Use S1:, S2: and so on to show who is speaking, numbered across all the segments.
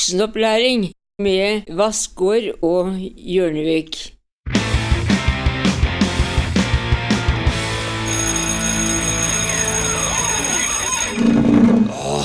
S1: Voksenopplæring med Vassgård og Hjørnevik.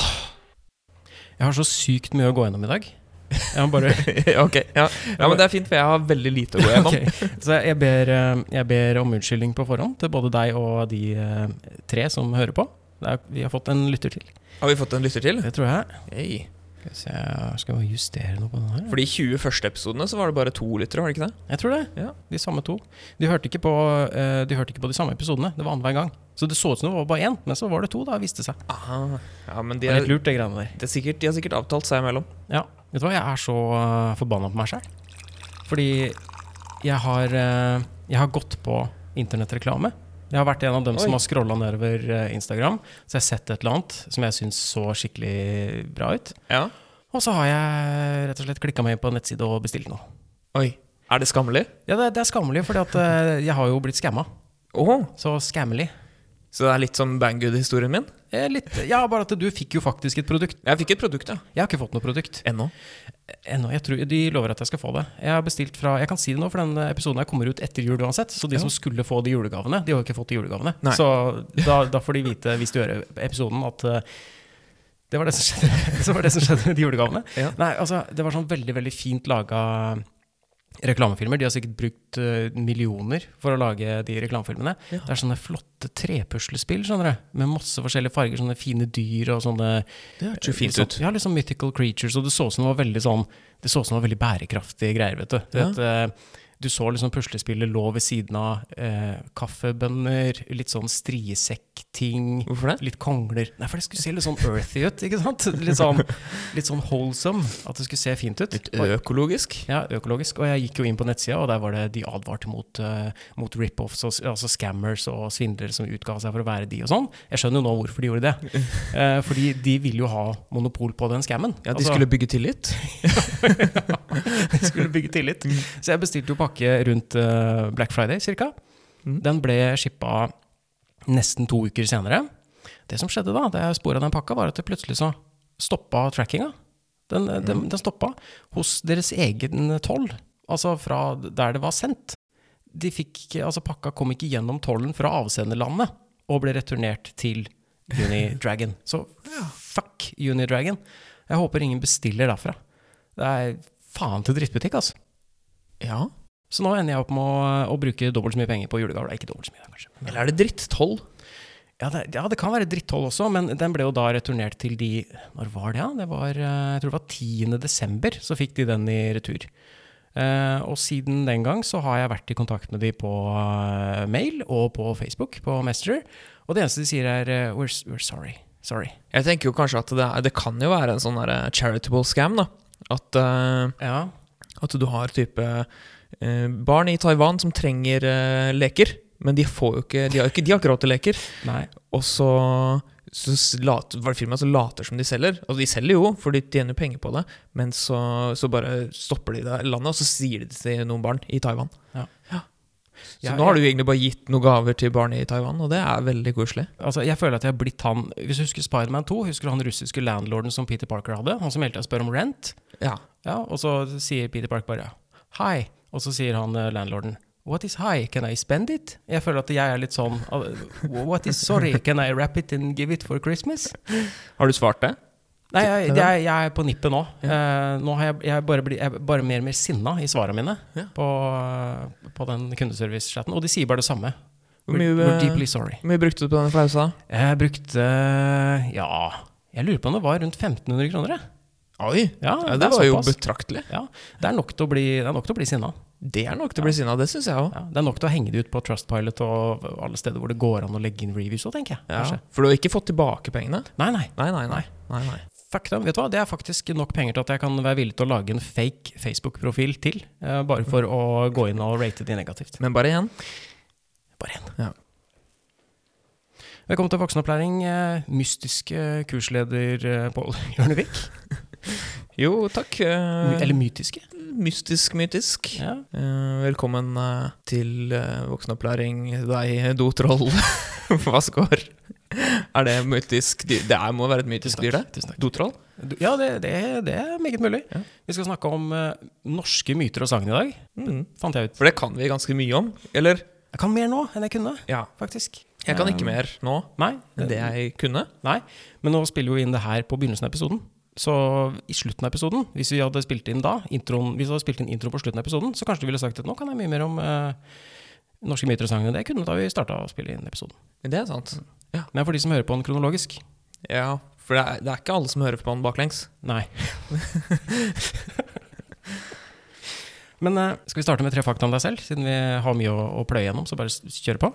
S2: Jeg har så sykt mye å gå gjennom i dag. Jeg må bare
S3: ok, ja. ja, men det er fint, for jeg har veldig lite å gå gjennom.
S2: Ok, Så jeg ber, eh, jeg ber om unnskyldning på forhånd til både deg og de eh, tre som hører på. Det er, vi har fått en lytter til.
S3: Har vi fått en lytter til?
S2: Det tror jeg.
S3: Hey.
S2: Skal vi se, skal vi justere noe på den her?
S3: For de 20 første episodene så var det bare to lyttere, var det ikke det?
S2: Jeg tror det.
S3: Ja.
S2: De samme to. De hørte, ikke på, eh, de hørte ikke på de samme episodene. Det var annenhver gang. Så det så ut som det var bare én, men så var det to, da, viste det seg.
S3: Ah, ja, men de
S2: Det er
S3: er,
S2: litt lurt, det greiene der.
S3: det er sikkert, de har sikkert avtalt seg imellom.
S2: Ja. Vet du hva, jeg er så uh, forbanna på meg sjæl. Fordi jeg har, eh, jeg har gått på internettreklame. Jeg har vært en av dem som
S3: Oi.
S2: har scrolla nedover eh, Instagram. Så jeg har sett et eller annet som jeg syns så skikkelig bra ut.
S3: Ja.
S2: Og så har jeg rett og slett klikka meg inn på en nettside og bestilt noe.
S3: Oi. Er det skammelig?
S2: Ja, det, det er skammelig, for jeg har jo blitt skamma.
S3: Åh,
S2: Så skammelig.
S3: Så det er litt som Banggood-historien min?
S2: Eh, Litt, ja, bare at du fikk jo faktisk et produkt.
S3: Jeg fikk et produkt, ja.
S2: Jeg har ikke fått noe produkt
S3: Ennå.
S2: ennå. Eh, Jeg tror, de lover at jeg skal få det. Jeg har bestilt fra, jeg kan si det nå, for den episoden her kommer ut etter jul uansett. Så de som skulle få de julegavene, de har jo ikke fått de julegavene.
S3: Nei.
S2: Så da, da får de vite, hvis de hører episoden, at eh, det var det som skjedde, det var det som skjedde med de julegavene.
S3: Ja.
S2: Nei, altså, det var sånn veldig, veldig fint laga reklamefilmer. De har sikkert brukt eh, millioner for å lage de reklamefilmene.
S3: Ja.
S2: Det er sånne flotte trepuslespill, skjønner du. Med masse forskjellige farger, sånne fine dyr og sånne
S3: Det hørtes jo fint
S2: Sånn-
S3: ut.
S2: Ja, liksom mythical creatures. Og det så ut som det var veldig sånn Det så ut som det var veldig bærekraftige greier, vet du. Du
S3: Ja.
S2: vet, eh, du så liksom puslespillet lå ved siden av eh, kaffebønner, litt sånn striesekk-ting.
S3: Hvorfor det?
S2: Litt kongler. Nei, for det skulle se litt sånn earthy ut. ikke sant? Litt sånn, litt sånn wholesome. At det skulle se fint ut.
S3: Litt
S2: Og-
S3: økologisk?
S2: ja, økologisk. Og jeg gikk jo inn på nettsida, og der var det de advarte mot, eh, mot rip-offs, og s- altså scammers og svindlere som utga seg for å være de og sånn. Jeg skjønner jo nå hvorfor de gjorde det. Eh, fordi de ville jo ha monopol på den scammen.
S3: Ja, de
S2: Altså,
S3: skulle bygge tillit.
S2: de skulle bygge tillit. Så jeg bestilte jo pakke rundt eh, Black Friday cirka.
S3: Mm.
S2: Den ble shippa nesten to uker senere. Det som skjedde da, da jeg spora den pakka, var at det plutselig så stoppa trackinga. Den, eh, den, den stoppa hos deres egen toll, altså fra der det var sendt. De fikk, ikke- altså pakka kom ikke gjennom tollen fra avsenderlandet og ble returnert til Unidragon. Så fuck Unidragon. Jeg håper ingen bestiller derfra. Det er faen til drittbutikk, altså.
S3: Ja.
S2: Så nå ender jeg opp med å, å bruke dobbelt så mye penger på julegaver. Ikke dobbelt så mye, da, kanskje. Men-
S3: Eller er det dritttoll?
S2: ja det, ja, det kan være dritthold også, men den ble jo da returnert til de Når var det, ja? Det var, eh, jeg tror det var 10. desember, så fikk de den i retur. Eh, og siden den gang så har jeg vært i kontakt med de på eh, mail og på Facebook, på Messenger. Og det eneste de sier er eh, we're, s- we're sorry. Sorry.
S3: Jeg tenker jo kanskje at det, er, det kan jo være en sånn der eh, charitable scam, da. At, eh,
S2: Ja.
S3: at du har type eh, barn i Taiwan som trenger eh, leker, men de, får jo ikke, de, har ikke, de har ikke råd til leker.
S2: Nei.
S3: Og så, så s- lat, var det firmaet som later som de selger. Altså, de selger jo, for de tjener jo penger på det, men så, så bare stopper de det i landet, og så sier de det til noen barn i Taiwan.
S2: Ja.
S3: Så
S2: Ja,
S3: nå har du jo egentlig bare gitt noen gaver til barn i Taiwan, og det er veldig koselig.
S2: Altså, jeg føler at jeg har blitt han Hvis du husker Spiderman 2, husker du han russiske landlorden som Peter Parker hadde? Han som hele tida spør om rent?
S3: Ja.
S2: Ja, og så sier Peter Park bare Hi, og så sier han eh, landlorden What is high? Can I spend it? Jeg føler at jeg er litt sånn eh, What is sorry? Can I wrap it and give it for Christmas?
S3: Har du svart det?
S2: Nei, jeg, jeg, jeg er på nippet nå. Eh, nå har jeg, jeg, bare bli, jeg er bare mer og mer sinna i svarene mine
S3: Ja.
S2: på, eh, på den kundeservice-chatten. Og de sier bare det samme.
S3: Hvor
S2: We're,
S3: mye,
S2: we're
S3: eh,
S2: deeply sorry.
S3: Hvor mye brukte du på denne flausa?
S2: Jeg brukte eh, Ja, jeg lurer på om det var rundt 1500 kroner, jeg.
S3: Oi!
S2: Ja,
S3: Ja, det,
S2: det er
S3: var jo
S2: såpass.
S3: betraktelig.
S2: Ja, det er nok til å bli, det er nok til å bli sinna.
S3: Det er nok til å bli sinna, det syns jeg òg.
S2: Ja, det er nok til å henge det ut på Trustpilot og alle steder hvor det går an å legge inn reviews òg, tenker jeg. kanskje.
S3: For du har ikke fått tilbake pengene?
S2: Nei, nei.
S3: Nei, nei, nei. nei, nei.
S2: Fuck dem. Vet du hva? Det er faktisk nok penger til at jeg kan være villig til å lage en fake Facebook-profil til. eh, bare for å gå inn og rate de negativt.
S3: Men bare igjen.
S2: Bare én.
S3: Ja.
S2: Velkommen til voksenopplæring, eh, mystiske kursleder eh, Pål Hjørnevik.
S3: Jo, takk. eh,
S2: My- Eller mytiske.
S3: mystisk, mytisk.
S2: Ja.
S3: Eh, velkommen eh, til eh, voksenopplæring, deg dotroll. Hva skår? Er det mytisk dyr? Det er, må være et mytisk dyr, det.
S2: Tusen takk.
S3: Dotroll?
S2: Du- Ja, det, det, det er meget mulig.
S3: Ja.
S2: Vi skal snakke om eh, norske myter og sagn i dag.
S3: Mm.
S2: Fant jeg ut.
S3: For det kan vi ganske mye om. Eller?
S2: Jeg kan mer nå enn jeg kunne,
S3: Ja.
S2: faktisk.
S3: Jeg kan ikke
S2: Eh,
S3: mer nå
S2: Nei,
S3: enn det jeg kunne.
S2: nei. Men nå spiller vi jo inn det her på begynnelsen av episoden. Så i slutten av episoden, hvis vi hadde spilt inn da, introen, hvis vi hadde spilt inn intro på slutten av episoden, så kanskje du ville sagt at nå kan jeg mye mer om eh, norske myter og sagn enn det jeg kunne da vi starta å spille inn episoden.
S3: Men Det er sant.
S2: Men for de som hører på den kronologisk
S3: Ja, For det er, det er ikke alle som hører på den baklengs.
S2: Nei. Men eh, skal vi starte med tre fakta om deg selv, siden vi har mye å, å pløye gjennom? Så bare s- kjør på.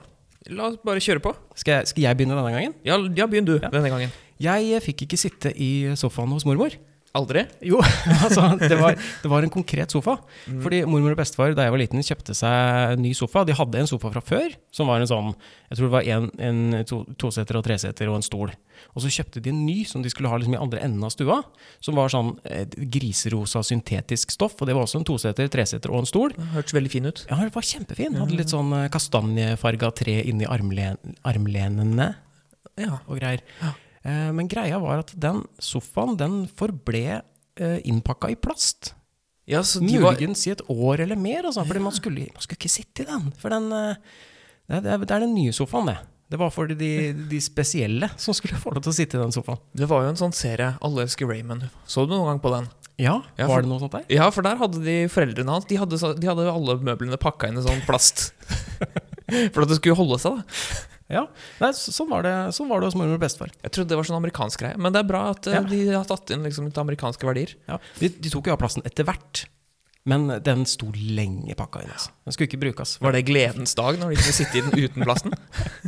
S3: La oss bare kjøre på.
S2: Skal jeg, skal jeg begynne denne gangen?
S3: Ja, ja begynn du denne gangen.
S2: Jeg eh, fikk ikke sitte i sofaen hos mormor.
S3: Aldri?
S2: Jo, altså, det var, det var en konkret sofa. Fordi mormor og bestefar da jeg var liten, kjøpte seg en ny sofa. De hadde en sofa fra før, som var en sånn Jeg tror det var en, en to, toseter og treseter og en stol. Og så kjøpte de en ny som de skulle ha liksom i andre enden av stua. Som var sånn eh, griserosa syntetisk stoff. Og det var også en toseter, treseter og en stol.
S3: Det Hørtes veldig fin ut.
S2: Ja, den var kjempefin. Hadde litt sånn eh, kastanjefarga tre inni armlen, armlenene
S3: Ja.
S2: og greier. Eh, Men greia var at den sofaen den forble eh, innpakka i plast.
S3: ja så de var,
S2: Muligens i et år eller mer, altså, fordi man, skulle, man skulle ikke sitte i den. For den, eh, det, er, det er den nye sofaen, det. Det var for de, de spesielle som skulle få lov til å sitte i den sofaen.
S3: det var jo en sånn serie, Alle elsker Raymond. Så du noen gang på den?
S2: Ja,
S3: Ja, for-
S2: Var det noe sånt der?
S3: Ja, for der hadde de foreldrene hans De hadde, så- de hadde alle møblene pakka inn i sånn plast. For at det skulle holde seg, da.
S2: Ja, Nei, så- sånn, var det, sånn var det hos mormor og bestefar.
S3: Jeg trodde det var sånn amerikansk greie. Men det er bra at eh,
S2: Ja.
S3: de har tatt inn liksom, litt amerikanske verdier.
S2: Ja, de, de tok jo av plassen etter hvert, men den sto lenge pakka inn. Altså. Den skulle ikke brukes.
S3: Var det gledens dag når de kunne sitte i den uten plasten?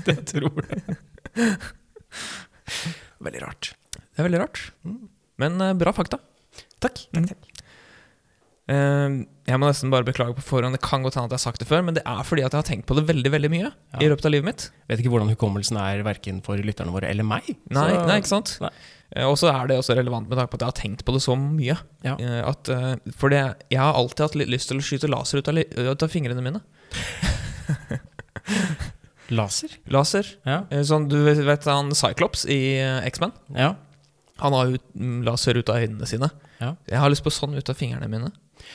S2: det tror jeg. Veldig rart.
S3: Det er veldig rart. Men eh, bra fakta.
S2: Mm. Takk.
S3: Mm. Eh, jeg må nesten bare beklage på forhånd. Det kan godt hende at jeg har sagt det før, men det er fordi at jeg har tenkt på det veldig veldig mye
S2: Ja.
S3: i løpet av livet mitt.
S2: Vet ikke hvordan hukommelsen er verken for lytterne våre eller meg.
S3: Nei,
S2: Så-
S3: nei ikke sant?
S2: Nei.
S3: Eh, Og så er det også relevant med tanke på at jeg har tenkt på det så mye.
S2: Ja.
S3: Eh, At, eh, for det, jeg har alltid hatt litt lyst til å skyte laser ut av, li- ut av fingrene mine.
S2: Laser?
S3: Laser.
S2: Ja.
S3: Eh, Sånn, du vet, vet han Cyclops i eh, X-Men?
S2: ja.
S3: Han har jo mm, laser ut av øynene sine.
S2: Ja.
S3: Jeg har lyst på sånn ut av fingrene mine.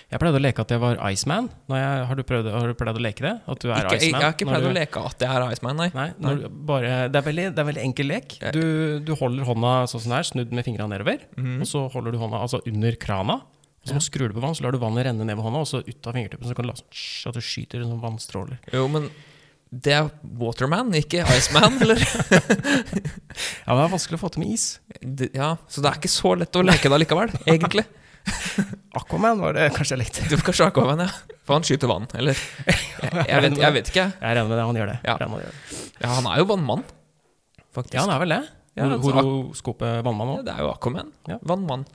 S2: Jeg pleide å leke at jeg var Iceman. Når jeg, har, du prøvd, har du pleid å leke det? At du er
S3: Ikke, jeg, jeg
S2: Iceman?
S3: har ikke
S2: når
S3: pleid
S2: du,
S3: å leke at jeg er Iceman, nei.
S2: Nei, når du bare, det, er veldig, det er veldig enkel lek. Du, du holder hånda sånn som den er, snudd med fingrene nedover.
S3: Mm.
S2: Og så holder du hånda altså under krana. Og så skrur du på vann, så lar du vannet renne ned med hånda, og så ut av fingertuppen. Så kan du la sånn «Sj», at du skyter sånn vannstråler.
S3: Jo, men det er Waterman, ikke Iceman, eller?
S2: Ja, det er vanskelig å få til med is.
S3: Det- Ja, så det er ikke så lett å leke det likevel, egentlig.
S2: Aquaman var det kanskje jeg lekte.
S3: Du får kanskje Aquaman, ja. For han skyter vann, eller? Jeg, jeg, vet, jeg vet ikke.
S2: Jeg regner med det, han gjør det.
S3: Ja.
S2: Jeg regner med det.
S3: Ja, han er jo vannmann, faktisk.
S2: Ja, han er vel det.
S3: Ja,
S2: Hor-
S3: altså, ak-
S2: Horoskopet vannmann
S3: Ja,
S2: òg.
S3: det er jo Aquaman.
S2: Ja.
S3: Vannmann.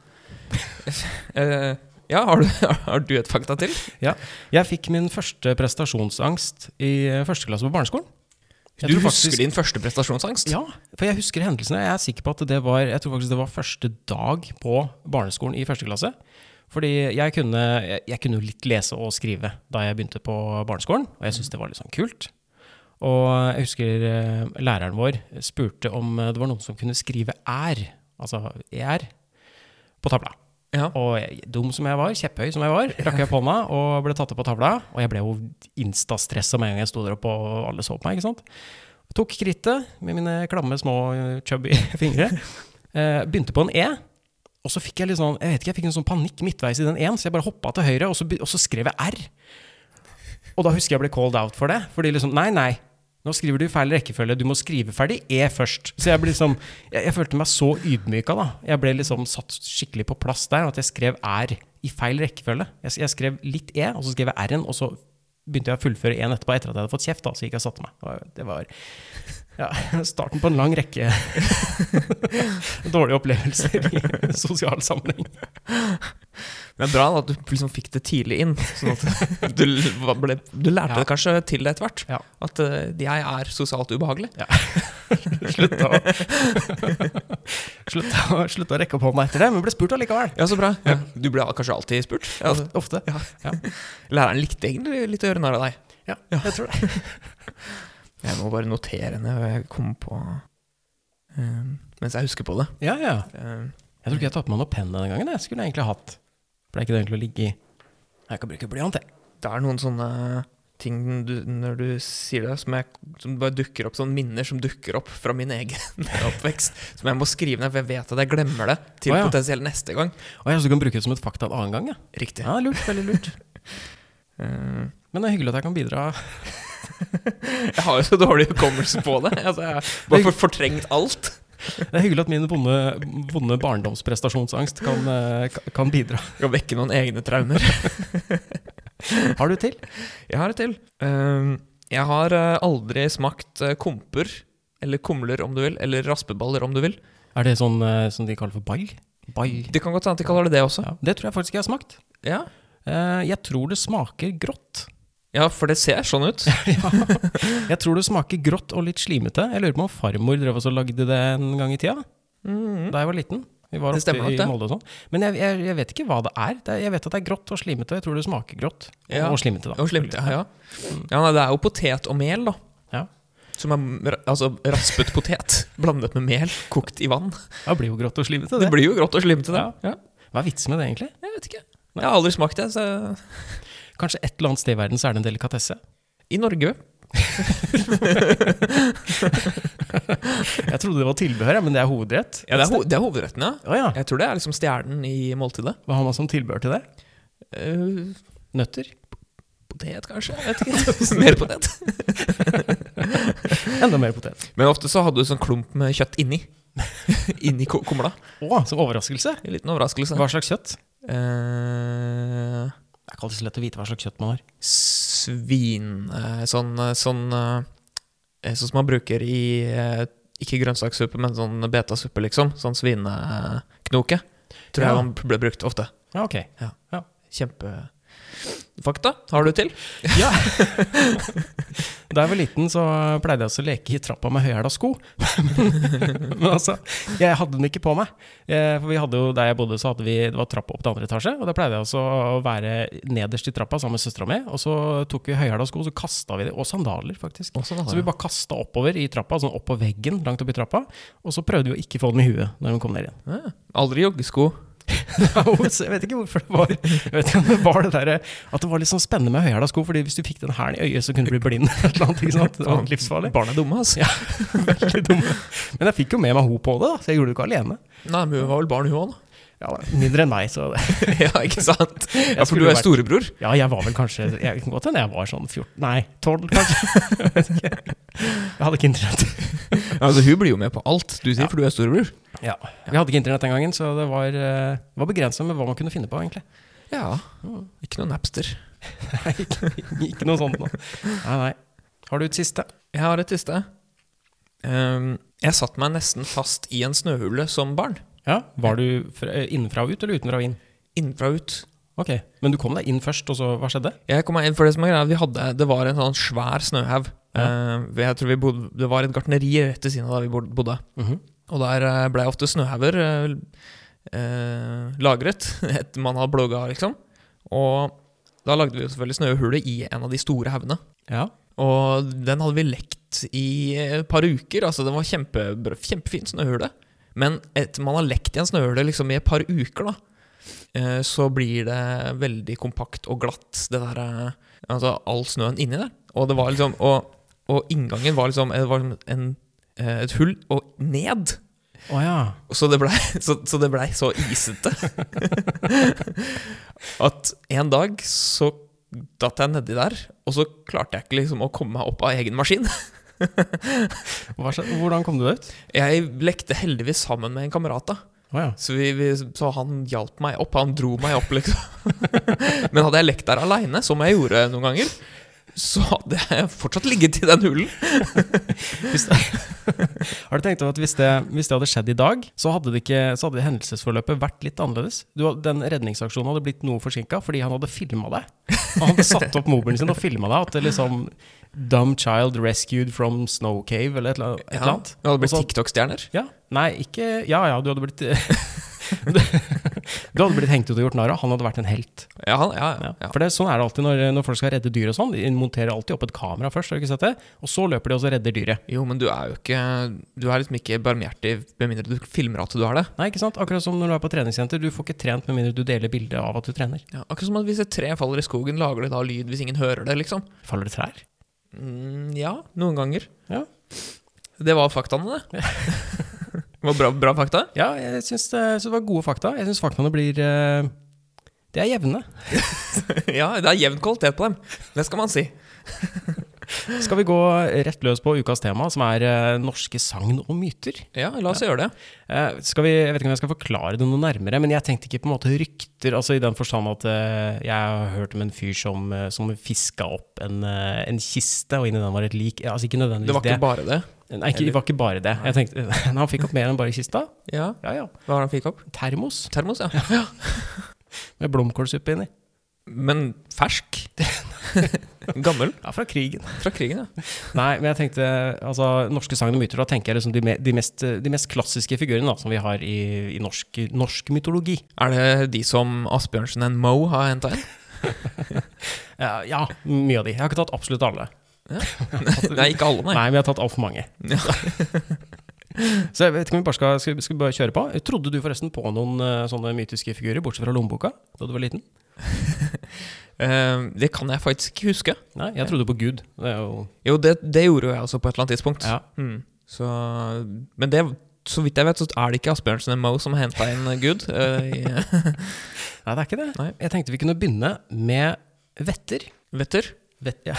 S3: Eh, ja, har du, har du et fakta til?
S2: Jeg fikk min første prestasjonsangst i eh, første klasse på barneskolen. Jeg
S3: du
S2: tror
S3: husker
S2: faktisk-
S3: din første prestasjonsangst?
S2: Ja, for jeg husker hendelsene. Jeg er sikker på at det var Jeg tror faktisk det var første dag på barneskolen i første klasse. Fordi jeg kunne, jeg, jeg kunne jo litt lese og skrive da jeg begynte på barneskolen, og jeg syntes det var litt sånn kult. Og jeg husker eh, læreren vår spurte om eh, det var noen som kunne skrive er, altså er, på tavla.
S3: Ja.
S2: Og jeg, dum som jeg var, kjepphøy som jeg var, rakk jeg opp hånda og ble tatt opp på tavla. Og jeg ble jo instastressa med en gang jeg sto der oppe og alle så på meg. ikke sant? Tok krittet med mine klamme, små, eh, chubby fingre. Eh, begynte på en E. Og så fikk jeg litt sånn, jeg vet ikke, jeg fikk en sånn panikk midtveis i den E-en, så jeg bare hoppa til høyre, og så, be- og så skrev jeg R. Og da husker jeg ble called out for det. Fordi liksom, nei, nei. Nå skriver du i feil rekkefølge. Du må skrive ferdig E først. Så jeg ble liksom Jeg, jeg følte meg så ydmyka, da. Jeg ble liksom satt skikkelig på plass der, at jeg skrev R i feil rekkefølge. Jeg, jeg skrev litt E, og så skrev jeg R-en, og så begynte jeg å fullføre E-en etterpå, etter at jeg hadde fått kjeft, da. Så gikk jeg og satte meg. Det var- Det var ja, starten på en lang rekke dårlige opplevelser i sosial sammenheng.
S3: Men bra da, at du liksom fikk det tidlig inn. Sånn at du, l- hva ble, du lærte
S2: Ja.
S3: det kanskje til det etter hvert.
S2: Ja.
S3: At eh, jeg er sosialt ubehagelig.
S2: Slutta å, slutta, å- slutta å rekke opp hånda etter det, men ble spurt allikevel.
S3: Ja, så bra. Ja. Du ble kanskje alltid spurt. Ja,
S2: Ofte. ofte. Ja.
S3: læreren likte egentlig litt å gjøre narr av deg.
S2: jeg tror det.
S3: Jeg må bare notere ned hva jeg kom på eh, mens jeg husker på det.
S2: Ja, ja.
S3: Eh,
S2: Jeg tror ikke jeg tar på meg noe penn denne gangen. Jeg skulle jeg egentlig hatt. For det er ikke det egentlig å ligge i Jeg kan bruke blyant, jeg.
S3: Det er noen sånne ting du, når du sier det, som, jeg, som bare dukker opp, sånne minner som dukker opp fra min egen oppvekst, som jeg må skrive ned, for jeg vet at jeg glemmer det til
S2: Å, ja.
S3: potensielt neste gang.
S2: Og jeg også kan bruke det som et fakta en annen gang. Jeg.
S3: Riktig.
S2: Ja, lurt, veldig lurt.
S3: Eh,
S2: Men det er hyggelig at jeg kan bidra.
S3: jeg har jo så dårlig hukommelse på det. Altså, jeg har bare for- fortrengt alt.
S2: Det er hyggelig at min vonde, vonde barndomsprestasjonsangst kan, eh, ka- kan bidra.
S3: Skal vekke noen egne traumer.
S2: Har du til?
S3: Jeg har et til. Eh, jeg har eh, aldri smakt eh, komper, eller kumler om du vil, eller raspeballer om du vil.
S2: Er det sånn eh, som de kaller for ball? Ball.
S3: Det kan godt hende at de kaller det det også.
S2: Ja, det tror jeg faktisk jeg har smakt.
S3: Ja,
S2: Eh, jeg tror det smaker grått.
S3: ja for det ser sånn ut.
S2: ja. Jeg tror det smaker grått og litt slimete. Jeg lurer på om farmor drev også og lagde det en gang i tida.
S3: Mm.
S2: Da jeg var liten. Vi var
S3: Det
S2: ofte
S3: stemmer nok,
S2: i
S3: det.
S2: Molde og sånn. Men jeg, jeg, jeg vet ikke hva det er. det er. Jeg vet at det er grått og slimete, og jeg tror det smaker grått. Og,
S3: Ja.
S2: og slimete, da.
S3: Og slimt, ja. ja. ja nei, det er jo potet og mel, da.
S2: Ja.
S3: Som er ra- altså, raspet potet blandet med mel, kokt i vann.
S2: Det blir jo grått og slimete,
S3: Det
S2: det.
S3: blir jo grått og slimete, det. Ja.
S2: Hva er vitsen med det, egentlig?
S3: Jeg vet ikke. Jeg har aldri smakt det. Så
S2: Kanskje et eller annet sted i verden så er det en delikatesse.
S3: I Norge
S2: Jeg trodde det var tilbehør, ja, men det er hovedrett.
S3: Ja, det er, ho det er hovedretten, ja.
S2: Å ja.
S3: Jeg tror det er liksom stjernen i måltidet.
S2: Hva har man som tilbehør til det?
S3: Eh,
S2: Nøtter?
S3: potet, kanskje? Jeg vet ikke. Mer potet.
S2: Enda mer potet.
S3: Men ofte så hadde du sånn klump med kjøtt inni. inni ko- kumla.
S2: Å, som overraskelse.
S3: En liten overraskelse.
S2: Hva slags kjøtt?
S3: Eh,
S2: Det er ikke alltid så lett å vite hva slags kjøtt man har.
S3: svin eh, Sånn, eh, sånn, eh, sånn som man bruker i eh, Ikke grønnsakssuppe, men sånn betasuppe, liksom. Sånn svineknoke. Tror
S2: Ja.
S3: jeg man ble brukt ofte.
S2: Ja, ok.
S3: Kjempefakta. Har du til?
S2: Ja. da jeg var liten, så pleide jeg også å leke i trappa med høyhæla sko. Men altså, jeg hadde den ikke på meg. Eh, For vi hadde jo, der jeg bodde, så hadde vi, det var trappa opp til andre etasje. Og da pleide jeg også å være nederst i trappa sammen med søstera mi. Og så tok vi høyhæla sko, så kasta vi det. Og sandaler, faktisk. Så vi bare kasta oppover i trappa, sånn opp på veggen langt opp i trappa. Og så prøvde vi å ikke få den i huet når hun kom ned igjen.
S3: Ja. Aldri joggesko.
S2: jeg vet ikke hvorfor det var Jeg vet ikke om det var det der, At det var litt sånn spennende med høyhæla sko, Fordi hvis du fikk den hælen i øyet, så kunne du bli blind. eller Et eller annet, ikke sant? Det var livsfarlig.
S3: Barn er dumme, altså.
S2: Veldig dumme. Men jeg fikk jo med meg ho på det, da, så jeg gjorde det ikke alene.
S3: Nei, men hun var vel barn, hun òg, da.
S2: Ja, da, mindre enn meg, så det.
S3: ja, ikke sant? Ja, for
S2: skulle
S3: du er
S2: vært-
S3: storebror.
S2: Ja, jeg var vel kanskje Jeg kan godt hende jeg var sånn 14 Nei, 12, kanskje. Jeg, vet ikke. jeg hadde ikke internett.
S3: Altså, hun blir jo med på alt du sier,
S2: Ja.
S3: for du er storebror.
S2: Ja, Vi hadde ikke internett den gangen, så det var, eh, var begrensa med hva man kunne finne på, egentlig.
S3: Ja. Ikke noe Napster.
S2: Nei, ikke, ikke noe sånt nå. Nei, nei. Har du et siste?
S3: Jeg har et siste. Ehm, jeg satt meg nesten fast i en snøhule som barn.
S2: Ja, Var du fra- eh, innenfra og ut, eller utenfra og inn?
S3: Innenfra og ut.
S2: Ok, Men du kom deg inn først, og så hva skjedde?
S3: Jeg kom meg inn for det som er greia, vi hadde, Det var en sånn svær snøhaug. Ehm, jeg tror vi bodde, det var et gartneri rett ved siden av der vi bod- bodde.
S2: Mhm.
S3: Og der eh, ble ofte snøhauger eh, eh, lagret etter man har blogga, liksom. Og da lagde vi jo selvfølgelig snøhullet i en av de store haugene.
S2: Ja.
S3: Og den hadde vi lekt i et par uker. Altså, den var kjempe, kjempefin snøhule. Men etter man har lekt i en snøhule liksom, i et par uker, da, eh, så blir det veldig kompakt og glatt, det der eh, Altså all snøen inni der. Og det var liksom Og, og inngangen var liksom det var en, eh, et hull og ned.
S2: Å ja.
S3: Så det blei så, så, det ble så isete at en dag så datt jeg nedi der, og så klarte jeg ikke liksom å komme meg opp av egen maskin.
S2: Hva skjedde? Hvordan kom du deg ut?
S3: Jeg lekte heldigvis sammen med en kamerat, da.
S2: Å ja.
S3: Så, vi, vi, så han hjalp meg opp. Han dro meg opp, liksom. Men hadde jeg lekt der aleine, som jeg gjorde noen ganger, så hadde jeg fortsatt ligget i den hulen.
S2: Hvis det, har du tenkt over at hvis det, hvis det hadde skjedd i dag, så hadde, det ikke, så hadde hendelsesforløpet vært litt annerledes? Du, had- den redningsaksjonen hadde blitt noe forsinka fordi han hadde filma deg. Han hadde satt opp mobilen sin og filma deg. At det liksom 'Dumb child rescued from snow cave' eller et eller annet. Altså- et eller annet.
S3: Jeg hadde
S2: Og
S3: blitt
S2: så-
S3: TikTok-stjerner.
S2: Ja. Nei, ikke Ja ja, du hadde blitt Du hadde blitt hengt ut og gjort narr av. Han hadde vært en helt.
S3: Ja, han, ja, ja, ja.
S2: For det, Sånn er det alltid når, når folk skal redde dyr. og sånn De monterer alltid opp et kamera først, har du ikke sett det? og så løper de og så redder dyret.
S3: Jo, men du er jo ikke Du er liksom ikke barmhjertig med mindre du filmer at du er det.
S2: Nei, ikke sant? Akkurat som når du er på treningssenter. Du får ikke trent med mindre du deler bilde av at du trener.
S3: Ja, akkurat som at hvis et tre faller i skogen, lager det da lyd hvis ingen hører det, liksom?
S2: Faller det trær?
S3: Mm, ja, noen ganger.
S2: Ja.
S3: Det var faktaene, det. det var bra, bra fakta.
S2: Ja, jeg syns det, så det var gode fakta. Jeg syns faktaene blir eh, De er jevne.
S3: ja, det er jevn kvalitet på dem. Det skal man si.
S2: Skal vi gå rett løs på ukas tema, som er eh, norske sagn og myter?
S3: Ja, la oss gjøre det.
S2: Eh, skal vi, jeg vet ikke om jeg skal forklare det noe nærmere, men jeg tenkte ikke på en måte rykter, altså i den forstand at eh, jeg har hørt om en fyr som, eh, som fiska opp en, eh, en kiste, og inni den var et lik. Ja, Altså ikke nødvendigvis
S3: Det var ikke bare det.
S2: Nei, ikke, det var ikke bare det. Jeg tenkte, han fikk opp mer enn bare kista.
S3: Ja,
S2: Ja, ja.
S3: Hva var det han fikk opp?
S2: Termos
S3: Termos, ja. ja.
S2: med blomkålsuppe inni.
S3: Men fersk. Gammel.
S2: Ja, fra krigen.
S3: Fra krigen, ja.
S2: Nei, men jeg tenkte altså, Norske sagn og myter, da tenker jeg liksom de, me, de, mest, de mest klassiske figurene da, som vi har i, i norsk, norsk mytologi.
S3: Er det de som Asbjørnsen og Moe har henta inn?
S2: Eh, ja, mye av de. Jeg har ikke tatt absolutt alle.
S3: Nei, ikke alle,
S2: Nei,
S3: nei.
S2: men jeg har tatt altfor mange.
S3: Ja.
S2: Så jeg vet ikke om vi bare skal, skal, vi- skal vi bare kjøre på. Trodde du forresten på noen eh, sånne mytiske figurer, bortsett fra lommeboka, da du var liten?
S3: Eh, det kan jeg faktisk ikke huske.
S2: Nei, jeg trodde på Gud. Det er jo
S3: Jo, det, det gjorde jo jeg også på et eller annet tidspunkt.
S2: Ja.
S3: Mm. Så, men det, så vidt jeg vet, så er det ikke Asbjørnsen og Moe som har henta inn Gud. eh, i-
S2: Nei, det er ikke det.
S3: Nei.
S2: Jeg tenkte vi kunne begynne med vetter.
S3: Vetter?
S2: Vett, ja.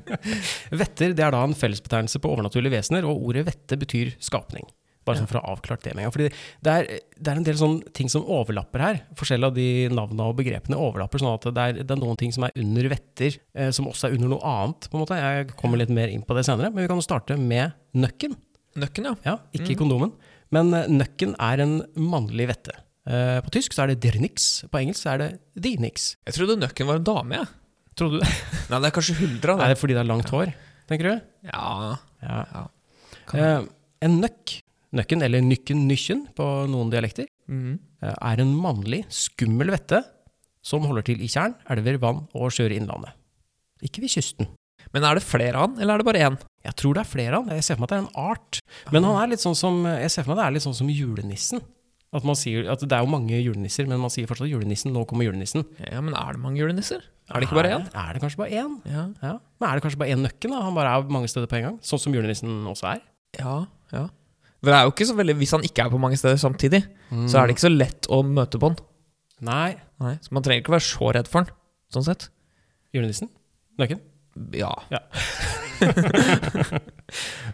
S2: Vetter det er da en fellesbetegnelse på overnaturlige vesener, og ordet vette betyr skapning. Bare sånn for å ha avklart det med en gang. Fordi det er, det er en del sånne ting som overlapper her. Forskjellige av de navnene og begrepene overlapper, sånn at det er, det er noen ting som er under vetter, eh, som også er under noe annet. på en måte. Jeg kommer litt mer inn på det senere, men vi kan jo starte med nøkken.
S3: Nøkken, ja.
S2: Ja, ikke kondomen. Men eh, nøkken er en mannlig vette. Eh, På tysk så er det der nix, på engelsk så er det de nix.
S3: Jeg trodde Nøkken var en dame, jeg.
S2: Tror du det?
S3: Nei, det er kanskje Huldra,
S2: Er
S3: det.
S2: det fordi det er langt hår, tenker du?
S3: Ja.
S2: Ja.
S3: Ja.
S2: Eh, en nøkk, nøkken eller nykken nykken på noen dialekter,
S3: Mm.
S2: eh, er en mannlig, skummel vette som holder til i tjern, elver, vann og sjøer i innlandet. Ikke ved kysten.
S3: Men er det flere av han, eller er det bare én?
S2: Jeg tror det er flere av han. Jeg ser for meg at det er en art. Men han er litt sånn som, jeg ser for meg det er litt sånn som julenissen. At man sier, at det er jo mange julenisser, men man sier fortsatt julenissen, nå kommer julenissen.
S3: Ja, men er det mange julenisser? Er det ikke bare én?
S2: Er det kanskje bare én?
S3: Ja.
S2: Ja. Men er det kanskje bare én nøkken? da? Han bare er mange steder på en gang. Sånn som julenissen også er.
S3: ja, ja. For det er jo ikke så veldig, Hvis han ikke er på mange steder samtidig, så er det ikke så lett å møte på han.
S2: Nei.
S3: Så man trenger ikke være så redd for han, sånn sett.
S2: Julenissen? Nøkken?
S3: Ja.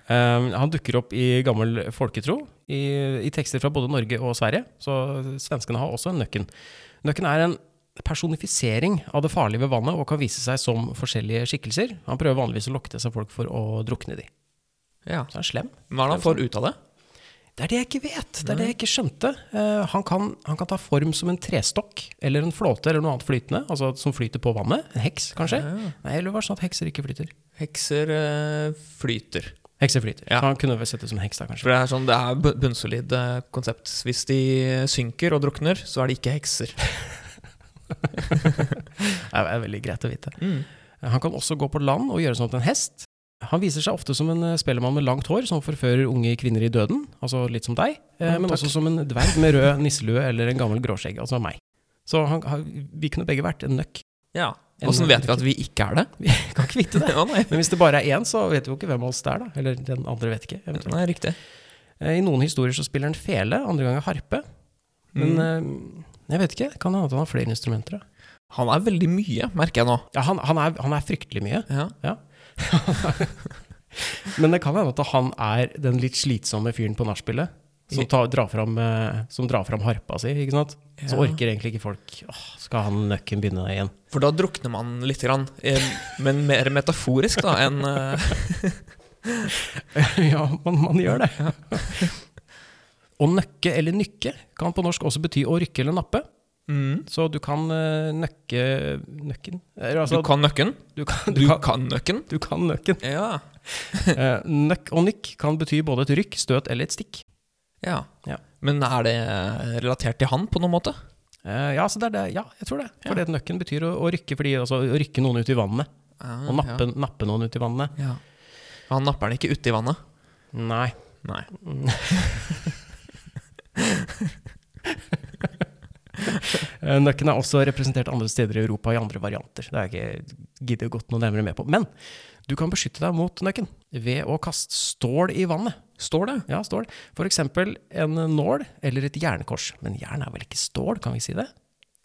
S2: Um, han dukker opp i gammel folketro, i, i tekster fra både Norge og Sverige. Så svenskene har også en nøkken. Nøkken er en personifisering av det farlige ved vannet og kan vise seg som forskjellige skikkelser. Han prøver vanligvis å lokke til seg folk for å drukne de.
S3: ja.
S2: Så han er sånn. slem.
S3: Hva er det han får ut av det?
S2: Det er det jeg ikke vet. Det er det jeg ikke skjønte. Eh, han, kan, han kan ta form som en trestokk eller en flåte eller noe annet flytende, altså som flyter på vannet. En heks, kanskje. Nei, eller var det sånn at hekser ikke flyter?
S3: Hekser eh, flyter.
S2: Hekser flyter.
S3: Ja.
S2: Så han kunne vel sett ut som en heks da, kanskje.
S3: For det er sånn, det er bu- bunnsolid eh, konsept. Hvis de synker og drukner, så er de ikke hekser.
S2: Det er veldig greit å vite.
S3: Mm.
S2: Han kan også gå på land og gjøre sånn til en hest. Han viser seg ofte som en eh, spellemann med langt hår som forfører unge kvinner i døden, altså litt som deg, eh,
S3: Ja,
S2: men
S3: takk.
S2: også som en dverg med rød nisselue eller en gammel gråskjegg, altså meg. Så han, han, vi kunne begge vært en nøkk.
S3: Ja. Åssen vet vi at vi ikke er det?
S2: Vi kan ikke vite det.
S3: Å nei.
S2: Men hvis det bare er én, så vet vi jo ikke hvem av oss det er, da. Eller den andre vet ikke. eventuelt.
S3: nei, riktig.
S2: Eh, I noen historier så spiller han fele, andre ganger harpe. Men
S3: Mm.
S2: eh, jeg vet ikke, kan det hende at han har flere instrumenter? Da?
S3: Han er veldig mye, merker jeg nå.
S2: Ja, han, han, er, han er fryktelig mye.
S3: Ja.
S2: Men det kan hende at han er den litt slitsomme fyren på nachspielet. Som, tar- drar fram, eh, som drar fram harpa si, ikke sant. Så
S3: Ja.
S2: orker egentlig ikke folk Åh, skal han nøkken begynne igjen?
S3: For da drukner man lite grann. eh, Men mer metaforisk, da, enn eh,
S2: ja, man, man gjør det. Å nøkke eller nykke kan på norsk også bety å rykke eller nappe.
S3: mm.
S2: Så du kan eh, nøkke nøkken Eller
S3: Du
S2: altså,
S3: kan nøkken.
S2: du kan,
S3: Du kan nøkken.
S2: du kan nøkken.
S3: Ja.
S2: Eh, nøkk og nykk kan bety både et rykk, støt eller et stikk.
S3: Ja.
S2: Ja.
S3: Men er det eh, relatert til han på noen måte?
S2: Eh, ja, så det er det. ja, jeg tror det. For det nøkken betyr å, å rykke fordi, altså, å rykke noen ut i vannet. Å nappe, nappe noen ut i vannet.
S3: Ja. Han napper den ikke uti vannet?
S2: Nei.
S3: Nei.
S2: Eh, Nøkken er også representert andre steder i Europa i andre varianter. Det har jeg ikke giddet gått noe nærmere med på. Men du kan beskytte deg mot nøkken ved å kaste stål i vannet.
S3: Står det?
S2: Ja, stål. For eksempel en nål eller et jernkors. Men jern er vel ikke stål, kan vi si det?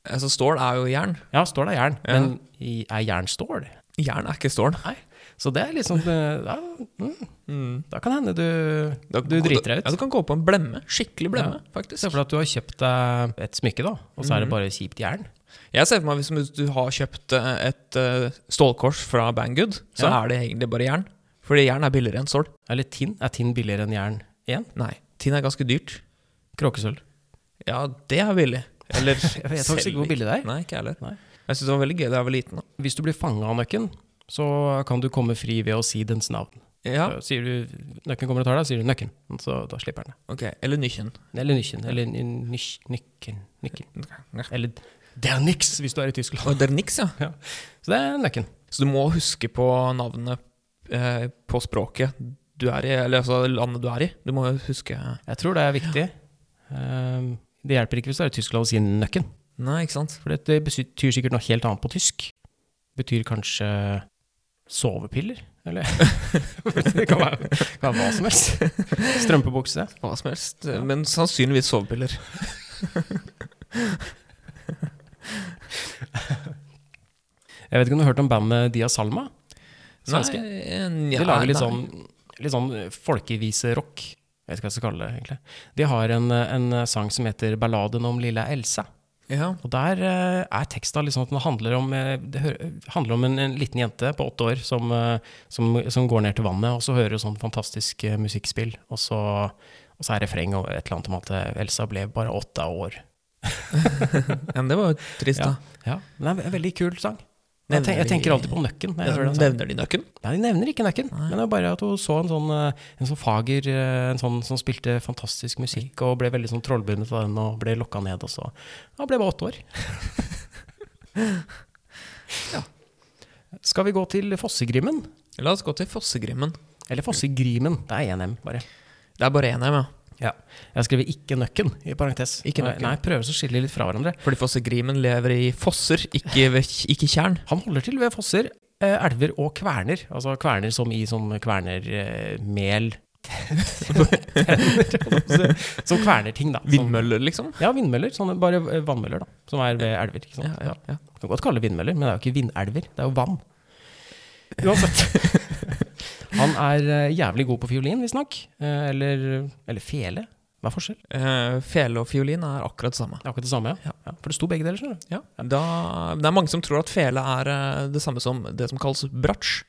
S3: Altså, stål er jo jern.
S2: Ja, stål er jern, men i- er jern stål?
S3: Jern er ikke stål.
S2: Nei. Så det er liksom eh, ja, mm, Da kan hende du,
S3: Da-
S2: du driter deg ut.
S3: Ja, du kan gå på en blemme. Skikkelig blemme, faktisk.
S2: Se for deg at du har kjøpt deg et smykke, da, og så er det bare kjipt jern.
S3: Jeg ser for meg hvis du har kjøpt eh, et eh, stålkors fra Banggood, så
S2: Ja.
S3: er det egentlig bare jern. Fordi jern er billigere enn stål.
S2: Eller tinn. Er tinn billigere enn jern igjen?
S3: Nei, tin er ganske dyrt.
S2: Kråkesølv.
S3: Ja, det er billig. Eller Jeg
S2: vet faktisk ikke hvor billig det er.
S3: Nei, ikke jeg heller.
S2: Nei.
S3: Jeg syns det var veldig gøy da jeg var liten. da.
S2: Hvis du blir fanga av nøkken, så kan du komme fri ved å si dens navn. Så
S3: Ja,
S2: sier du nøkken kommer og tar deg, sier du nøkken. Så da slipper han deg.
S3: ok. Eller Nychen.
S2: Eller nykken. Eller ny- nykk- nykken. Nykken.
S3: Og
S2: Eller det er niks hvis du er i Tyskland.
S3: det er niks, ja.
S2: Ja. Så det er nøkken.
S3: Så du må huske på navnet eh, på språket du er i, eller altså landet du er i. Du må jo huske
S2: Jeg tror det er viktig. Ehm, det hjelper ikke hvis du er i Tyskland og sier nøkken.
S3: Nei, ikke sant?
S2: For det- det betyr sikkert noe helt annet på tysk. Betyr kanskje sovepiller? Eller Det kan være, kan være hva som helst. Strømpebukse.
S3: Hva som helst. eh, Men sannsynligvis sovepiller.
S2: Jeg vet ikke om du har hørt om bandet Dia Salma? Svenske.
S3: Nei, eh, nja,
S2: De lager litt
S3: nei.
S2: sånn, litt sånn folkeviserock. Jeg vet ikke hva jeg skal kalle det, egentlig. De har en, eh, en sang som heter 'Balladen om lille Elsa'.
S3: Ja.
S2: Og der eh, er teksta liksom at den handler om, eh, det hø- handler om en, en liten jente på åtte år som, eh, som, som går ned til vannet, og så hører hun sånn fantastisk eh, musikkspill, og så, og så er refreng og et eller annet om at eh, Elsa ble bare åtte år.
S3: Ja, men det var jo trist,
S2: Ja.
S3: da.
S2: Ja, men det er en ve- veldig kul sang. Jeg, tenk, jeg tenker alltid på nøkken. når Jeg hører den sangen.
S3: Nevner de nøkken?
S2: Nei, de nevner ikke nøkken, men det er bare at hun så en sånn, eh, en sånn fager eh, en sånn, som spilte fantastisk musikk, og ble veldig sånn trollbundet av den, og ble lokka ned, og så ja, ble bare åtte år. Skal vi gå til Fossegrimmen?
S3: La oss gå til Fossegrimmen.
S2: Eller Fossegrimen, det er 1M, bare.
S3: Det er bare én hjem, ja.
S2: Ja. Jeg har skrevet 'ikke nøkken' i parentes.
S3: Ikke nøkken.
S2: Nei, prøver å skille litt fra hverandre.
S3: Fordi Fossegrimen lever i fosser, ikke, ved, ikke tjern.
S2: Han holder til ved fosser, eh, elver og kverner. Altså kverner som eh, i sånn kvernermel Som kverner ting, da. Som-
S3: Vindmøller, liksom.
S2: Ja, vindmøller. Sånne bare eh, vannmøller, da. Som er ved elver. ikke sant?
S3: Ja, Sånn, ja, ja.
S2: Du kan godt kalle det vindmøller, men det er jo ikke vindelver. Det er jo vann. Uansett. Han er eh, jævlig god på fiolin, visstnok. Eh, Eller, eller fele. Hva er forskjell?
S3: Eh, fele og fiolin er akkurat det samme.
S2: Det er Akkurat det samme, ja. ja. For det sto begge deler, skjønner du.
S3: Ja. Da, det er mange som tror at fele er eh, det samme som det som kalles bratsj.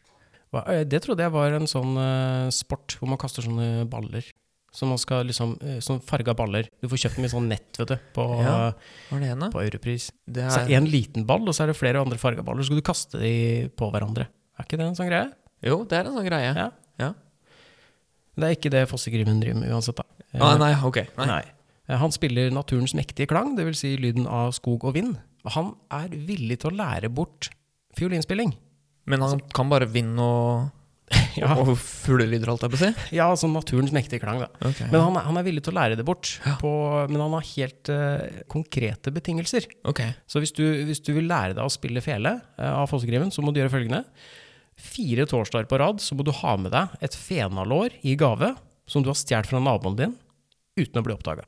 S2: Hva, eh, det trodde jeg var en sånn eh, sport hvor man kaster sånne baller. Som man skal liksom, eh, sånn farga baller. Du får kjøpt dem i sånn nett, vet du, på,
S3: Ja. Hva er det ene?
S2: på Europris.
S3: Det
S2: Så
S3: er,
S2: én liten ball, og så er det flere andre farga baller. Så skal du kaste de på hverandre. Er ikke det en sånn greie?
S3: jo, det er en sånn greie.
S2: Ja.
S3: Ja.
S2: Det er ikke det Fossegrimmen driver med uansett, da. Eh,
S3: Ah, nei, ok. Nei.
S2: Nei. Eh, Han spiller naturens mektige klang, dvs. Si lyden av skog og vind. Og han er villig til å lære bort fiolinspilling.
S3: Men han kan bare vind og,
S2: Ja.
S3: og fuglelyder, holdt jeg på å si.
S2: Ja, altså naturens mektige klang, da.
S3: Ok.
S2: Men han er, han er villig til å lære det bort,
S3: Ja.
S2: på, men han har helt eh, konkrete betingelser.
S3: Ok.
S2: Så hvis du, hvis du vil lære deg å spille fele eh, av Fossegrimen, så må du gjøre følgende. Fire torsdager på rad så må du ha med deg et fenalår i gave som du har stjålet fra naboen din, uten å bli oppdaga.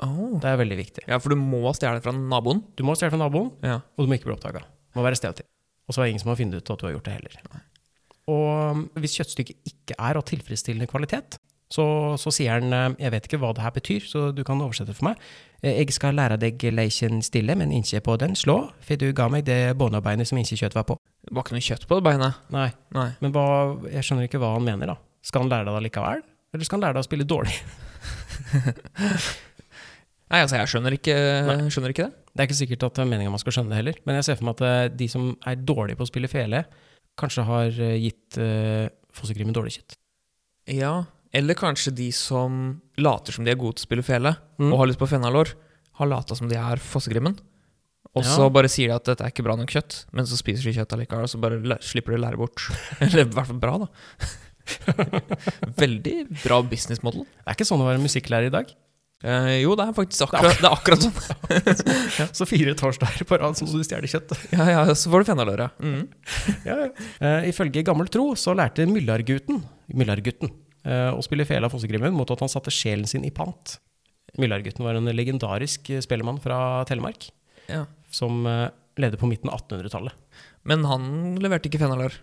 S3: Åh.
S2: Det er veldig viktig.
S3: Oh. Ja, for du må stjele fra naboen.
S2: Du må stjele fra naboen,
S3: Ja.
S2: og du må ikke bli oppdaga. Må være stedig. Og så er det ingen som har funnet ut at du har gjort det heller. Og um, hvis kjøttstykket ikke er av tilfredsstillende kvalitet, så, så sier han eh, Jeg vet ikke hva det her betyr, så du kan oversette det for meg. Eh, Jeg skal lære deg leiken stille, men ikke på den slå, for du ga meg det båndarbeidet som ikke kjøtt var på.
S3: Det var ikke noe kjøtt på det beinet.
S2: Nei,
S3: Nei.
S2: men hva, jeg skjønner ikke hva han mener, da. Skal han lære deg det likevel? Eller skal han lære deg å spille dårlig?
S3: Nei, altså, jeg skjønner ikke, skjønner ikke det.
S2: Det er ikke sikkert at det er meningen man skal skjønne det heller, men jeg ser for meg at eh, de som er dårlige på å spille fele, kanskje har eh, gitt eh, Fossekrimen dårlig kjøtt.
S3: Ja, Eller kanskje de som later som de er gode til å spille fele, og har lyst på fenalår, har lata som de er fossegrimmen. Og så
S2: Ja.
S3: bare sier de at dette er ikke bra nok kjøtt, men så spiser de kjøtt allikevel, og så bare læ- slipper de å lære bort. Eller i hvert fall bra, da. Veldig bra business model.
S2: Det er ikke sånn å være musikklærer i dag.
S3: Eh, jo, det er faktisk akkurat, det er akkurat sånn.
S2: Så fire torsdager på rad som du stjeler kjøtt.
S3: Ja, ja, så får du fenalår, ja. Mm.
S2: ja, ja. Eh, ifølge gammel tro så lærte Myllargutten Myllargutten eh, å spille fele av Fossegrimmen mot at han satte sjelen sin i pant. Myllargutten var en legendarisk eh, spellemann fra Telemark
S3: Ja.
S2: som eh, levde på midten av 1800-tallet.
S3: Men han leverte ikke fenalår.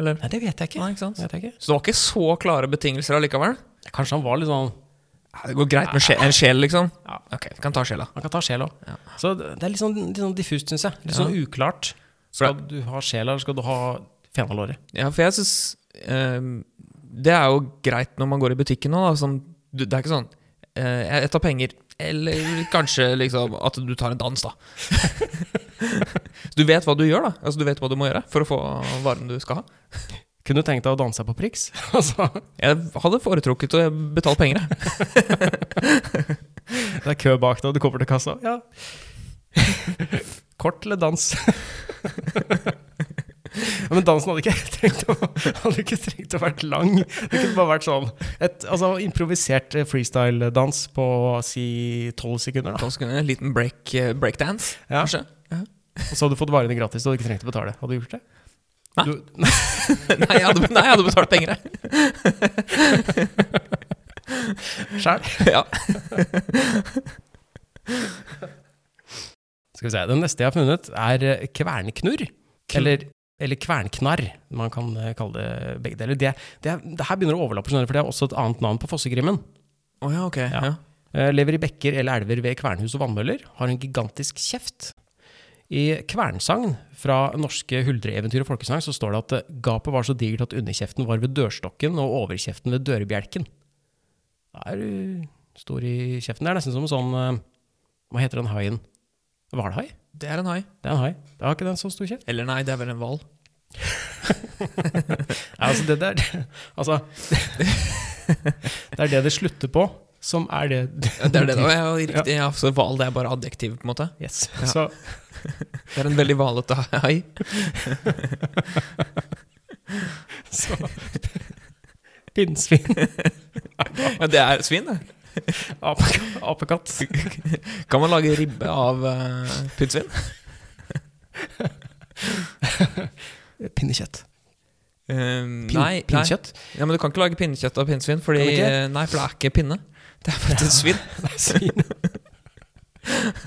S3: Eller?
S2: Nei, det vet jeg ikke.
S3: Nei, ikke sant?
S2: Vet jeg ikke.
S3: Så det var ikke så klare betingelser allikevel?
S2: Kanskje han var litt sånn
S3: Ja, det går greit med sjel, en sjel, liksom?
S2: Ja.
S3: Ok, vi kan ta sjela.
S2: Han kan ta sjel òg.
S3: Ja.
S2: Så det det er litt sånn, litt sånn diffust, syns jeg. Litt
S3: Ja.
S2: sånn uklart.
S3: For
S2: Skal du ha sjela, eller skal du ha fenalåret?
S3: Ja, for jeg syns Det er jo greit når man går i butikken nå, da. Sånn, du, det er ikke sånn eh, Jeg tar penger. Eller kanskje liksom at du tar en dans, da. Så du vet hva du gjør, da. Altså, du vet hva du må gjøre for å få varen du skal ha.
S2: Kunne du tenkt deg å danse på Prix? altså,
S3: Jeg hadde foretrukket å betale penger, jeg.
S2: Det er kø bak deg, og du kommer til kassa. Ja. Kort eller dans? Ja, Men dansen hadde ikke trengt å, hadde ikke trengt å vært lang. Det kunne bare vært sånn et altså, improvisert eh, freestyle-dans på si tolv sekunder. Da.
S3: Da skulle jeg en liten break, eh, breakdance,
S2: Ja.
S3: kanskje.
S2: Og så hadde du fått varene gratis, og du hadde ikke trengt å betale. Hadde du gjort det?
S3: Nei.
S2: Du,
S3: Nei, jeg hadde, nei, jeg hadde betalt penger, jeg.
S2: Sjæl.
S3: Ja.
S2: Skal vi se, Den neste jeg har funnet, er eh, kvernknurr. Eller, eller kvernknarr. Man kan eh, kalle det begge deler. Det, det, er- det her begynner å overlappe, skjønner du, for det er også et annet navn på Fossegrimmen.
S3: Å ja, ok.
S2: Ja.
S3: Ja.
S2: Eh, Lever i bekker eller elver ved kvernhus og vannmøller. Har en gigantisk kjeft. I Kvernsagn fra norske huldreeventyr og folkesang så står det at eh, gapet var så digert at underkjeften var ved dørstokken og overkjeften ved dørbjelken. Da er du stor i kjeften. Det er nesten som en sånn eh, Hva heter den haien? Hvalhai?
S3: Det er en hai.
S2: Det er en hai. Det har ikke den så stor kjeft.
S3: Eller nei, det er vel en hval.
S2: Nei, altså, det der Altså Det er det det slutter på, som er det
S3: Ja, det er det, da. Ja, riktig. Ja, så hval, det er bare adjektiv, på en måte.
S2: Yes.
S3: Ja.
S2: Så
S3: Det er en veldig hvalete hai.
S2: Så Pinnsvin,
S3: Ja, det er svin, det.
S2: apekatt, apekatt.
S3: Kan man lage ribbe av uh, pinnsvin?
S2: Pinnekjøtt.
S3: Um,
S2: Pin,
S3: nei, nei.
S2: Pinnkjøtt?
S3: Ja, men du kan ikke lage pinnekjøtt av pinnsvin, fordi,
S2: Kan du ikke?
S3: eh, nei, for det er ikke pinne. Det er faktisk svin.
S2: Nei, svin.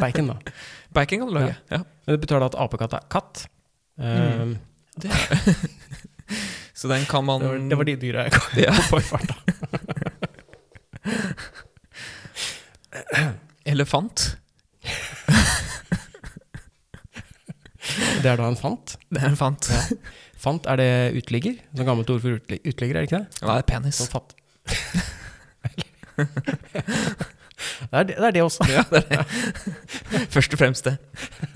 S2: Bacon, da.
S3: Bacon kan du lage. Ja.
S2: Men det betyr da at apekatt er katt. Um,
S3: Mm. Så den kan man
S2: det, var, det var de dyra jeg kom
S3: Ja.
S2: på i farta.
S3: Elefant.
S2: Det er da en fant.
S3: Det er en fant. Ja.
S2: Fant, er det uteligger? Sånn gammelt ord for utelig- uteligger, er det ikke det?
S3: det er penis.
S2: Sånn fatt. Det er det, det er det også.
S3: Ja, det er det. Først og fremst det.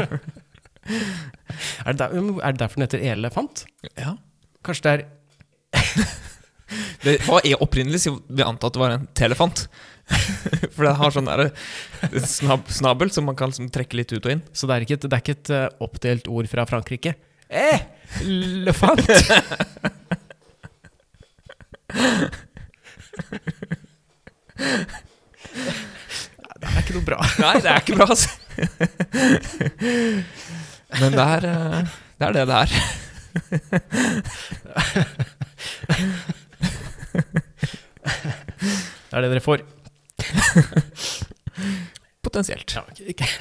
S2: Er det, der, er det derfor den heter elefant?
S3: Ja.
S2: Kanskje det er
S3: Det var er opprinnelig så vi antar at det var en telefant. For det har sånn der snab, snabel som man kan liksom trekke litt ut og inn.
S2: Så det er ikke et, det er ikke et eh, oppdelt ord fra Frankrike. Eh, elefant! det er ikke noe bra.
S3: Nei, det er ikke bra, altså. Men det er eh, det er det det er.
S2: Det er det dere får.
S3: Potensielt.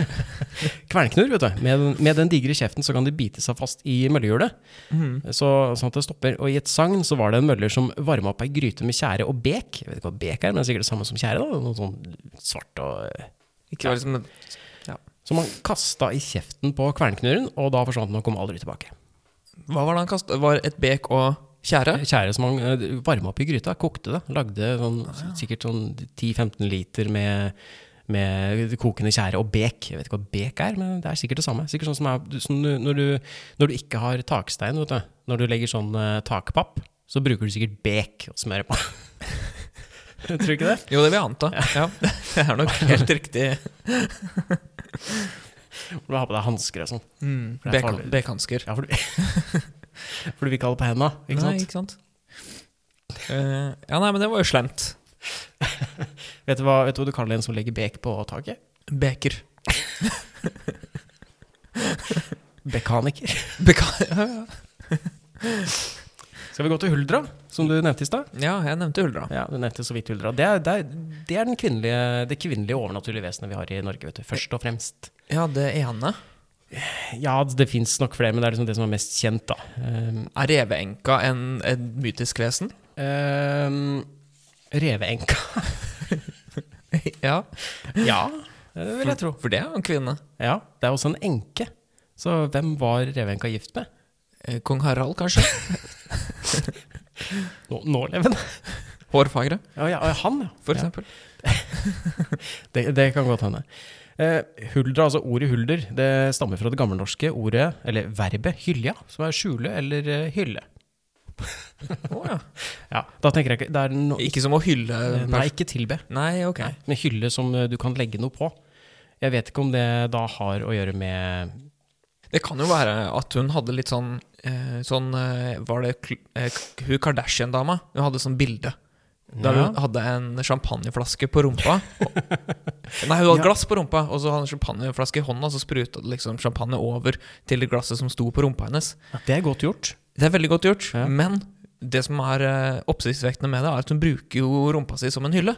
S2: Kvernknurr, vet du. Med, den- med den digre kjeften så kan de bite seg fast i møllehjulet, så, sånn at det stopper. Og i et sagn så var det en møller som varma opp ei gryte med tjære og bek. Jeg vet ikke hva bek er, men det er sikkert det samme som tjære. da. Noe sånn svart og eh,
S3: Ikke bare liksom
S2: Som han kasta i kjeften på kvernknurren, og da forsvant han og kom aldri tilbake.
S3: Hva var det han kastet? Var et bek og tjære?
S2: Tjære som han varma opp i gryta, kokte det. Lagde sånn, sikkert sånn 10-15 liter med, med kokende tjære og bek. Jeg vet ikke hva bek er, men det er sikkert det samme. Sikkert sånn som er, du- som du, når, du, når du ikke har takstein, vet du. Når du legger sånn eh, takpapp, så bruker du sikkert bek å smøre på. Tror du ikke det?
S3: Jo, det vil jeg anta. Ja, Det er nok helt riktig.
S2: Du må ha på deg hansker og sånn.
S3: Mm,
S2: Det er farlig.
S3: Bekhansker.
S2: Ja, for du, for du vil ikke ha det på hendene, ikke
S3: Nei,
S2: sant?
S3: ikke sant? Eh, ja, nei, men det var jo slemt.
S2: Vet du hva, vet du, hva du kaller en som legger bek på taket?
S3: Beker.
S2: Bekaniker.
S3: Beka- ja, ja.
S2: Skal vi gå til Huldra, som du nevnte i stad?
S3: ja, jeg nevnte Huldra.
S2: Ja, du nevnte så vidt Huldra. Det er, det er, det, er den kvinnelige, det kvinnelige overnaturlige vesenet vi har i Norge, vet du. Først og fremst.
S3: Ja, det ene
S2: Ja, det fins nok flere, men det er liksom det som er mest kjent, da. Ehm,
S3: er reveenka en, et mytisk vesen.
S2: ehm, Reveenka.
S3: ja,
S2: Ja, det vil jeg tro.
S3: for det er jo en kvinne.
S2: Ja, det er også en enke. Så hvem var Reveenka gift med?
S3: Eh, Kong Harald, kanskje?
S2: Nå, nålevende.
S3: Hårfagre,
S2: Ja, ja, han, ja.
S3: for
S2: ja.
S3: eksempel.
S2: Det, det kan godt hende. Eh, huldra, altså ordet hulder, det stammer fra det gammelnorske ordet, eller verbet, hylja, som er skjule eller eh, hylle.
S3: Å, ja.
S2: Ja, da tenker jeg ikke det er no
S3: Ikke som å hylle en
S2: Eh, Nei,
S3: pers-
S2: ikke tilbe.
S3: Nei, ok.
S2: Nei, men hylle som eh, du kan legge noe på. Jeg vet ikke om det da har å gjøre med
S3: Det kan jo være at hun hadde litt sånn, eh, sånn eh, Var det kl- eh, k- hun Kardashian-dama? Hun hadde sånn bilde. Der
S2: Ja.
S3: hun hadde en champagneflaske på rumpa. Og, nei, hun hadde
S2: Ja.
S3: glass på rumpa, og så hadde hun en champagneflaske i hånda, så spruta det liksom champagne over til det glasset som sto på rumpa hennes.
S2: Det er godt gjort.
S3: Det er veldig godt gjort,
S2: Ja.
S3: men det som er eh, oppsiktsvekkende med det, er at hun bruker jo rumpa si som en hylle.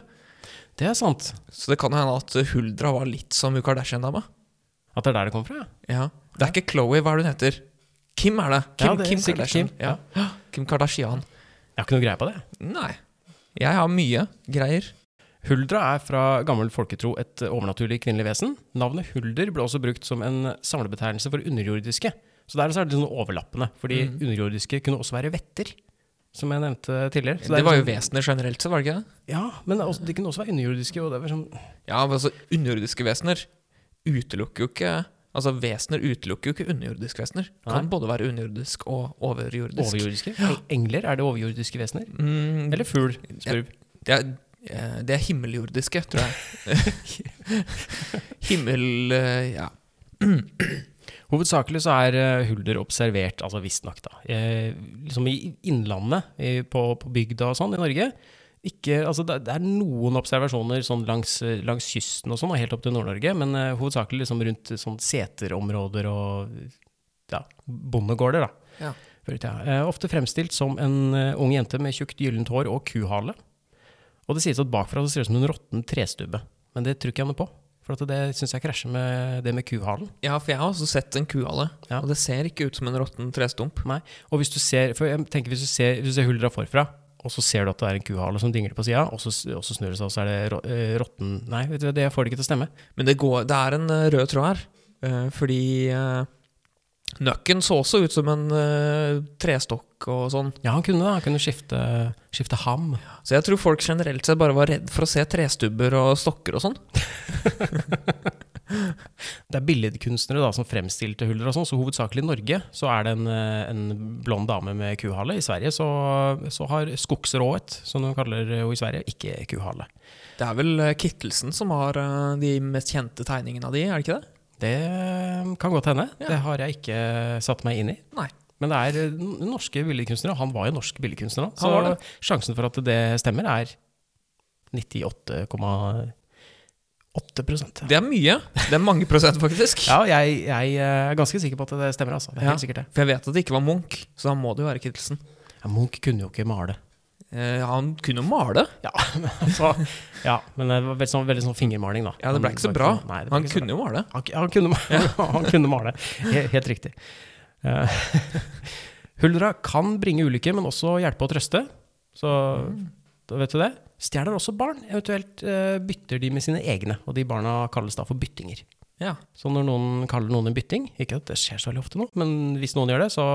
S2: Det er sant.
S3: Så det kan jo hende at Huldra var litt som hun Kardashian-dama.
S2: At det er der det kommer fra. ja.
S3: Ja. Det er ikke Chloé, hva er det hun heter? Kim er det. Kim,
S2: Ja, det er
S3: Kim
S2: sikkert
S3: Kardashian.
S2: Kim,
S3: Ja. Kim Kardashian.
S2: Jeg har ikke noe greie på det.
S3: Nei. Jeg har mye greier.
S2: Huldra er fra gammel folketro et overnaturlig kvinnelig vesen. Navnet hulder ble også brukt som en samlebetegnelse for underjordiske. Så der så er det sånn overlappende, fordi
S3: Mm.
S2: underjordiske kunne også være vetter, som jeg nevnte tidligere. Så
S3: det, var jo
S2: liksom-
S3: vesener generelt, så var det ikke det?
S2: Ja, men også, de kunne også være underjordiske. Og det var sånn,
S3: Ja, men altså, underjordiske vesener utelukker jo ikke Altså, vesener utelukker jo ikke underjordiske vesener. Kan
S2: Nei.
S3: både være underjordisk og overjordisk.
S2: overjordiske? Engler, er det overjordiske vesener?
S3: Mm,
S2: Eller fugl? Spurv.
S3: Det er, eh, det er himmeljordiske, tror jeg. Himmel eh, Ja.
S2: Hovedsakelig så er eh, Hulder observert, altså visstnok, da. Eh, liksom i innlandet, i, på, på bygda og sånn i Norge. Ikke, altså det, det er noen observasjoner sånn langs, eh, langs kysten og sånn, og helt opp til Nord-Norge, men eh, hovedsakelig liksom rundt eh, sånn seterområder og ja, bondegårder, da.
S3: Ja.
S2: Før i tida. Eh, ofte fremstilt som en eh, ung jente med tjukt gyllent hår og kuhale. Og det sies at bakfra så ser det ut som en råtten trestubbe, men det tror ikke jeg noe på. For at det syns jeg krasjer med det med kuhalen.
S3: ja, for jeg har også sett en kuhale,
S2: Ja.
S3: og det ser ikke ut som en råtten trestump.
S2: Nei. Og hvis du ser, for jeg tenker hvis du ser, hvis du ser huldra forfra, og så ser du at det er en kuhale som dingler på sida, og, så- og så snur det seg, og så er det rå- eh, råtten Nei, vet du, hva, det får det ikke til å stemme.
S3: Men det, går, det er en eh, rød tråd her, eh, fordi eh, Nøkken så også ut som en eh, trestokk og sånn.
S2: Ja, han kunne det. Han kunne skifte, skifte ham.
S3: Så jeg tror folk generelt sett bare var redd for å se trestubber og stokker og sånn.
S2: Det er billedkunstnere da, som fremstilte huldra og sånn, så hovedsakelig i Norge så er det en, eh, en blond dame med kuhale. I Sverige så, så har skogsrået, som de kaller henne i Sverige, ikke kuhale.
S3: Det er vel eh, Kittelsen som har eh, de mest kjente tegningene av de, er det ikke det?
S2: Det kan godt hende.
S3: Ja.
S2: Det har jeg ikke satt meg inn i.
S3: Nei.
S2: Men det er eh, n- norske billedkunstnere, og han var jo norsk billedkunstner òg, så
S3: Han var det.
S2: sjansen for at det stemmer, er 98,8 ja.
S3: Det er mye. Det er mange prosent, faktisk.
S2: Ja, jeg, jeg eh, er ganske sikker på at det stemmer, altså. Det er
S3: Ja.
S2: helt sikkert det.
S3: For jeg vet at det ikke var Munch, så da må det jo være Kittelsen.
S2: Ja, Munch kunne jo ikke male.
S3: Eh, han kunne jo male.
S2: Ja, men altså Ja, men det var veldig sånn, veldig sånn fingermaling, da.
S3: Ja, det ble
S2: Men
S3: ikke så
S2: var
S3: bra.
S2: sånn- nei, det ble
S3: Han
S2: ikke så
S3: kunne jo male.
S2: Han, han, kunne, han kunne male. Helt, helt riktig. Eh, Huldra kan bringe ulykke, men også hjelpe og trøste. Så da vet du det. Stjeler også barn. Eventuelt eh, bytter de med sine egne. Og de barna kalles da for byttinger.
S3: Ja.
S2: Så når noen kaller noen en bytting, ikke at det skjer så veldig ofte nå, men hvis noen gjør det, så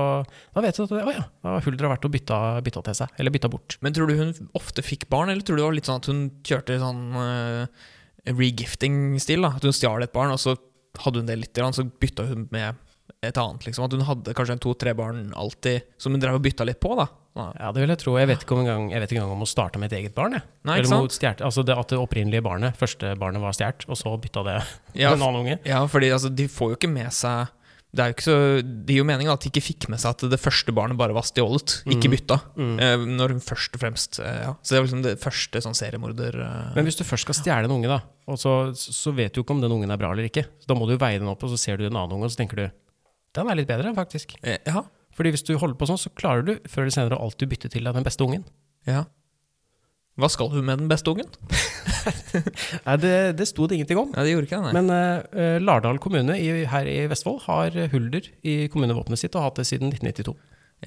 S2: da vet du at det, å ja, da har Huldra vært og bytta, bytta til seg. Eller bytta bort.
S3: Men tror du hun ofte fikk barn, eller tror du det var litt sånn at hun kjørte sånn eh, regifting-stil? da? At hun stjal et barn, og så hadde hun det litt, grann, så bytta hun med et annet. liksom At hun hadde kanskje en to-tre barn alltid, som hun drev og bytta litt på. da Ja.
S2: Ja, det vil jeg tro. Jeg vet ikke, om engang, jeg vet ikke engang om hun starta med et eget barn. Jeg.
S3: Nei, ikke
S2: Eller om hun stjerte- altså det, At det opprinnelige barnet, første barnet var stjålet, og så bytta det
S3: Ja,
S2: med en annen unge.
S3: Ja, fordi altså, de får jo ikke med seg det er jo ikke så, det gir jo meningen at de ikke fikk med seg at det første barnet bare var stjålet, ikke bytta. Eh, når hun først og fremst eh, ja. Så det er liksom det første sånn seriemorder eh.
S2: Men hvis du først skal stjele en unge, da, og så, så vet du jo ikke om den ungen er bra eller ikke. Så da må du jo veie den opp, og så ser du en annen unge, og så tenker du den er litt bedre, faktisk.
S3: Eh, Ja.
S2: Fordi hvis du holder på sånn, så klarer du før eller senere å alltid bytte til deg den beste ungen.
S3: ja. Hva skal hun med den beste ungen?
S2: Nei, det, det sto det ingenting om.
S3: Ja, det gjorde ikke det, nei.
S2: Men eh, eh, Lardal kommune i, her i Vestfold har eh, Hulder i kommunevåpenet sitt og har hatt det siden 1992.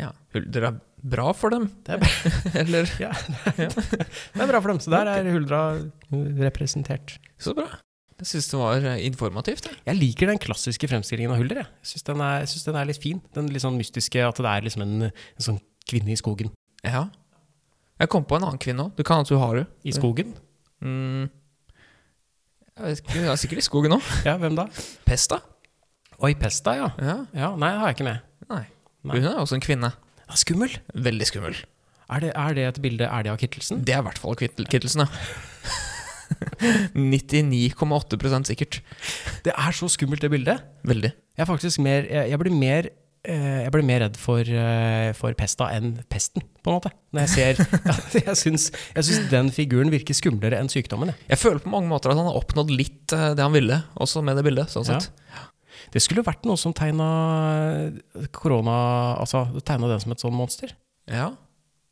S3: ja. Hulder er bra for dem.
S2: Det er
S3: Eller
S2: Ja, det er bra for dem. Så der er Huldra eh, representert.
S3: Så bra. Jeg syns det var eh, informativt. Jeg.
S2: Jeg liker den klassiske fremstillingen av Hulder. Jeg, jeg syns den, er- jeg synes den er litt fin. Den litt sånn mystiske at det er liksom en, en sånn kvinne i skogen.
S3: Ja. Jeg kom på en annen kvinne òg. Du kan at du har henne.
S2: I skogen?
S3: Mm. Jeg vet ikke, hun er sikkert i skogen òg.
S2: Ja, hvem da?
S3: Pesta?
S2: Oi, Pesta, ja.
S3: Ja.
S2: ja. Nei, det har jeg ikke med.
S3: Nei.
S2: Nei.
S3: Hun er også en kvinne.
S2: Ja, skummel.
S3: Veldig skummel.
S2: Er det, er det et bilde Er det av Kittelsen?
S3: Det er i hvert fall Kittel- Kittelsen, ja. 99,8 sikkert.
S2: Det er så skummelt, det bildet.
S3: Veldig.
S2: Jeg er faktisk mer Jeg, jeg blir mer eh, jeg blir mer redd for, eh, for pesta enn pesten, på en måte. Når jeg ser Jeg syns, jeg syns den figuren virker skumlere enn sykdommen. Jeg.
S3: Jeg føler på mange måter at han har oppnådd litt eh, det han ville, også med det bildet. sånn
S2: Ja.
S3: sett.
S2: Det skulle vært noe som tegna eh, korona Altså tegna den som et sånn monster.
S3: Ja.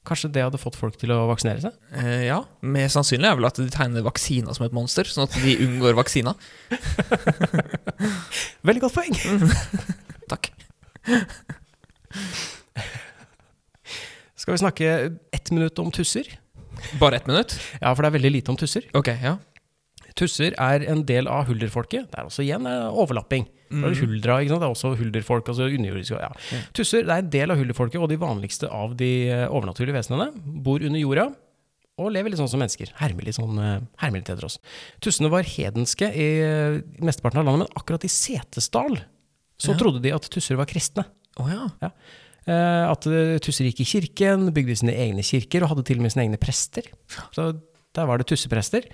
S2: Kanskje det hadde fått folk til å vaksinere seg?
S3: Eh, ja. Mer sannsynlig er vel at de tegner vaksina som et monster, sånn at de unngår vaksina.
S2: Veldig godt poeng!
S3: Takk.
S2: Skal vi snakke ett minutt om tusser?
S3: Bare ett minutt?
S2: Ja, for det er veldig lite om tusser.
S3: Ok, ja.
S2: Tusser er en del av hulderfolket. Det er også igjen eh, overlapping. Det er huldra, ikke sant? Det er også hulderfolk. altså underjordiske. Ja. Tusser det er en del av hulderfolket, og de vanligste av de eh, overnaturlige vesenene bor under jorda og lever litt sånn som mennesker. Hermer litt, sånn, eh, hermer litt etter oss. Tussene var hedenske i eh, mesteparten av landet, men akkurat i Setesdal så
S3: Ja.
S2: trodde de at tusser var kristne.
S3: Å ja.
S2: Ja. Eh, At eh, tusser gikk i kirken, bygde sine egne kirker og hadde til og med sine egne prester. Så der var det tusseprester.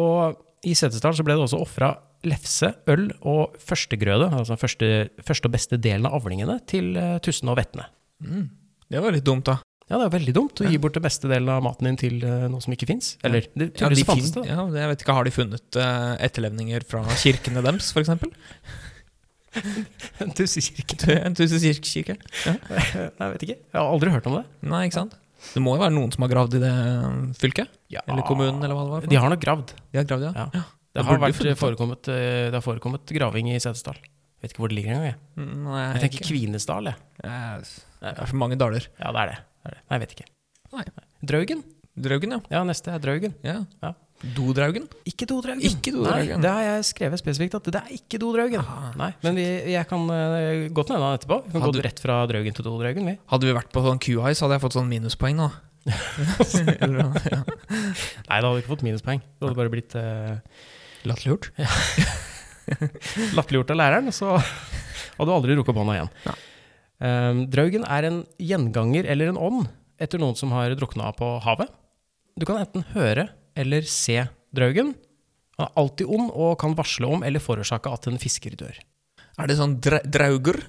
S2: Og i Setesdal så ble det også ofra lefse, øl og førstegrøde, altså første, første og beste delen av avlingene, til eh, tussene og vettene.
S3: Mm. Det var litt dumt, da.
S2: Ja, det er veldig dumt å gi bort den beste delen av maten din til eh, noe som ikke fins. Eller det,
S3: Ja, de
S2: tydeligvis fantes
S3: fin-
S2: det. da.
S3: ja, jeg vet ikke, Har de funnet eh, etterlevninger fra kirkene deres, f.eks.?
S2: Tussekirken.
S3: En tusenkirke?
S2: Nei, jeg vet ikke. Jeg har aldri hørt om det.
S3: Nei, ikke sant? Det må jo være noen som har gravd i det eh, fylket? Eller kommunen, eller hva det var? for
S2: Ah, De har nok gravd.
S3: noe. de har gravd, ja.
S2: Ja.
S3: Da
S2: Det har,
S3: burde
S2: vært
S3: du funnet det.
S2: forekommet, eh, det har forekommet graving i Setesdal. Vet ikke hvor det ligger engang. jeg.
S3: Mm, Nei,
S2: Jeg tenker Kvinesdal, jeg.
S3: Eh, Det er for mange daler.
S2: Ja, det er det. det, er det. Nei, jeg vet ikke.
S3: Nei.
S2: Draugen?
S3: Draugen, ja.
S2: Ja, neste er Draugen.
S3: ja.
S2: Ja.
S3: Dodraugen?
S2: Ikke Dodraugen.
S3: Ikke Dodraugen.
S2: Nei, det har jeg skrevet spesifikt, at det er ikke Dodraugen. Ah, Nei, men vi, jeg kan eh, godt nevne han etterpå. Vi kan
S3: Hadde-
S2: gå rett fra Draugen til Dodraugen, vi.
S3: Hadde vi vært på sånn Q-high, så hadde jeg fått sånn minuspoeng nå. Eller, ja.
S2: Nei, da hadde vi ikke fått minuspoeng. Det hadde bare blitt eh,
S3: Latterliggjort.
S2: latterliggjort av læreren, og så hadde du aldri rukket opp hånda igjen.
S3: Nei.
S2: Ehm, draugen er en gjenganger eller en ånd etter noen som har drukna på havet. Du kan enten høre eller se draugen. Han er alltid ond og kan varsle om eller forårsake at en fisker dør.
S3: Er det sånn dra drauger?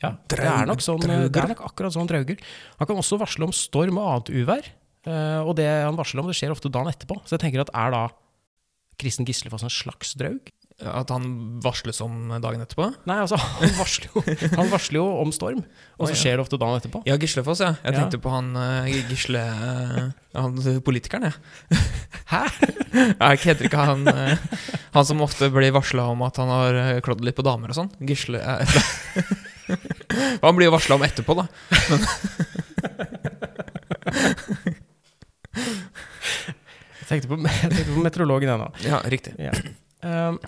S2: Ja, det,
S3: Draug-
S2: er nok sånn,
S3: drauger.
S2: det er nok akkurat sånn drauger. Han kan også varsle om storm og annet uvær. eh, og det han varsler om, det skjer ofte dagen etterpå. Så jeg tenker at er da Kristen Gislefoss en slags draug?
S3: At han varsles om dagen etterpå?
S2: Nei, altså, han varsler jo, han varsler jo om storm, og
S3: Å,
S2: så
S3: ja.
S2: skjer det ofte dagen etterpå.
S3: Ja, Gislefoss, ja. Jeg
S2: Ja.
S3: tenkte på han eh, Gisle eh, Han politikeren, jeg. Hæ? Jeg heter ikke han eh, Han som ofte blir varsla om at han har eh, klådd litt på damer og sånn. Gisle eh, Han blir jo varsla om etterpå, da.
S2: Jeg tenkte på, jeg tenkte på meteorologen ennå.
S3: Ja, riktig.
S2: Um,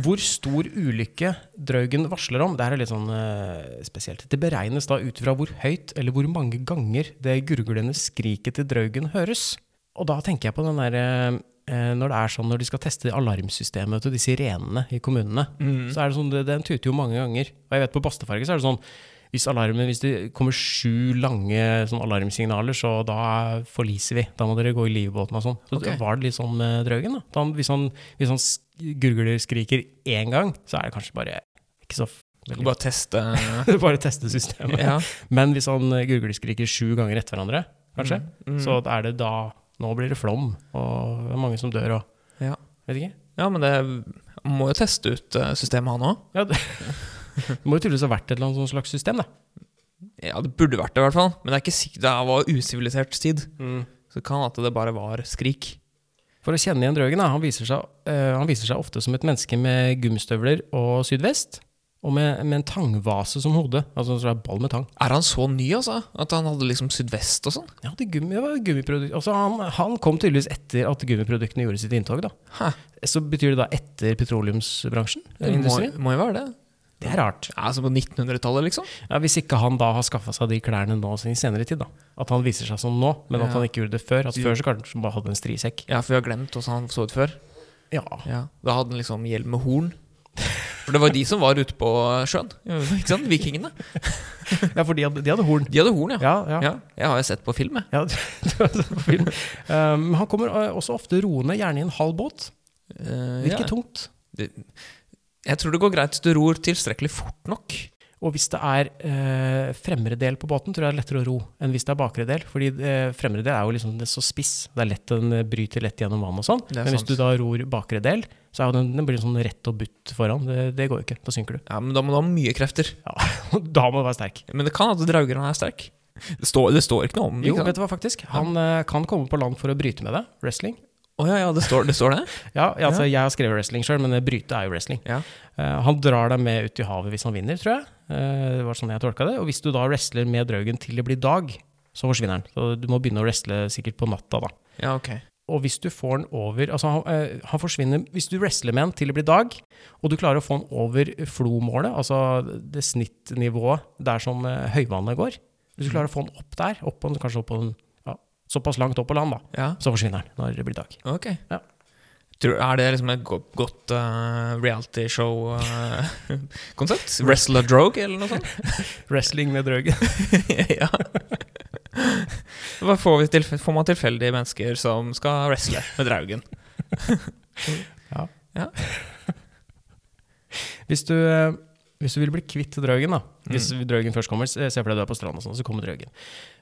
S2: hvor stor ulykke draugen varsler om, det her er litt sånn eh, spesielt. Det beregnes da ut fra hvor høyt eller hvor mange ganger det gurglende skriket til draugen høres. Og da tenker jeg på den derre eh, når det er sånn når de skal teste alarmsystemet til disse renene i kommunene,
S3: Mm.
S2: så er det sånn, det, den tuter jo mange ganger. Og jeg vet på Bastefarget så er det sånn hvis, alarmen, hvis det kommer sju lange sånn alarmsignaler, så da forliser vi. Da må dere gå i livbåten og sånn. Så
S3: Ok.
S2: var det litt sånn med Draugen. da. da han- hvis, han, hvis han sk- gurgler skriker én gang, så er det kanskje bare ikke så f-
S3: Skal bare teste
S2: Bare teste systemet.
S3: ja.
S2: Men hvis han eh, gurgleskriker sju ganger etter hverandre, kanskje,
S3: Mm.
S2: Mm. så er det da Nå blir det flom, og det er mange som dør og
S3: Ja.
S2: Vet ikke.
S3: ja, men det han må jo teste ut eh, systemet, han òg.
S2: Ja, det, det må jo tydeligvis ha vært et eller annet sånt slags system, da.
S3: Ja, det burde vært det, i hvert fall. Men det er ikke sikkert det var usivilisert tid. Så det kan at det bare var skrik.
S2: For å kjenne igjen Drøgen, da, han viser, seg, eh, han viser seg ofte som et menneske med gummistøvler og sydvest, og med, med en tangvase som hode. Altså en slags ball med tang.
S3: Er han så ny, altså? At han hadde liksom sydvest og sånn?
S2: Ja, det, gummi, det var gummiprodukt. Altså, han, han kom tydeligvis etter at gummiproduktene gjorde sitt inntog, da.
S3: Hæ.
S2: Så betyr det da etter petroleumsbransjen?
S3: Det
S2: eller
S3: må,
S2: industrien?
S3: må jo være det.
S2: Det er rart.
S3: Ja, altså på 1900-tallet, liksom?
S2: Ja, Hvis ikke han da har skaffa seg de klærne nå i senere tid, da. At han viser seg som nå, men at
S3: Ja.
S2: han ikke gjorde det før. At før så kanskje han bare hadde en strisekk.
S3: Ja, for vi har glemt hvordan han så ut før.
S2: Ja.
S3: Ja, Da hadde han liksom hjelm med horn. For det var de som var ute på eh, sjøen. Ikke sant? Vikingene.
S2: ja, for de hadde, de hadde horn.
S3: De hadde horn, ja.
S2: Ja, ja. ja.
S3: ja. Jeg har jo sett på film, jeg.
S2: det var så fint. Um, han kommer eh, også ofte roende, gjerne i en halv båt.
S3: Eh,
S2: Virker
S3: ja.
S2: tungt.
S3: Jeg tror det går greit hvis du ror tilstrekkelig fort nok.
S2: Og hvis det er eh, fremre del på båten, tror jeg det er lettere å ro enn hvis det er bakre del. Fordi eh, fremre del er jo liksom det er så spiss, det er lett, den eh, bryter lett gjennom vann og sånn.
S3: Det er
S2: Men hvis
S3: sant.
S2: du da ror bakre del, så er jo den, den blir sånn rett og butt foran. Det, det går jo ikke, da synker du.
S3: Ja, Men da må du ha mye krefter.
S2: Da må du være sterk.
S3: Men det kan at Draugeren er sterk. Det står, det står ikke noe om det.
S2: Jo,
S3: Mm. ikke sant?
S2: vet du hva, faktisk? Han eh, kan komme på land for å bryte med deg. Wrestling.
S3: Å ja, ja, det står det. Står det.
S2: Ja, ja, altså, Jeg har skrevet wrestling sjøl, men eh, bryte er jo wrestling.
S3: Ja.
S2: Eh, han drar deg med ut i havet hvis han vinner, tror jeg. Eh, det var sånn jeg tolka det. Og hvis du da wrestler med draugen til det blir dag, så forsvinner han. Så du må begynne å wrestle sikkert på natta, da.
S3: ja, ok.
S2: Og hvis du får den over Altså, han, eh, han forsvinner Hvis du wrestler med han til det blir dag, og du klarer å få han over flomålet, altså det snittnivået der som eh, høyvannet går Hvis du klarer å få han opp der, opp på, en- kanskje opp på en, ja, såpass langt opp på land, da,
S3: Ja,
S2: så forsvinner den når det blir dag.
S3: ok.
S2: Ja.
S3: Tror, er det liksom et godt, godt eh, realityshow-konsept? Wrestler Drogue, eller noe sånt?
S2: Wrestling med drøgen.
S3: ja. Hva får, vi tilf får man tilfeldige mennesker som skal wrestle med Draugen?
S2: Hvis du, eh, hvis du vil bli kvitt drøgen, da Hvis drøgen først kommer, se se for deg du er på stranda, og sånn, så kommer drøgen.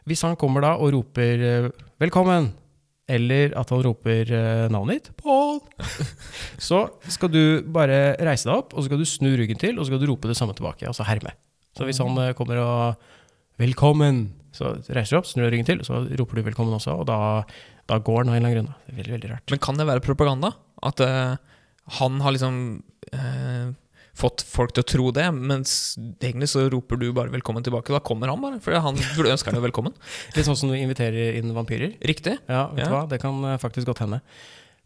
S2: Hvis han kommer da og roper eh, 'velkommen', eller at han roper eh, navnet ditt, Pål, så skal du bare reise deg opp, og så skal du snu ryggen til, og så skal du rope det samme tilbake, altså herme. Så hvis han eh, kommer og 'velkommen', så reiser du opp, snur deg ryggen til, og så roper du 'velkommen' også, og da, da går han av en eller annen grunn. Da. Det er veldig, veldig rart.
S3: Men kan det være propaganda? At eh, han har liksom eh, fått folk til å tro det, mens egentlig så roper du bare 'velkommen tilbake', da kommer han bare. For han for du ønsker deg jo velkommen.
S2: Litt sånn som du inviterer inn vampyrer.
S3: Riktig.
S2: Ja, vet du
S3: Ja.
S2: hva? Det kan eh, faktisk godt hende.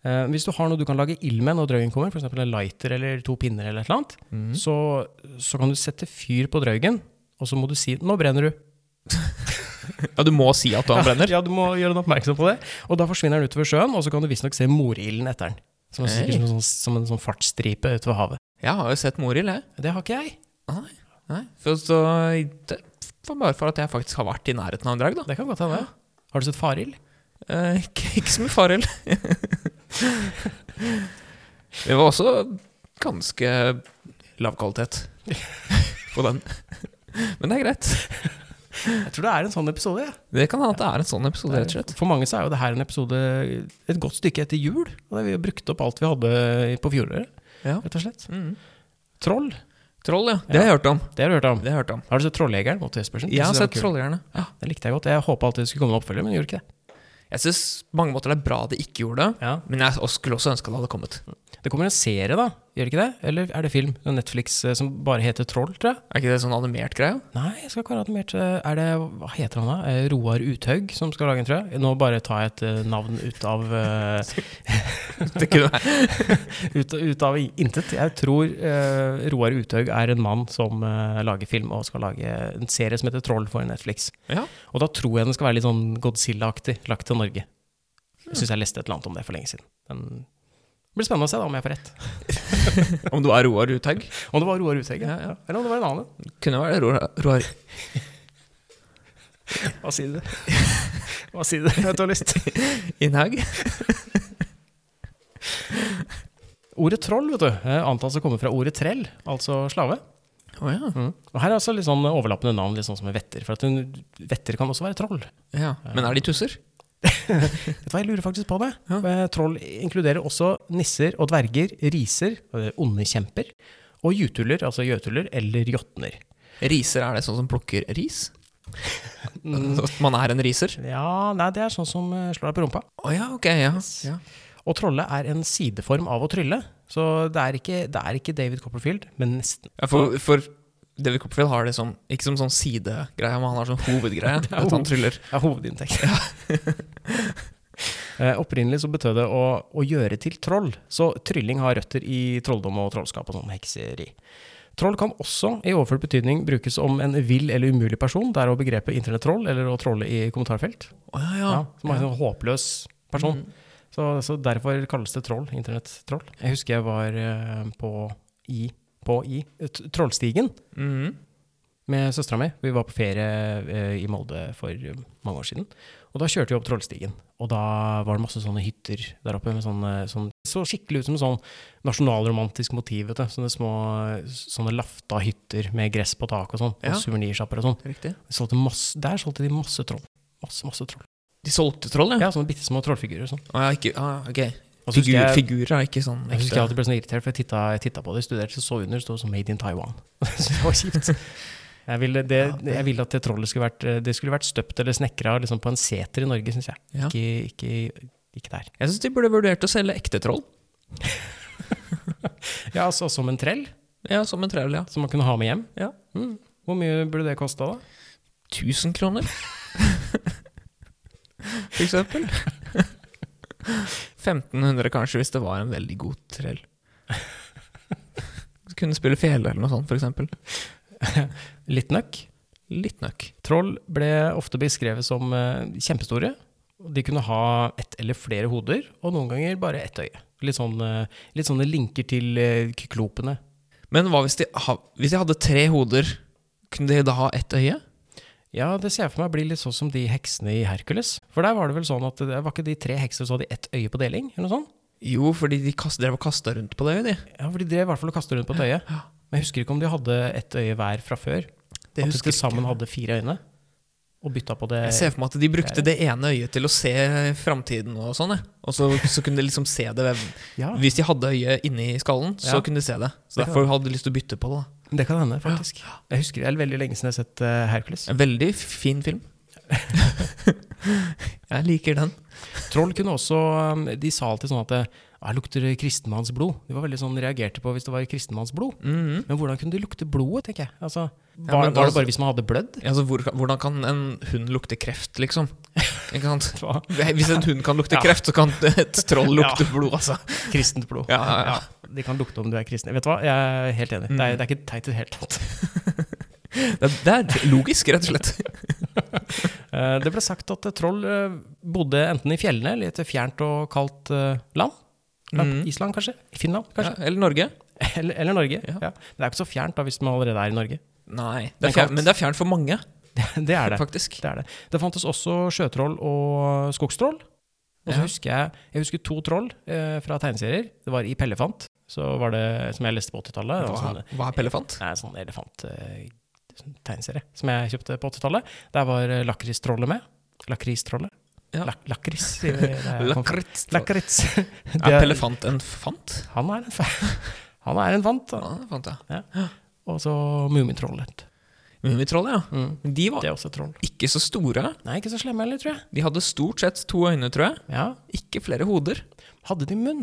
S2: Eh, hvis du har noe du kan lage ild med når drøyen kommer, f.eks. en lighter eller to pinner, eller et eller annet,
S3: Mm.
S2: så, så kan du sette fyr på drøyen, og så må du si 'nå brenner du'.
S3: Ja, du må si at han brenner.
S2: Ja, du må gjøre den oppmerksom på det. Og da forsvinner den utover sjøen, og så kan du visstnok se morilden etter den. Som, er sikkert som,
S3: Hey.
S2: en sånn- som en sånn fartsstripe utover havet.
S3: Jeg har jo sett Morild, jeg.
S2: Det har ikke jeg.
S3: Nei, for så, det, for bare for at jeg faktisk har vært i nærheten av en drag, da.
S2: Det kan godt hende. Har du sett Farild?
S3: Eh, ikke, ikke så mye farel. det var også ganske lav kvalitet på den. Men det er greit.
S2: Jeg tror det er en sånn episode. Ja.
S3: Det kan hende at det er en sånn episode, rett og slett.
S2: For mange så er jo det her en episode et godt stykke etter jul. Og det har vi jo brukt opp alt vi hadde på fjoråret,
S3: Ja.
S2: rett og slett.
S3: Mm.
S2: Troll,
S3: Troll, ja. Det har jeg hørt om.
S2: det har du hørt om.
S3: Det har jeg hørt om.
S2: Har du sett Trolljegeren mot Jespersen?
S3: Jeg har
S2: synes den
S3: sett
S2: var kul.
S3: Trolljegerne. Ja.
S2: Den likte jeg godt. Jeg håpa alltid det skulle komme en oppfølger, men gjorde ikke det.
S3: Jeg syns på mange måter det er bra det ikke gjorde det, men jeg også- skulle også ønske det hadde kommet.
S2: Det kommer en serie, da. Gjør ikke det? Eller er det film? En Netflix eh, som bare heter Troll, tror jeg?
S3: Er ikke det sånn animert greie?
S2: Nei, jeg skal ikke være animert. eh, Er det Hva heter han da? Eh, Roar Uthaug som skal lage den, tror jeg. Nå bare tar jeg et eh, navn ut av eh,
S3: Det kunne være.
S2: ut, ut av intet. Jeg tror eh, Roar Uthaug er en mann som eh, lager film, og skal lage en serie som heter Troll for Netflix.
S3: Ja.
S2: Og da tror jeg den skal være litt sånn Godzilla-aktig, lagt til Norge. Jeg syns jeg leste et eller annet om det for lenge siden. Men det blir spennende å se da om jeg får rett.
S3: Om du er Roar Uthaug?
S2: Om det var Roar Uthaug, ja.
S3: Ja, ja.
S2: eller om det var en annen.
S3: Kunne være Roar. Roar.
S2: Hva sier du? Hva sier du? Jeg tar lyst.
S3: Innhaug?
S2: Ordet troll vet du, eh, antas å komme fra ordet trell, altså slave.
S3: Å ja.
S2: Og her er altså litt sånn overlappende navn, litt sånn som med vetter. For at hun, vetter kan også være troll.
S3: ja. Men er de tusser?
S2: Vet du hva, jeg lurer faktisk på det.
S3: Ja.
S2: Eh, Troll inkluderer også nisser og dverger, riser, eh, onde kjemper, og jutuller, altså jøtuller, eller jotner.
S3: Riser, er det sånn som plukker ris? At man er en riser?
S2: Ja, nei, det er sånn som eh, slår deg på rumpa.
S3: Å ja, ok. Ja. ja.
S2: Og trolle er en sideform av å trylle, så det er ikke, det er ikke David Copperfield, men nesten.
S3: Ja, for, for David Copperfield har det som, ikke som sånn sidegreie, men han har sånn hovedgreie.
S2: er
S3: at
S2: hoved-
S3: han tryller.
S2: Det er hovedinntekt. Eh, Opprinnelig så betød det å, å gjøre til troll, så trylling har røtter i trolldom og trollskap og sånn hekseri. Troll kan også i overført betydning brukes om en vill eller umulig person, derav begrepet internettroll eller å trolle i kommentarfelt.
S3: Å ja,
S2: Ja,
S3: ja.
S2: som er en sånn håpløs person. Så, så derfor kalles det troll, internettroll. Jeg husker jeg var eh, på i, på i eh, t- Trollstigen
S3: Mhm.
S2: med søstera mi. Vi var på ferie eh, i Molde for eh, mange år siden. Og da kjørte vi opp Trollstigen. Og da var det masse sånne hytter der oppe. med sånne, sånn, Så skikkelig ut som sånn nasjonalromantisk motiv. Vet du. Sånne små eh, sånne lafta hytter med gress på tak og sånn.
S3: Ja.
S2: Og suvenirsjapper og sånn.
S3: Riktig.
S2: Vi solgte masse- Der solgte de masse troll. Masse, masse troll.
S3: De solgte troll, ja?
S2: Ja, sånne bitte små trollfigurer og sånn.
S3: Å ja, ikke, ah, ok.
S2: Og så husker
S3: Figur,
S2: jeg-
S3: figurer er ikke sånn
S2: Jeg husker jeg
S3: ekte.
S2: alltid ble sånn irritert, for jeg titta, jeg tittet på det, studerte, så under, stod det sånn 'Made in Taiwan'. så det var kjipt. Jeg ville, det,
S3: Ja, det-
S2: jeg ville at det trollet skulle vært, eh, det skulle vært støpt eller snekra liksom på en seter i Norge, syns jeg.
S3: Ja.
S2: Ikke, ikke, ikke der.
S3: Jeg syns de burde vurdert å selge ekte troll.
S2: Ja, altså som en trell,
S3: Ja, som en trell, ja.
S2: som man kunne ha med hjem.
S3: Ja.
S2: Mm. Hvor mye burde det kosta, da?
S3: 1000 kroner. For eksempel. 1500 kanskje, hvis det var en veldig god trell. Kunne spille fele eller noe sånt, for eksempel.
S2: Litt nøkk.
S3: Litt nøkk.
S2: Troll ble ofte beskrevet som eh, kjempestore. og De kunne ha ett eller flere hoder, og noen ganger bare ett øye. Litt, sånn, eh, litt sånne linker til eh, kyklopene.
S3: Men hva hvis de, ha, hvis de hadde tre hoder? Kunne de da ha ett øye?
S2: Ja, det ser jeg for meg blir litt sånn som de heksene i Hercules. For der var det vel sånn at det var ikke de tre hekser som hadde ett øye på deling, eller noe sånt?
S3: Jo, fordi de kast, drev og kasta rundt på det øyet, de.
S2: Ja, for de drev i hvert fall og kastet rundt på et øye. Men jeg husker ikke om de hadde ett øye hver fra før.
S3: Det
S2: at de
S3: husker
S2: til
S3: jeg
S2: sammen
S3: ikke.
S2: hadde fire øyne, og bytta på det
S3: Jeg ser for meg at de brukte det ene øyet til å se framtiden og sånn. jeg. Og så, så kunne de liksom se det. ved-
S2: Ja,
S3: Hvis de hadde øyet inni skallen, så
S2: Ja.
S3: kunne de se det. Så
S2: Det kan
S3: derfor hadde de lyst til å bytte på det. da.
S2: det kan hende, faktisk. Jeg husker det er veldig lenge siden jeg har sett eh, Hercules.
S3: En veldig fin film. jeg liker den.
S2: Troll kunne også um, De sa alltid sånn at det ah, lukter kristenmannsblod. De var veldig sånn reagerte på hvis det var kristenmannsblod.
S3: Mhm.
S2: Men hvordan kunne de lukte blodet, tenker jeg. Altså,
S3: Ja,
S2: var, var
S3: men
S2: det
S3: altså-
S2: bare hvis man hadde blødd?
S3: Altså, hvor, hvordan kan en hund lukte kreft, liksom? Ikke sant?
S2: Hva?
S3: Hvis en hund kan lukte
S2: Ja.
S3: kreft, så kan et troll lukte
S2: Ja.
S3: blod, altså.
S2: Kristent blod.
S3: Ja, ja, ja.
S2: De kan lukte om du er kristen. Vet du hva, jeg er helt enig. Det, er, det er ikke teit i det hele tatt.
S3: Det, det er logisk, rett og slett.
S2: Eh, Det ble sagt at eh, troll eh, bodde enten i fjellene eller i et fjernt og kaldt eh, land.
S3: Mhm.
S2: Island, kanskje? Finland, kanskje?
S3: Ja, eller Norge.
S2: Eller, eller Norge. Ja.
S3: Ja.
S2: Det er ikke så fjernt da, hvis man allerede er i Norge.
S3: Nei, det
S2: Men
S3: er fjern,
S2: kaldt.
S3: men det er fjernt for mange,
S2: Det er det.
S3: faktisk.
S2: Det er det. Det fantes også sjøtroll og skogstroll. Og så
S3: Ja.
S2: husker jeg, jeg husker to troll eh, fra tegneserier. Det var i Pellefant, så var det, som jeg leste på 80-tallet. Det var
S3: Hva,
S2: sånn-
S3: hva er pellefant?
S2: Nei, sånn elefant-tegneserie som jeg kjøpte på 80-tallet. Der var eh, lakrisstrollet med. Lakristrollet.
S3: Ja.
S2: Lak lakris, sier vi. der jeg kom fra.
S3: Lakritt.
S2: Lakris. Det
S3: Er
S2: er-
S3: pellefant en fant?
S2: Han er en fa- Han er en fant. da.
S3: Ja, det fant jeg.
S2: Og så Mummitrollet.
S3: Mummitrollet, ja.
S2: Mm.
S3: De var
S2: Det er også et troll.
S3: ikke så store.
S2: Nei, ikke så slemme heller, tror jeg.
S3: De hadde stort sett to øyne, tror jeg.
S2: Ja.
S3: Ikke flere hoder.
S2: Hadde de munn?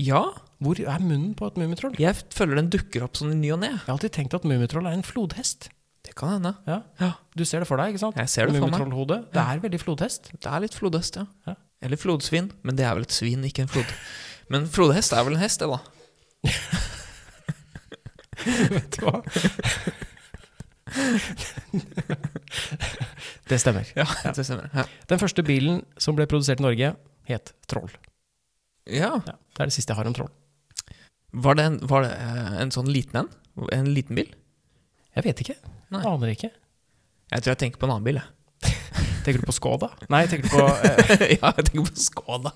S3: Ja,
S2: Hvor er munnen på et mummitroll?
S3: jeg føler den dukker opp sånn i ny og ne.
S2: Jeg har alltid tenkt at mummitroll er en flodhest.
S3: Det kan hende.
S2: Ja.
S3: Ja.
S2: Du ser det for deg, ikke sant?
S3: Jeg ser det for meg.
S2: Mummitrollhodet. Det er veldig flodhest.
S3: Det er litt flodhest, ja.
S2: Ja.
S3: Eller flodsvin. Men det er vel et svin, ikke en flod. Men flodhest er vel en hest, det, da.
S2: Vet du hva? Det stemmer.
S3: Ja, det stemmer. Ja.
S2: Den første bilen som ble produsert i Norge, het Troll.
S3: ja.
S2: Ja, det er det siste jeg har om Troll.
S3: Var det, en, var det eh, en sånn liten en? En liten bil?
S2: Jeg vet ikke.
S3: Nei.
S2: Aner ikke.
S3: Jeg tror jeg tenker på en annen bil, jeg.
S2: Tenker du på Skoda? Nei, tenker du på eh,
S3: ja, jeg tenker på Skoda.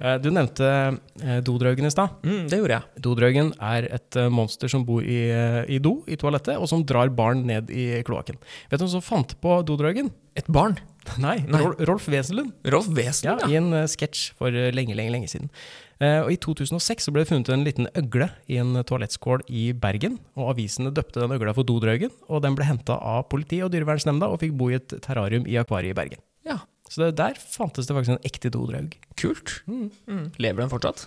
S2: eh, Du nevnte eh, dodraugen i stad.
S3: Mm, det gjorde jeg.
S2: Dodraugen er et eh, monster som bor i, eh, i do i toalettet, og som drar barn ned i kloakken. Vet du hvem som fant på dodraugen?
S3: Et barn.
S2: Nei,
S3: Nei.
S2: Rol- Rolf Wesenlund.
S3: Rolf Wesen,
S2: Ja, I en eh, sketsj for eh, lenge, lenge lenge siden. Eh, og I 2006 så ble det funnet en liten øgle i en eh, toalettskål i Bergen. og Avisene døpte den øgla for Dodraugen, og den ble henta av politi og dyrevernsnemnda og fikk bo i et terrarium i akvariet i Bergen.
S3: Ja.
S2: Så det, der fantes det faktisk en ekte dodraug.
S3: Kult. Mm. Lever den fortsatt?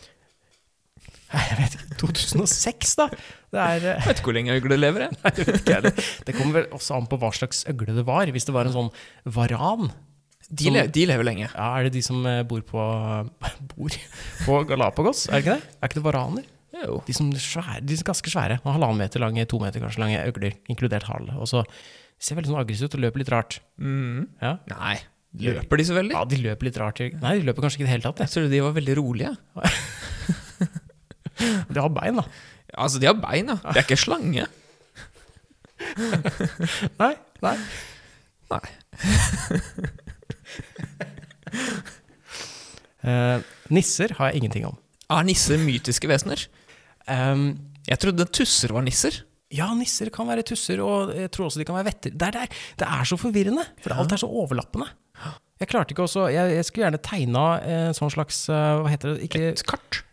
S2: Jeg vet ikke, 2006, da! Det er eh,
S3: Jeg vet ikke hvor lenge øgle lever, jeg.
S2: Jeg vet ikke, det, det kommer vel også an på hva slags øgle det var. Hvis det var en sånn varan,
S3: De, le de lever lenge.
S2: ja, er det de som eh, bor på Bor på Galapagos? Er det ikke det? Er ikke det varaner?
S3: Jo.
S2: De som, svære, de som er ganske svære. og Halvannen meter lange, to meter kanskje lange øgler, inkludert hale. Og så ser veldig sånn aggressive ut og løper litt rart.
S3: Mm.
S2: Ja.
S3: Nei, løper de så veldig?
S2: Ja, de løper litt rart. Nei, de løper kanskje ikke i det hele tatt.
S3: Jeg tror de var veldig rolige.
S2: det. De har bein, da.
S3: Altså, de har bein, ja. Det er ikke slange.
S2: Nei, nei.
S3: Nei.
S2: Eh, nisser har jeg ingenting om.
S3: Er Ah, nisser mytiske vesener? Ehm,
S2: Um,
S3: Jeg trodde tusser var nisser.
S2: Ja, nisser kan være tusser, og jeg tror også de kan være vetter. Det er, der, det er så forvirrende, for alt er så overlappende. Jeg klarte ikke også, jeg, jeg skulle gjerne tegna eh, sånn slags, eh, hva heter det, ikke
S3: Et kart.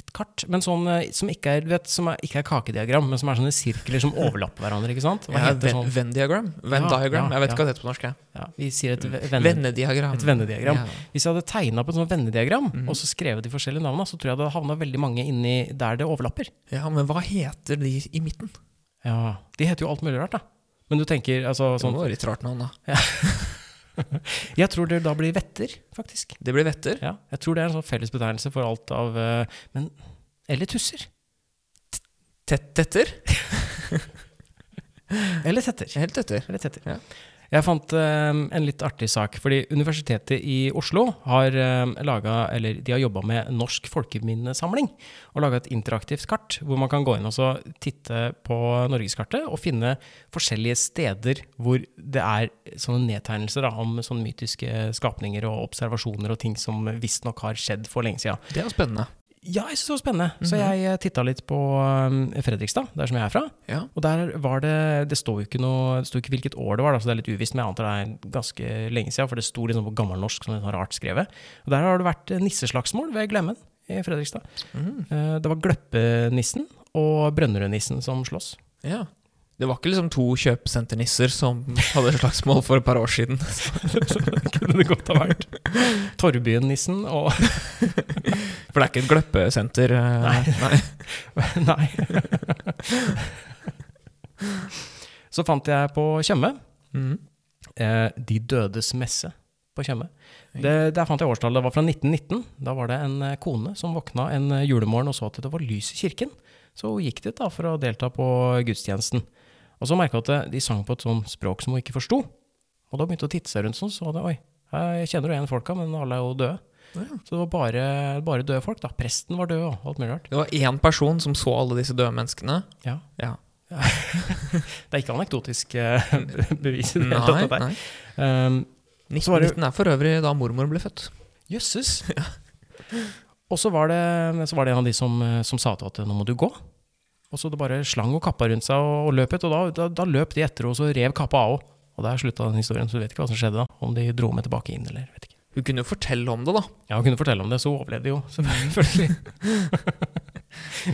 S2: et kart, men sånn eh, som ikke er, du vet, som er, ikke er kakediagram, men som er sånne sirkler som overlapper hverandre, ikke sant? Hva
S3: Ja,
S2: heter
S3: Venn
S2: sånn?
S3: Venn diagram. Venn
S2: Ja,
S3: diagram.
S2: ja,
S3: Jeg vet
S2: ja.
S3: ikke hva det heter på norsk. jeg.
S2: Ja, vi sier et ve- venne,
S3: Vennediagram.
S2: et vennediagram.
S3: Ja. Mhm.
S2: Hvis jeg hadde tegna på et sånt vennediagram, og så skrevet de forskjellige navnene, så tror jeg det hadde havna veldig mange inni der det overlapper.
S3: Ja, men hva heter de i midten?
S2: Ja, De heter jo alt mulig rart, da. Men du tenker altså
S3: Det
S2: sånn
S3: må være litt rart navn, da.
S2: Jeg tror det da blir vetter, faktisk.
S3: Det blir vetter.
S2: Ja, jeg tror det er en sånn felles betegnelse for alt av eh, Men Eller tusser.
S3: Tett etter.
S2: Eller tetter.
S3: Helt etter.
S2: Eller tetter.
S3: Ja.
S2: Jeg fant eh, en litt artig sak, fordi Universitetet i Oslo har uh, laget, eller de har jobba med Norsk folkeminnesamling, og laga et interaktivt kart hvor man kan gå inn og så titte på norgeskartet og finne forskjellige steder hvor det er sånne nedtegnelser da, om sånne mytiske skapninger og observasjoner og ting som visstnok har skjedd for lenge sida.
S3: Det er spennende.
S2: Ja, jeg synes det var spennende. Så jeg titta litt på um, Fredrikstad, der som jeg er fra.
S3: Ja.
S2: Og der var det Det står jo ikke noe Det står ikke hvilket år det var, da, så det er litt uvisst, men jeg antar det er ganske lenge siden, for det sto liksom på gammelnorsk som litt sånn rart skrevet. Og der har det vært eh, nisseslagsmål ved Glemmen i Fredrikstad.
S3: Mm.
S2: Eh, Det var Gløppenissen og Brønnerødnissen som slåss.
S3: ja. Det var ikke liksom to kjøpesenternisser som hadde slagsmål for et par år siden.
S2: Det kunne det godt ha vært. Torvbyen-nissen og
S3: For det er ikke et gløppesenter. eh,
S2: Nei.
S3: Nei.
S2: Nei. Så fant jeg på Tjøme.
S3: Mm.
S2: Eh, De dødes messe på Tjøme. Det- Der fant jeg årstallet. Det var fra 1919. Da var det en eh, kone som våkna en eh, julemorgen og så at det var lys i kirken. Så hun gikk dit da for å delta på gudstjenesten. Og så merka hun at eh, de sang på et sånt språk som hun ikke forsto. Og da begynte hun å titte seg rundt sånn, så det, oi, jeg kjenner jo igjen folka, men alle er jo døde.
S3: Ja.
S2: Så det var bare, bare døde folk, da. Presten var død og alt mulig rart.
S3: Det var én person som så alle disse døde menneskene.
S2: Ja.
S3: Ja.
S2: Det er ikke anekdotisk eh, bevis i det hele
S3: Nei,
S2: tatt. dette her.
S3: nei.
S2: Um,
S3: 19,
S2: Så var det-
S3: 19 er for øvrig da mormor ble født.
S2: Jøsses. Og så var, det, så var det en av de som, som sa til at nå må du gå. Og så det bare slang og kappa rundt seg og, og løp ut. Og da, da, da løp de etter og så rev kappa av henne. Og der slutta den historien, så du vet ikke hva som skjedde da. Om de dro med tilbake inn eller vet ikke.
S3: Hun kunne jo fortelle om det, da.
S2: Ja, hun kunne fortelle om det, så hun overlevde jo, selvfølgelig.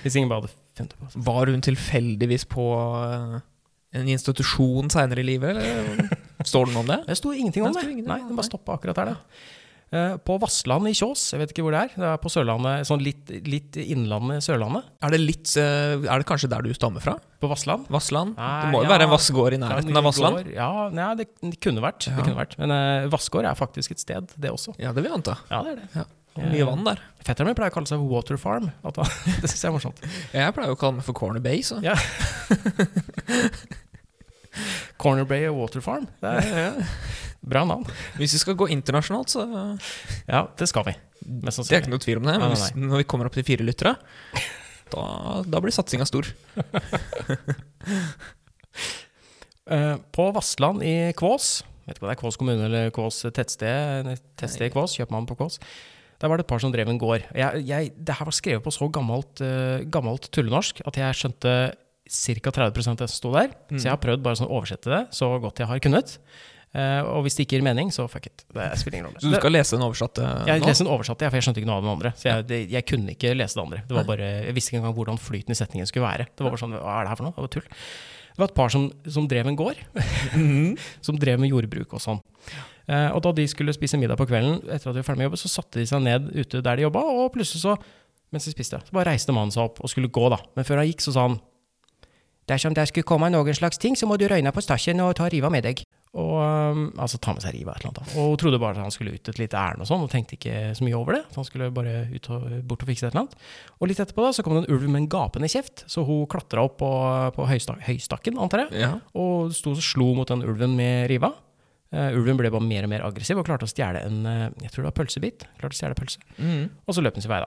S2: Hvis ingen bare hadde funnet det på. altså.
S3: Var hun tilfeldigvis på eh, en institusjon seinere i livet, eller står det noe om det?
S2: Det sto ingenting om
S3: Det
S2: det.
S3: sto ingenting om
S2: Nei,
S3: det,
S2: den
S3: nei.
S2: bare stoppa akkurat der, da. Eh, På Vassland i Kjås, jeg vet ikke hvor det er. Det er på Sørlandet, sånn litt, litt innlandet Sørlandet.
S3: Er det, litt, eh, er det kanskje der du stammer fra?
S2: På Vassland.
S3: Vassland?
S2: Nei,
S3: det må jo
S2: ja.
S3: være en vassgård i nærheten av Vassland?
S2: Gård, Ja, nei, det, det kunne vært.
S3: Ja.
S2: Det kunne vært. Men uh, Vassgård er faktisk et sted, det også.
S3: Ja, det vil jeg anta.
S2: Ja, det er det.
S3: Ja. Det er Mye vann der.
S2: Fetteren min pleier å kalle seg Water Farm. At han, det syns jeg er morsomt.
S3: Jeg pleier jo å kalle meg for Corner Bay, så.
S2: Ja. Corner Bay og Water Farm. Det er bra navn.
S3: Hvis vi skal gå internasjonalt, så Det
S2: Ja, det skal vi. Mest
S3: er ikke
S2: sannsynlig.
S3: noe tvil om det.
S2: Nei,
S3: Men
S2: nei,
S3: hvis, når vi kommer opp til fire lyttere, da, da blir satsinga stor.
S2: Eh, På Vassland i Kvås, vet ikke om det er Kvås kommune eller Kvås tettsted, tettsted i Kvås, kjøpmann på Kvås, der var det et par som drev en gård. Jeg, jeg, det her var skrevet på så gammelt, eh, gammelt tullenorsk at jeg skjønte ca. 30 av det som sto der. Så jeg har prøvd bare sånn å oversette det så godt jeg har kunnet. Eh, og hvis det ikke gir mening, så fuck it. Det spiller ingen rolle.
S3: Så du
S2: Det-
S3: skal lese den oversatte
S2: Jeg
S3: nå?
S2: leste den oversatte, jeg, for jeg skjønte ikke noe av den andre. Så jeg, det, jeg kunne ikke lese det andre. Det var bare, jeg visste ikke engang hvordan flyten i setningen skulle være. Det var bare sånn, hva er det her for noe? Det var tull. Det var et par som, som drev en gård, som drev med jordbruk og sånn. Eh, og da de skulle spise middag på kvelden, etter at de var ferdig med jobben, så satte de seg ned ute der de jobba, og plutselig så, mens de spiste, så bare reiste mannen seg opp og skulle gå, da. Men før han gikk, så sa han Dersom det skulle komme noen slags ting, så må du røyne postasjen og ta riva med deg. Og, um, altså ta med seg riva et eller annet. da. Og hun trodde bare at han skulle ut et lite ærend og sånn, og tenkte ikke så mye over det. At han skulle bare ut og, bort og fikse et eller annet. Og litt etterpå da, så kom det en ulv med en gapende kjeft, så hun klatra opp på, på høysta, høystakken, antar jeg,
S3: Ja.
S2: og sto og slo mot den ulven med riva. Eh, ulven ble bare mer og mer aggressiv og klarte å stjele en eh, jeg tror det var pølsebit. klarte å stjele pølse.
S3: Mm.
S2: Og så løp hun sin vei, da.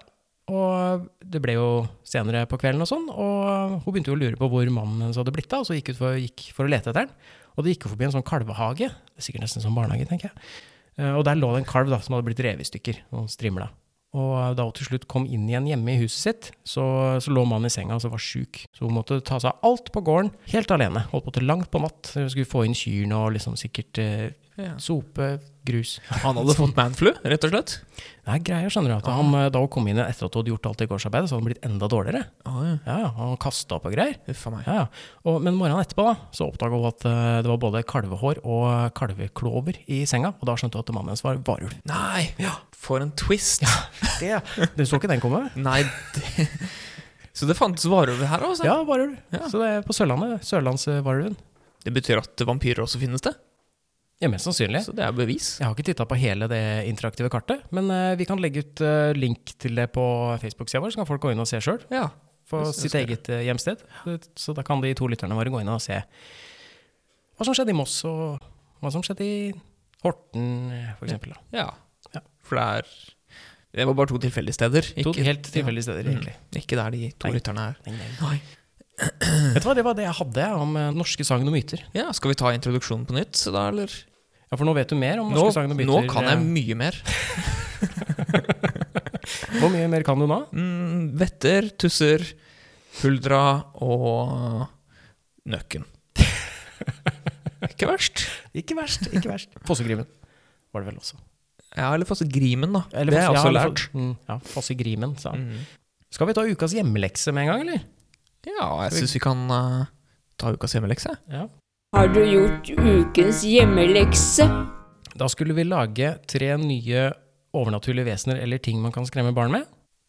S2: Og det ble jo senere på kvelden og sånn, og hun begynte jo å lure på hvor mannen hennes hadde blitt av, og så gikk hun for, gikk for å lete etter den. Og det gikk jo forbi en sånn kalvehage, det er sikkert nesten som barnehage, tenker jeg. Eh, Og der lå det en kalv da, som hadde blitt revet i stykker, og strimla. Og da hun til slutt kom inn igjen hjemme i huset sitt, så, så lå mannen i senga og var sjuk. Så hun måtte ta seg av alt på gården, helt alene. Holdt på til langt på natt. Hun skulle få inn kyrne og liksom sikkert eh,
S3: Ja.
S2: sope, grus.
S3: Han hadde fått manflu, rett og slett?
S2: Det er greier, skjønner du. At han, eh, da hun kom inn etter at hun hadde gjort alt det gårdsarbeidet, så hadde han blitt enda dårligere.
S3: Oh, ja.
S2: Ja, ja, Han kasta opp og greier.
S3: Huff a meg.
S2: Ja, ja. Og, men morgenen etterpå da, så oppdaga hun at eh, det var både kalvehår og kalveklover i senga. Og da skjønte hun at mannen hennes var varulv.
S3: Nei, ja. for en twist!
S2: Det, det så ikke den komme.
S3: Nei, det... Så det fantes varulver her, altså?
S2: Ja, varulv.
S3: Ja.
S2: Så det er på Sørlandet. Sørlandsvarulven.
S3: Det betyr at vampyrer også finnes det?
S2: Ja, mest sannsynlig.
S3: Så det er bevis.
S2: Jeg har ikke titta på hele det interaktive kartet, men eh, vi kan legge ut eh, link til det på Facebook-sida vår, så kan folk gå inn og se sjøl.
S3: Ja.
S2: på
S3: Hvis de
S2: sitt
S3: ønsker
S2: eget eh, hjemsted. Så da kan de to lytterne våre gå inn og se hva som skjedde i Moss, og hva som skjedde i Horten, eh, for eksempel. Da.
S3: ja.
S2: Ja.
S3: For det er Det var bare to tilfeldige steder.
S2: To
S3: Ikke,
S2: helt tilfeldige steder,
S3: Mm.
S2: egentlig.
S3: ikke der de to
S2: Nei.
S3: lytterne er.
S2: Nei, nei.
S3: Nei.
S2: Vet du hva, det var det jeg hadde jeg, om eh, norske sagn og myter.
S3: Ja, Skal vi ta introduksjonen på nytt, så da, eller?
S2: Ja, For nå vet du mer om
S3: Nå,
S2: norske sagn og myter.
S3: nå kan jeg
S2: eh,
S3: mye mer.
S2: Hvor mye mer kan du nå?
S3: Mm, vetter, tusser, huldra og nøkken. ikke verst.
S2: Ikke verst. ikke verst. Fossegrimen var det vel også.
S3: Ja, eller fast grimen, da.
S2: Eller
S3: det har jeg
S2: Fosse-
S3: også
S2: ja, eller
S3: lært.
S2: Fo- Mm, ja, Fossegrimen, sa han.
S3: Mm.
S2: Skal vi ta ukas hjemmelekse med en gang, eller?
S3: Ja, jeg
S2: Skal vi-
S3: syns vi kan eh, ta ukas hjemmelekse.
S2: Ja.
S1: Har du gjort ukens hjemmelekse?
S2: Da skulle vi lage tre nye overnaturlige vesener eller ting man kan skremme barn med.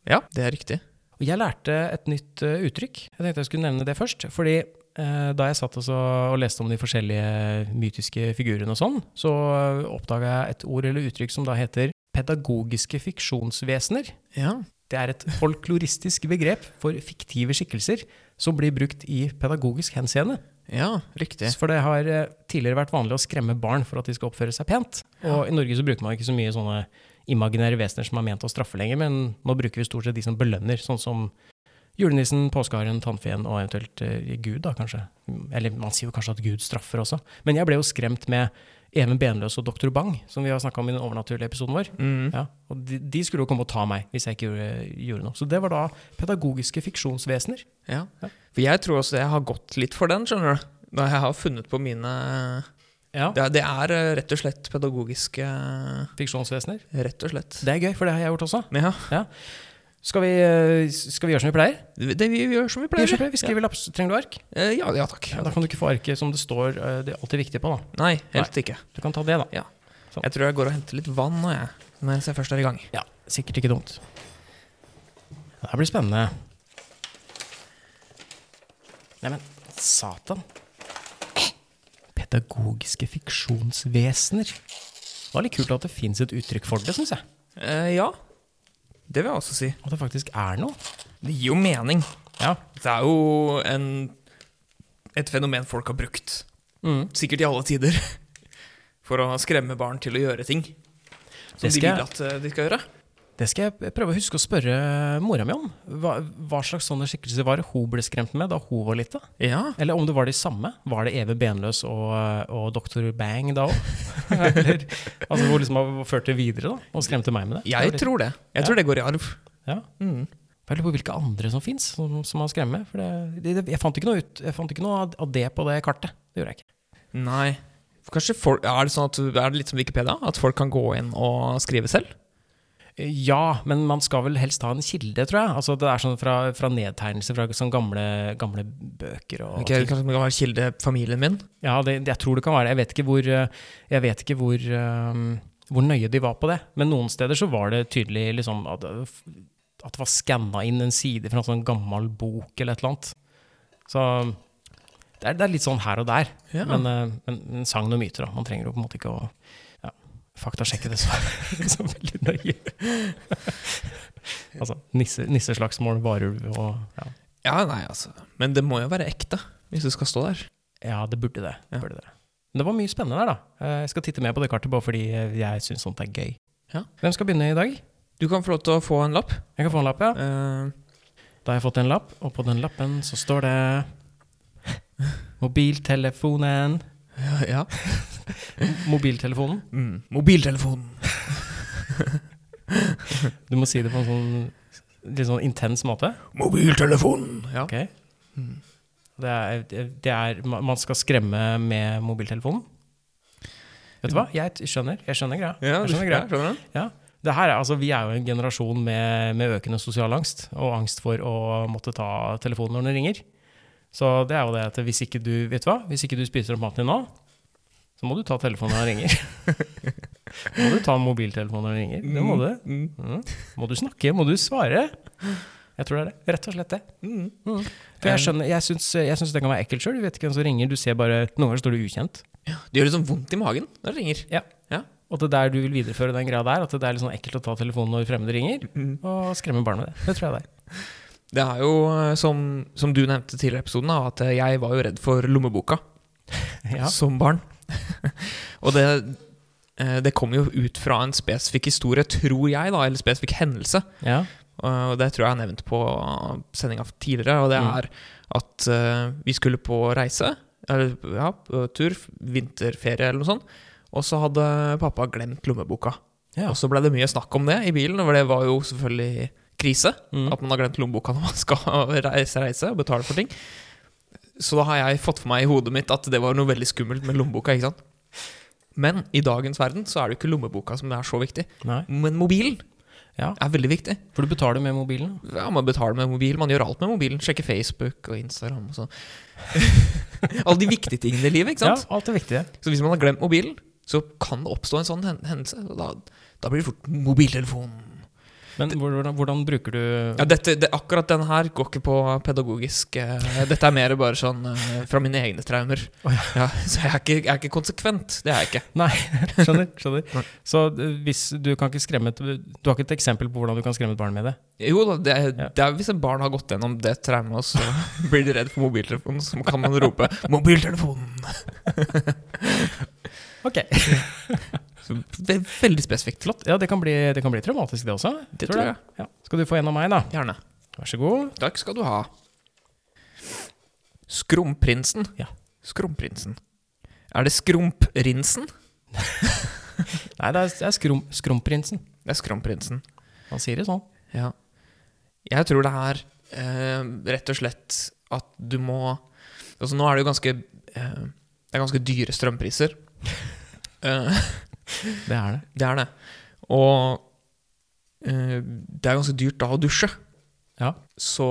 S3: Ja, det er riktig.
S2: Og jeg lærte et nytt eh, uttrykk. Jeg tenkte jeg skulle nevne det først. Fordi eh, da jeg satt og, så, og leste om de forskjellige mytiske figurene og sånn, så eh, oppdaga jeg et ord eller uttrykk som da heter pedagogiske fiksjonsvesener.
S3: Ja.
S2: Det er et folkloristisk begrep for fiktive skikkelser som blir brukt i pedagogisk henseende.
S3: Ja, riktig.
S2: For det har eh, tidligere vært vanlig å skremme barn for at de skal oppføre seg pent. Og i Norge så bruker man ikke så mye sånne imaginære vesener som er ment å straffe lenger, men nå bruker vi stort sett de som belønner, sånn som julenissen, påskeharen, tannfeen og eventuelt eh, Gud, da kanskje. Eller man sier jo kanskje at Gud straffer også. Men jeg ble jo skremt med Even Benløs og Dr. Bang, som vi har snakka om i den overnaturlige episoden vår.
S3: Mm.
S2: Ja, og de, de skulle jo komme og ta meg hvis jeg ikke gjorde, gjorde noe. Så det var da pedagogiske fiksjonsvesener.
S3: Ja.
S2: Ja.
S3: For jeg tror også jeg har gått litt for den, skjønner du. Da jeg har funnet på mine
S2: Ja,
S3: Det, er- det er eh, rett og slett pedagogiske
S2: fiksjonsvesener.
S3: Rett og slett.
S2: Det er gøy, for det har jeg gjort også.
S3: Ja,
S2: Skal vi, eh, skal vi gjøre som vi pleier?
S3: det, det vi gjør som vi
S2: Vi,
S3: pleier.
S2: gjør som vi, pleier. vi skriver laps. Trenger du ark?
S3: Eh, Ja, ja takk.
S2: Ja, da kan du ikke få arket som det står eh, det alltid viktige på. da.
S3: Nei, helt ikke.
S2: Du kan ta det, da.
S3: Jeg tror jeg går og henter litt vann nå, jeg. Mens jeg først er i gang.
S2: Ja, Sikkert ikke dumt. Det her blir spennende. Neimen, satan. Pedagogiske fiksjonsvesener. Det var litt kult at det fins et uttrykk for det, syns jeg.
S3: Eh, ja. Det vil jeg også si.
S2: At det faktisk er noe.
S3: Det gir jo mening.
S2: Ja.
S3: Det er jo en, et fenomen folk har brukt,
S2: Mm.
S3: sikkert i alle tider, for å skremme barn til å gjøre ting som
S2: Det
S3: de
S2: skal
S3: vil at eh, de skal gjøre.
S2: Det skal jeg prøve å huske å spørre mora mi om. Hva, hva slags sånne skikkelser var det hun ble skremt med da hun var lita?
S3: Ja.
S2: Eller om det var de samme? Var det Eve Benløs og, og Dr. Bang da òg? Eller altså, hvor liksom har ført det videre da, og skremte meg med det?
S3: Jeg
S2: det var litt-
S3: tror det. Jeg
S2: Ja.
S3: tror det går i arv.
S2: ja.
S3: Mm.
S2: Jeg lurer på hvilke andre som fins som, som har skremt med. For det, det, jeg, fant ikke noe ut, jeg fant ikke noe av- av det på det kartet. Det gjorde jeg ikke.
S3: Nei. Kanskje folk, er, det sånn at, er det litt som Wikipedia, at folk kan gå inn og skrive selv?
S2: Eh, Ja, men man skal vel helst ha en kilde, tror jeg. Altså, det er sånn fra, fra nedtegnelser fra sånn gamle, gamle bøker og
S3: Ok, kanskje det kan være kilde familien min?
S2: Ja, det, jeg tror det kan være. Jeg vet ikke hvor, eh, jeg vet ikke hvor, eh, hvor nøye de var på det. Men noen steder så var det tydelig liksom, at, at det var skanna inn en side fra en sånn gammel bok eller et eller annet. Så det er, det er litt sånn her og der.
S3: Ja.
S2: Men, eh, men, men sagn og myter, da. Man trenger jo på en måte ikke å ja, faktasjekke det så, så veldig nøye. altså nisse, nisseslagsmål, varulv og ja.
S3: Ja, nei, altså. Men det må jo være ekte, hvis du skal stå der.
S2: Ja, det burde det. det,
S3: Ja.
S2: burde det. Men det var mye spennende der, da. Eh, Jeg skal titte mer på det kartet, bare fordi eh, jeg syns sånt er gøy.
S3: Ja.
S2: Hvem skal begynne i dag?
S3: Du kan få lov til å få en lapp.
S2: Jeg kan få en lapp, ja.
S3: Eh,
S2: Da har jeg fått en lapp, og på den lappen så står det Mobiltelefonen.
S3: ja.
S2: Mobiltelefonen.
S3: Mm. Mobiltelefonen.
S2: Du må si det på en sånn litt sånn intens måte.
S3: Mobiltelefonen! Ja.
S2: Ok?
S3: Hmm.
S2: Det er, det er ma- Man skal skremme med mobiltelefonen. Vet du hva? Jeg t- skjønner. Jeg skjønner greia.
S3: Ja,
S2: Jeg
S3: du,
S2: skjønner
S3: ja, skjønner du?
S2: Ja. Det her er, altså, vi er jo en generasjon med, med økende sosial angst, og angst for å måtte ta telefonen når den ringer. Så det er jo det at hvis ikke du vet du hva, hvis ikke du spiser opp maten din nå, så må du ta telefonen når den ringer. må du ta mobiltelefonen når den ringer. Det må du.
S3: Mm.
S2: Mm. Må du snakke, må du svare. Jeg tror det er det. Rett og slett det.
S3: Mm.
S2: For jeg skjønner, jeg syns, jeg syns det kan være ekkelt sjøl. Du vet ikke hvem som ringer, du ser bare Noen ganger står det ukjent.
S3: Det gjør liksom vondt i magen når det ringer.
S2: Ja.
S3: Ja.
S2: Og det er der du vil videreføre den greia der, at det er litt sånn ekkelt å ta telefonen når fremmede ringer, og skremme barn med det. Det tror jeg det er.
S3: Det er jo, eh, som, som du nevnte tidligere i episoden, da, at eh, jeg var jo redd for lommeboka
S2: Ja.
S3: som barn. Og det, eh, det kom jo ut fra en spesifikk historie, tror jeg, da, eller spesifikk hendelse. Eh,
S2: ja.
S3: Og det tror jeg jeg har nevnt på sendinga tidligere, og det
S2: Mm.
S3: er at eh, vi skulle på reise, eller ja, på tur, vinterferie eller noe sånt, og så hadde pappa glemt lommeboka.
S2: Ja.
S3: Og så ble det mye snakk om det i bilen, for det var jo selvfølgelig krise.
S2: Mm.
S3: At man har glemt lommeboka når man skal reise, reise og betale for ting. Så da har jeg fått for meg i hodet mitt at det var noe veldig skummelt med lommeboka. ikke sant? Men i dagens verden så er det jo ikke lommeboka som er så viktig.
S2: Nei.
S3: Men mobilen
S2: Ja.
S3: er veldig viktig.
S2: For du betaler med mobilen.
S3: Ja, Man betaler med mobil, man gjør alt med mobilen. Sjekker Facebook og Instagram og sånn. Alle de viktige tingene i livet. ikke sant?
S2: Ja, alt er viktig. det.
S3: Så hvis man har glemt mobilen, så kan det oppstå en sånn hen- hendelse. Og da, da blir det fort mobiltelefonen.
S2: Men hvordan, hvordan bruker du
S3: Ja, dette, det, akkurat den her går ikke på pedagogisk eh, Dette er mer bare sånn eh, fra mine egne traumer. ja. så jeg er, ikke, jeg er ikke konsekvent. Det er jeg ikke.
S2: Nei, skjønner. skjønner.
S3: Nei.
S2: Så eh, hvis du kan ikke skremme et Du har ikke et eksempel på hvordan du kan skremme et barn med det?
S3: Jo da, det, er-
S2: Ja.
S3: det er hvis en barn har gått gjennom det traumet, og så blir de redd for mobiltelefonen, så kan man rope 'mobiltelefonen'.
S2: Ok,
S3: Så det er veldig spesifikt.
S2: flott. Ja, det kan bli, det kan bli traumatisk, det også.
S3: Det tror jeg.
S2: Ja. Skal du få en av meg, da?
S3: Gjerne.
S2: Vær så god.
S3: Takk skal du ha. Skrumprinsen.
S2: Ja.
S3: Skrumprinsen. Er det skrumprinsen?
S2: Nei, det er, det er skrum, skrumprinsen.
S3: Det er skrumprinsen.
S2: Han sier det sånn.
S3: Ja. Jeg tror det er eh, rett og slett at du må Altså, nå er det jo ganske eh, Det er ganske dyre strømpriser. Eh,
S2: Det er det.
S3: det er det. Og eh, det er ganske dyrt da å dusje.
S2: Ja.
S3: så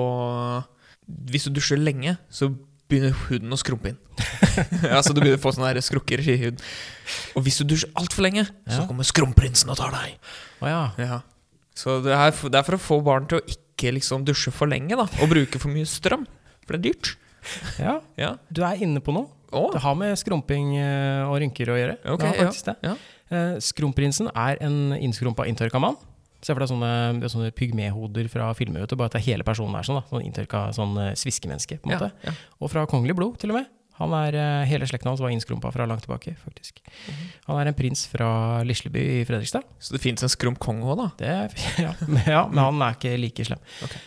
S3: Hvis du dusjer lenge, så begynner huden å skrumpe inn. ja, så du begynner å få sånne der skrukker i huden. Og hvis du dusjer altfor lenge,
S2: Ja.
S3: så kommer skrumprinsen og tar deg.
S2: Å ja.
S3: Ja. Så det er, for, det er for å få barn til å ikke liksom dusje for lenge da, og bruke for mye strøm. For det er dyrt.
S2: ja.
S3: Ja.
S2: Du er inne på noe.
S3: Å,
S2: Det har med skrumping eh, og rynker å gjøre.
S3: Ok,
S2: det har faktisk det.
S3: ja.
S2: Eh, Skrumprinsen er en innskrumpa inntørka mann Se for deg sånne, det er sånne pygmehoder fra filmer, vet du, bare at det er hele personen er sånn. da, Sånn inntørka sånn eh, sviskemenneske, på en måte.
S3: Ja, ja.
S2: Og fra kongelig blod, til og med. Han er, eh, Hele slekten hans var innskrumpa fra langt tilbake, faktisk. Han er en prins fra Lisleby i Fredrikstad.
S3: Så det fins en skrump kong òg, da?
S2: Det, ja, men- ja, men han er ikke like slem.
S3: Ok.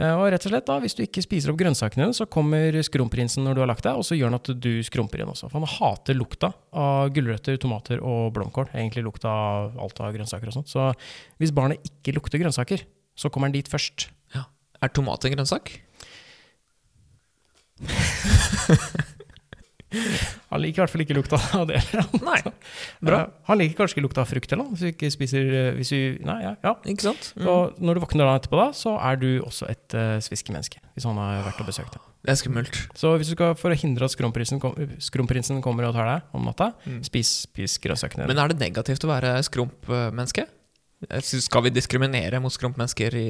S2: Eh, Og rett og slett da, Hvis du ikke spiser opp grønnsakene dine, så kommer skrumprinsen når du har lagt deg, og så gjør han at du skrumper igjen også. For han hater lukta av gulrøtter, tomater og blomkål. Egentlig lukta av alt av grønnsaker og sånt. Så hvis barnet ikke lukter grønnsaker, så kommer han dit først.
S3: Ja. Er tomat en grønnsak?
S2: Han liker i hvert fall ikke lukta av det.
S3: Nei.
S2: Bra. Han liker kanskje ikke lukta av frukt heller, hvis du ikke spiser eh, hvis du, Nei, ja, ja.
S3: Ikke sant? Mm.
S2: Og når du våkner da etterpå, da, så er du også et eh, sviskemenneske. Hvis han har vært og besøkt deg.
S3: Det er skummelt.
S2: Så hvis du skal, for å hindre at skrumprinsen, kom, skrumprinsen kommer og tar deg om natta,
S3: Mm.
S2: spis, spis grønnsakene.
S3: Men er det negativt å være skrumpmenneske? Jeg synes- Skal vi diskriminere mot skrumpmennesker i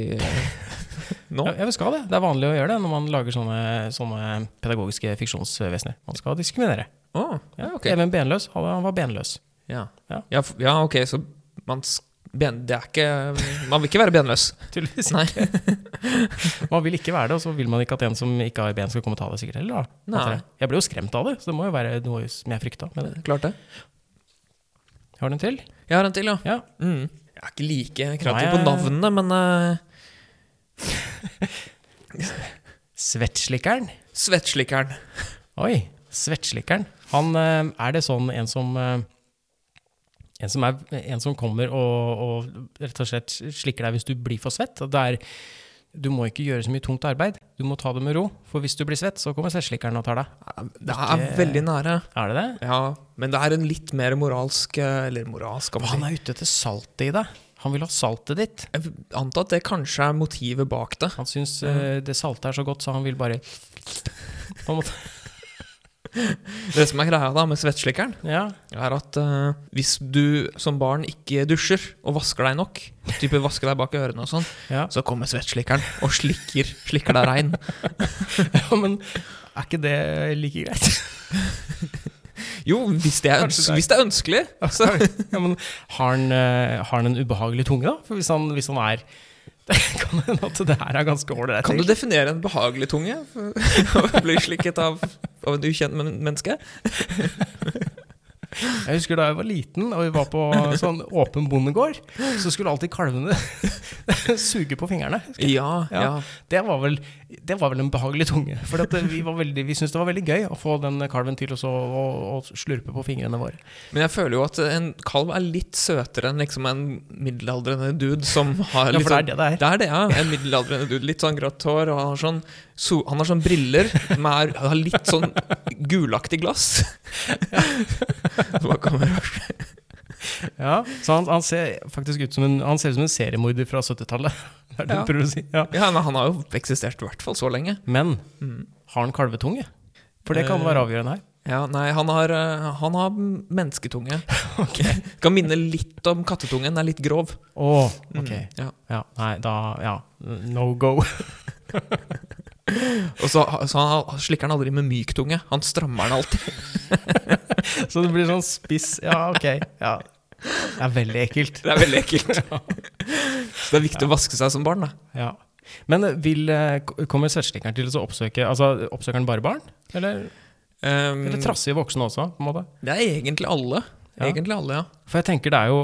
S3: nå?
S2: Ja, ja, vi skal det. Det er vanlig å gjøre det når man lager sånne, sånne pedagogiske fiksjonsvesener. Man skal diskriminere.
S3: Å, ja, Ah, ok.
S2: Even Benløs, han han var benløs.
S3: Ja.
S2: Ja.
S3: Ja, f- ja, ok, så man s- ben, Det er ikke Man vil ikke være benløs.
S2: Tydeligvis.
S3: Nei.
S2: Man vil ikke være det, og så vil man ikke at en som ikke har ben, skal komme og ta deg sikkert heller. Da.
S3: Nei.
S2: Jeg ble jo skremt av det, så det må jo være noe som jeg frykta. Med det.
S3: Klart det.
S2: Har du en til?
S3: Jeg har en til, ja.
S2: Ja.
S3: Mm. Jeg er ikke like kreativ
S2: Nei,
S3: på
S2: jeg-
S3: navnene, men eh,
S2: Svettslikkeren.
S3: Svettslikkeren.
S2: Oi, svettslikkeren. Han eh, er det sånn en som eh, en som, er, en som kommer og, og rett og slett slikker deg hvis du blir for svett. At Det er, du må ikke gjøre så mye tungt arbeid, du må ta det med ro. For hvis du blir svett, så kommer svettslikkeren og tar deg.
S3: Det er
S2: Ikke-
S3: veldig nære.
S2: Er det det?
S3: Ja, men det er en litt mer moralsk eh, Eller moralsk, kan
S2: Og
S3: man
S2: han
S3: si.
S2: er ute etter saltet i deg. Han vil ha saltet ditt.
S3: Jeg antar at det kanskje er motivet bak det.
S2: Han syns eh, det salte er så godt, så han vil bare på en måte.
S3: Det som er greia da med svettslikkeren,
S2: Ja.
S3: er at eh, hvis du som barn ikke dusjer og vasker deg nok, type vasker deg bak ørene og sånn,
S2: Ja.
S3: så kommer svettslikkeren og slikker, slikker deg rein.
S2: ja, men er ikke det like greit?
S3: Jo, hvis det er,
S2: Kanskje
S3: øns
S2: det er-
S3: hvis det er ønskelig. Så,
S2: Ja, men har han, eh, har han en ubehagelig tunge, da? For hvis han, hvis han er Det kan hende at det her er ganske ålreit.
S3: kan du definere en behagelig tunge? Å bli slikket av, av en ukjent men menneske?
S2: Jeg husker da jeg var liten og vi var på sånn åpen bondegård, så skulle alltid kalvene suge på fingrene.
S3: Ja, ja.
S2: Ja. Det var vel, det var vel en behagelig tunge. For at vi, var veldig- vi syntes det var veldig gøy å få den kalven til å så- å å slurpe på fingrene våre.
S3: Men jeg føler jo at en kalv er litt søtere enn liksom en middelaldrende dude som har
S2: Ja,
S3: litt
S2: for det er det
S3: sånn
S2: det er.
S3: Det er det, ja. En middelaldrende dude. Litt sånn grått hår, og han har sånn, so han har sånn briller med har litt sånn gulaktig glass. Hva kommer det?
S2: Ja, så han, han ser faktisk ut som en, han ser ut som en seriemorder fra 70-tallet. Det er det
S3: Ja.
S2: du prøver å si. Ja.
S3: Ja, men han har jo eksistert i hvert fall så lenge.
S2: Men har han kalvetunge? For det kan
S3: Mm. Eh,
S2: være avgjørende her.
S3: Ja, nei, han har, eh, han har mennesketunge. Kan minne litt om kattetungen, den er litt grov.
S2: Å,
S3: Mm,
S2: ok.
S3: Ja.
S2: Ja, nei, da Ja, no go.
S3: Og så, så han, slikker han aldri med myk tunge, han strammer den alltid.
S2: Så det blir sånn spiss Ja, ok. Ja. Det er veldig ekkelt.
S3: Det er veldig ekkelt. Så det er viktig å vaske seg som barn, da.
S2: Ja. Men vil, eh, k- kommer svettslikkeren til å oppsøke Altså, oppsøker han bare barn? Eller,
S3: Um,
S2: eller trassige voksne også, på en måte?
S3: det er egentlig alle.
S2: Ja.
S3: Egentlig alle, ja.
S2: For jeg tenker det er jo,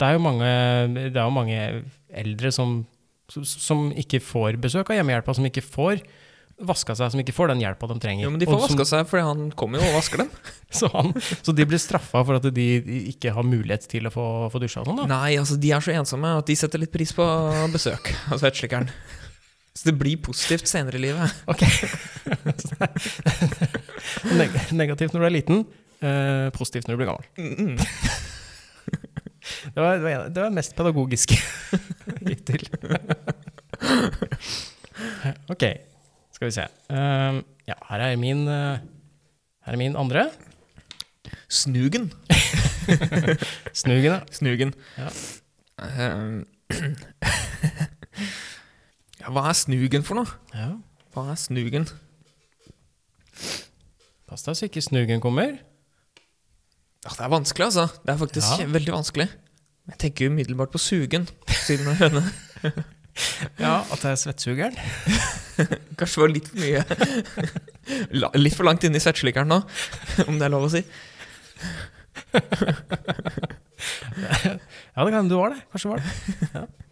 S2: det er jo, mange, det er jo mange eldre som, som ikke får besøk av hjemmehjelpa, som ikke får vaska seg, som ikke får den hjelpa de trenger.
S3: Jo, men de får
S2: Og som-
S3: vaska seg, fordi han kommer jo og vasker dem.
S2: Så, han, så de blir straffa for at de ikke har mulighet til å få, få dusja og sånn, da?
S3: Nei, altså, de er så ensomme at de setter litt pris på besøk av svettslikkeren. Så det blir positivt senere i livet.
S2: Ok. Neg negativt når du er liten, eh, positivt når du blir gammel.
S3: Mm, mm.
S2: Det var det, var- det var mest pedagogisk hittil. ok, skal vi se. Eh, ja, her er min, eh, her er min andre.
S3: Snugen.
S2: Snugende.
S3: Snugen.
S2: Ja.
S3: Um, ja, hva er snugen for noe?
S2: Ja.
S3: Hva er snugen?
S2: Pass deg så ikke snugen kommer.
S3: Ja, Ah, det er vanskelig, altså. Det er faktisk
S2: Ja.
S3: veldig vanskelig. Jeg tenker umiddelbart på sugen. siden av høne.
S2: Ja, at det er svettsugeren.
S3: Kanskje det var litt for mye La- Litt for langt inne i svettslikkeren nå, om det er lov å si.
S2: Ja, det kan du var det. Kanskje det var det.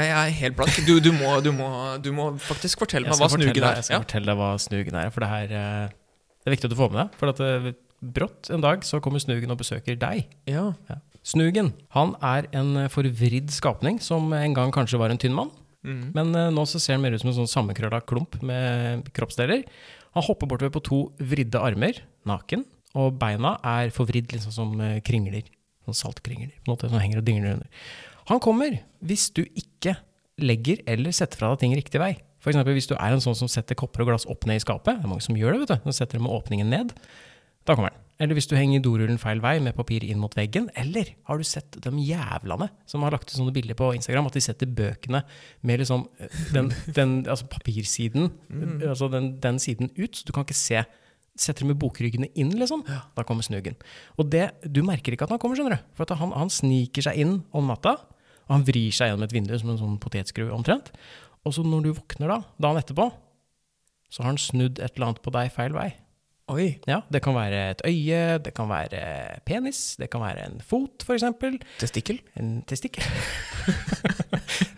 S3: Jeg er helt blank. Du, du, må, du, må, du må faktisk fortelle meg hva snugen
S2: fortelle,
S3: er.
S2: jeg skal
S3: Ja.
S2: fortelle deg hva snugen er, for det her eh, Det er viktig at du får med deg. For at eh, brått en dag så kommer snugen og besøker deg.
S3: Ja.
S2: Snugen han er en eh, forvridd skapning som en gang kanskje var en tynn mann.
S3: Mm.
S2: Men eh, nå så ser han mer ut som en sånn sammenkrølla klump med kroppsdeler. Han hopper bortover på to vridde armer, naken, og beina er forvridd, liksom som eh, kringler. Sånn saltkringler på en måte, som henger og dingler under. Han kommer hvis du ikke legger eller setter fra deg ting riktig vei. For eksempel hvis du er en sånn som setter kopper og glass opp ned i skapet. Det er mange som gjør det, vet du. De setter dem med åpningen ned. Da kommer den. Eller hvis du henger dorullen feil vei med papir inn mot veggen. Eller har du sett de jævlene som har lagt ut sånne bilder på Instagram, at de setter bøkene med liksom eh, den, den altså papirsiden, eh, altså den, den siden ut, så du kan ikke se. Setter dem med bokryggene inn, liksom. Da kommer snugen. Og det, du merker ikke at han kommer, skjønner du. For at han, han sniker seg inn om natta, og han vrir seg gjennom et vindu som en sånn potetskrue omtrent. Og så når du våkner da, dagen etterpå, så har han snudd et eller annet på deg feil vei.
S3: Oi.
S2: Ja, det kan være et øye, det kan være penis, det kan være en fot for eksempel,
S3: Testikkel?
S2: en testikkel.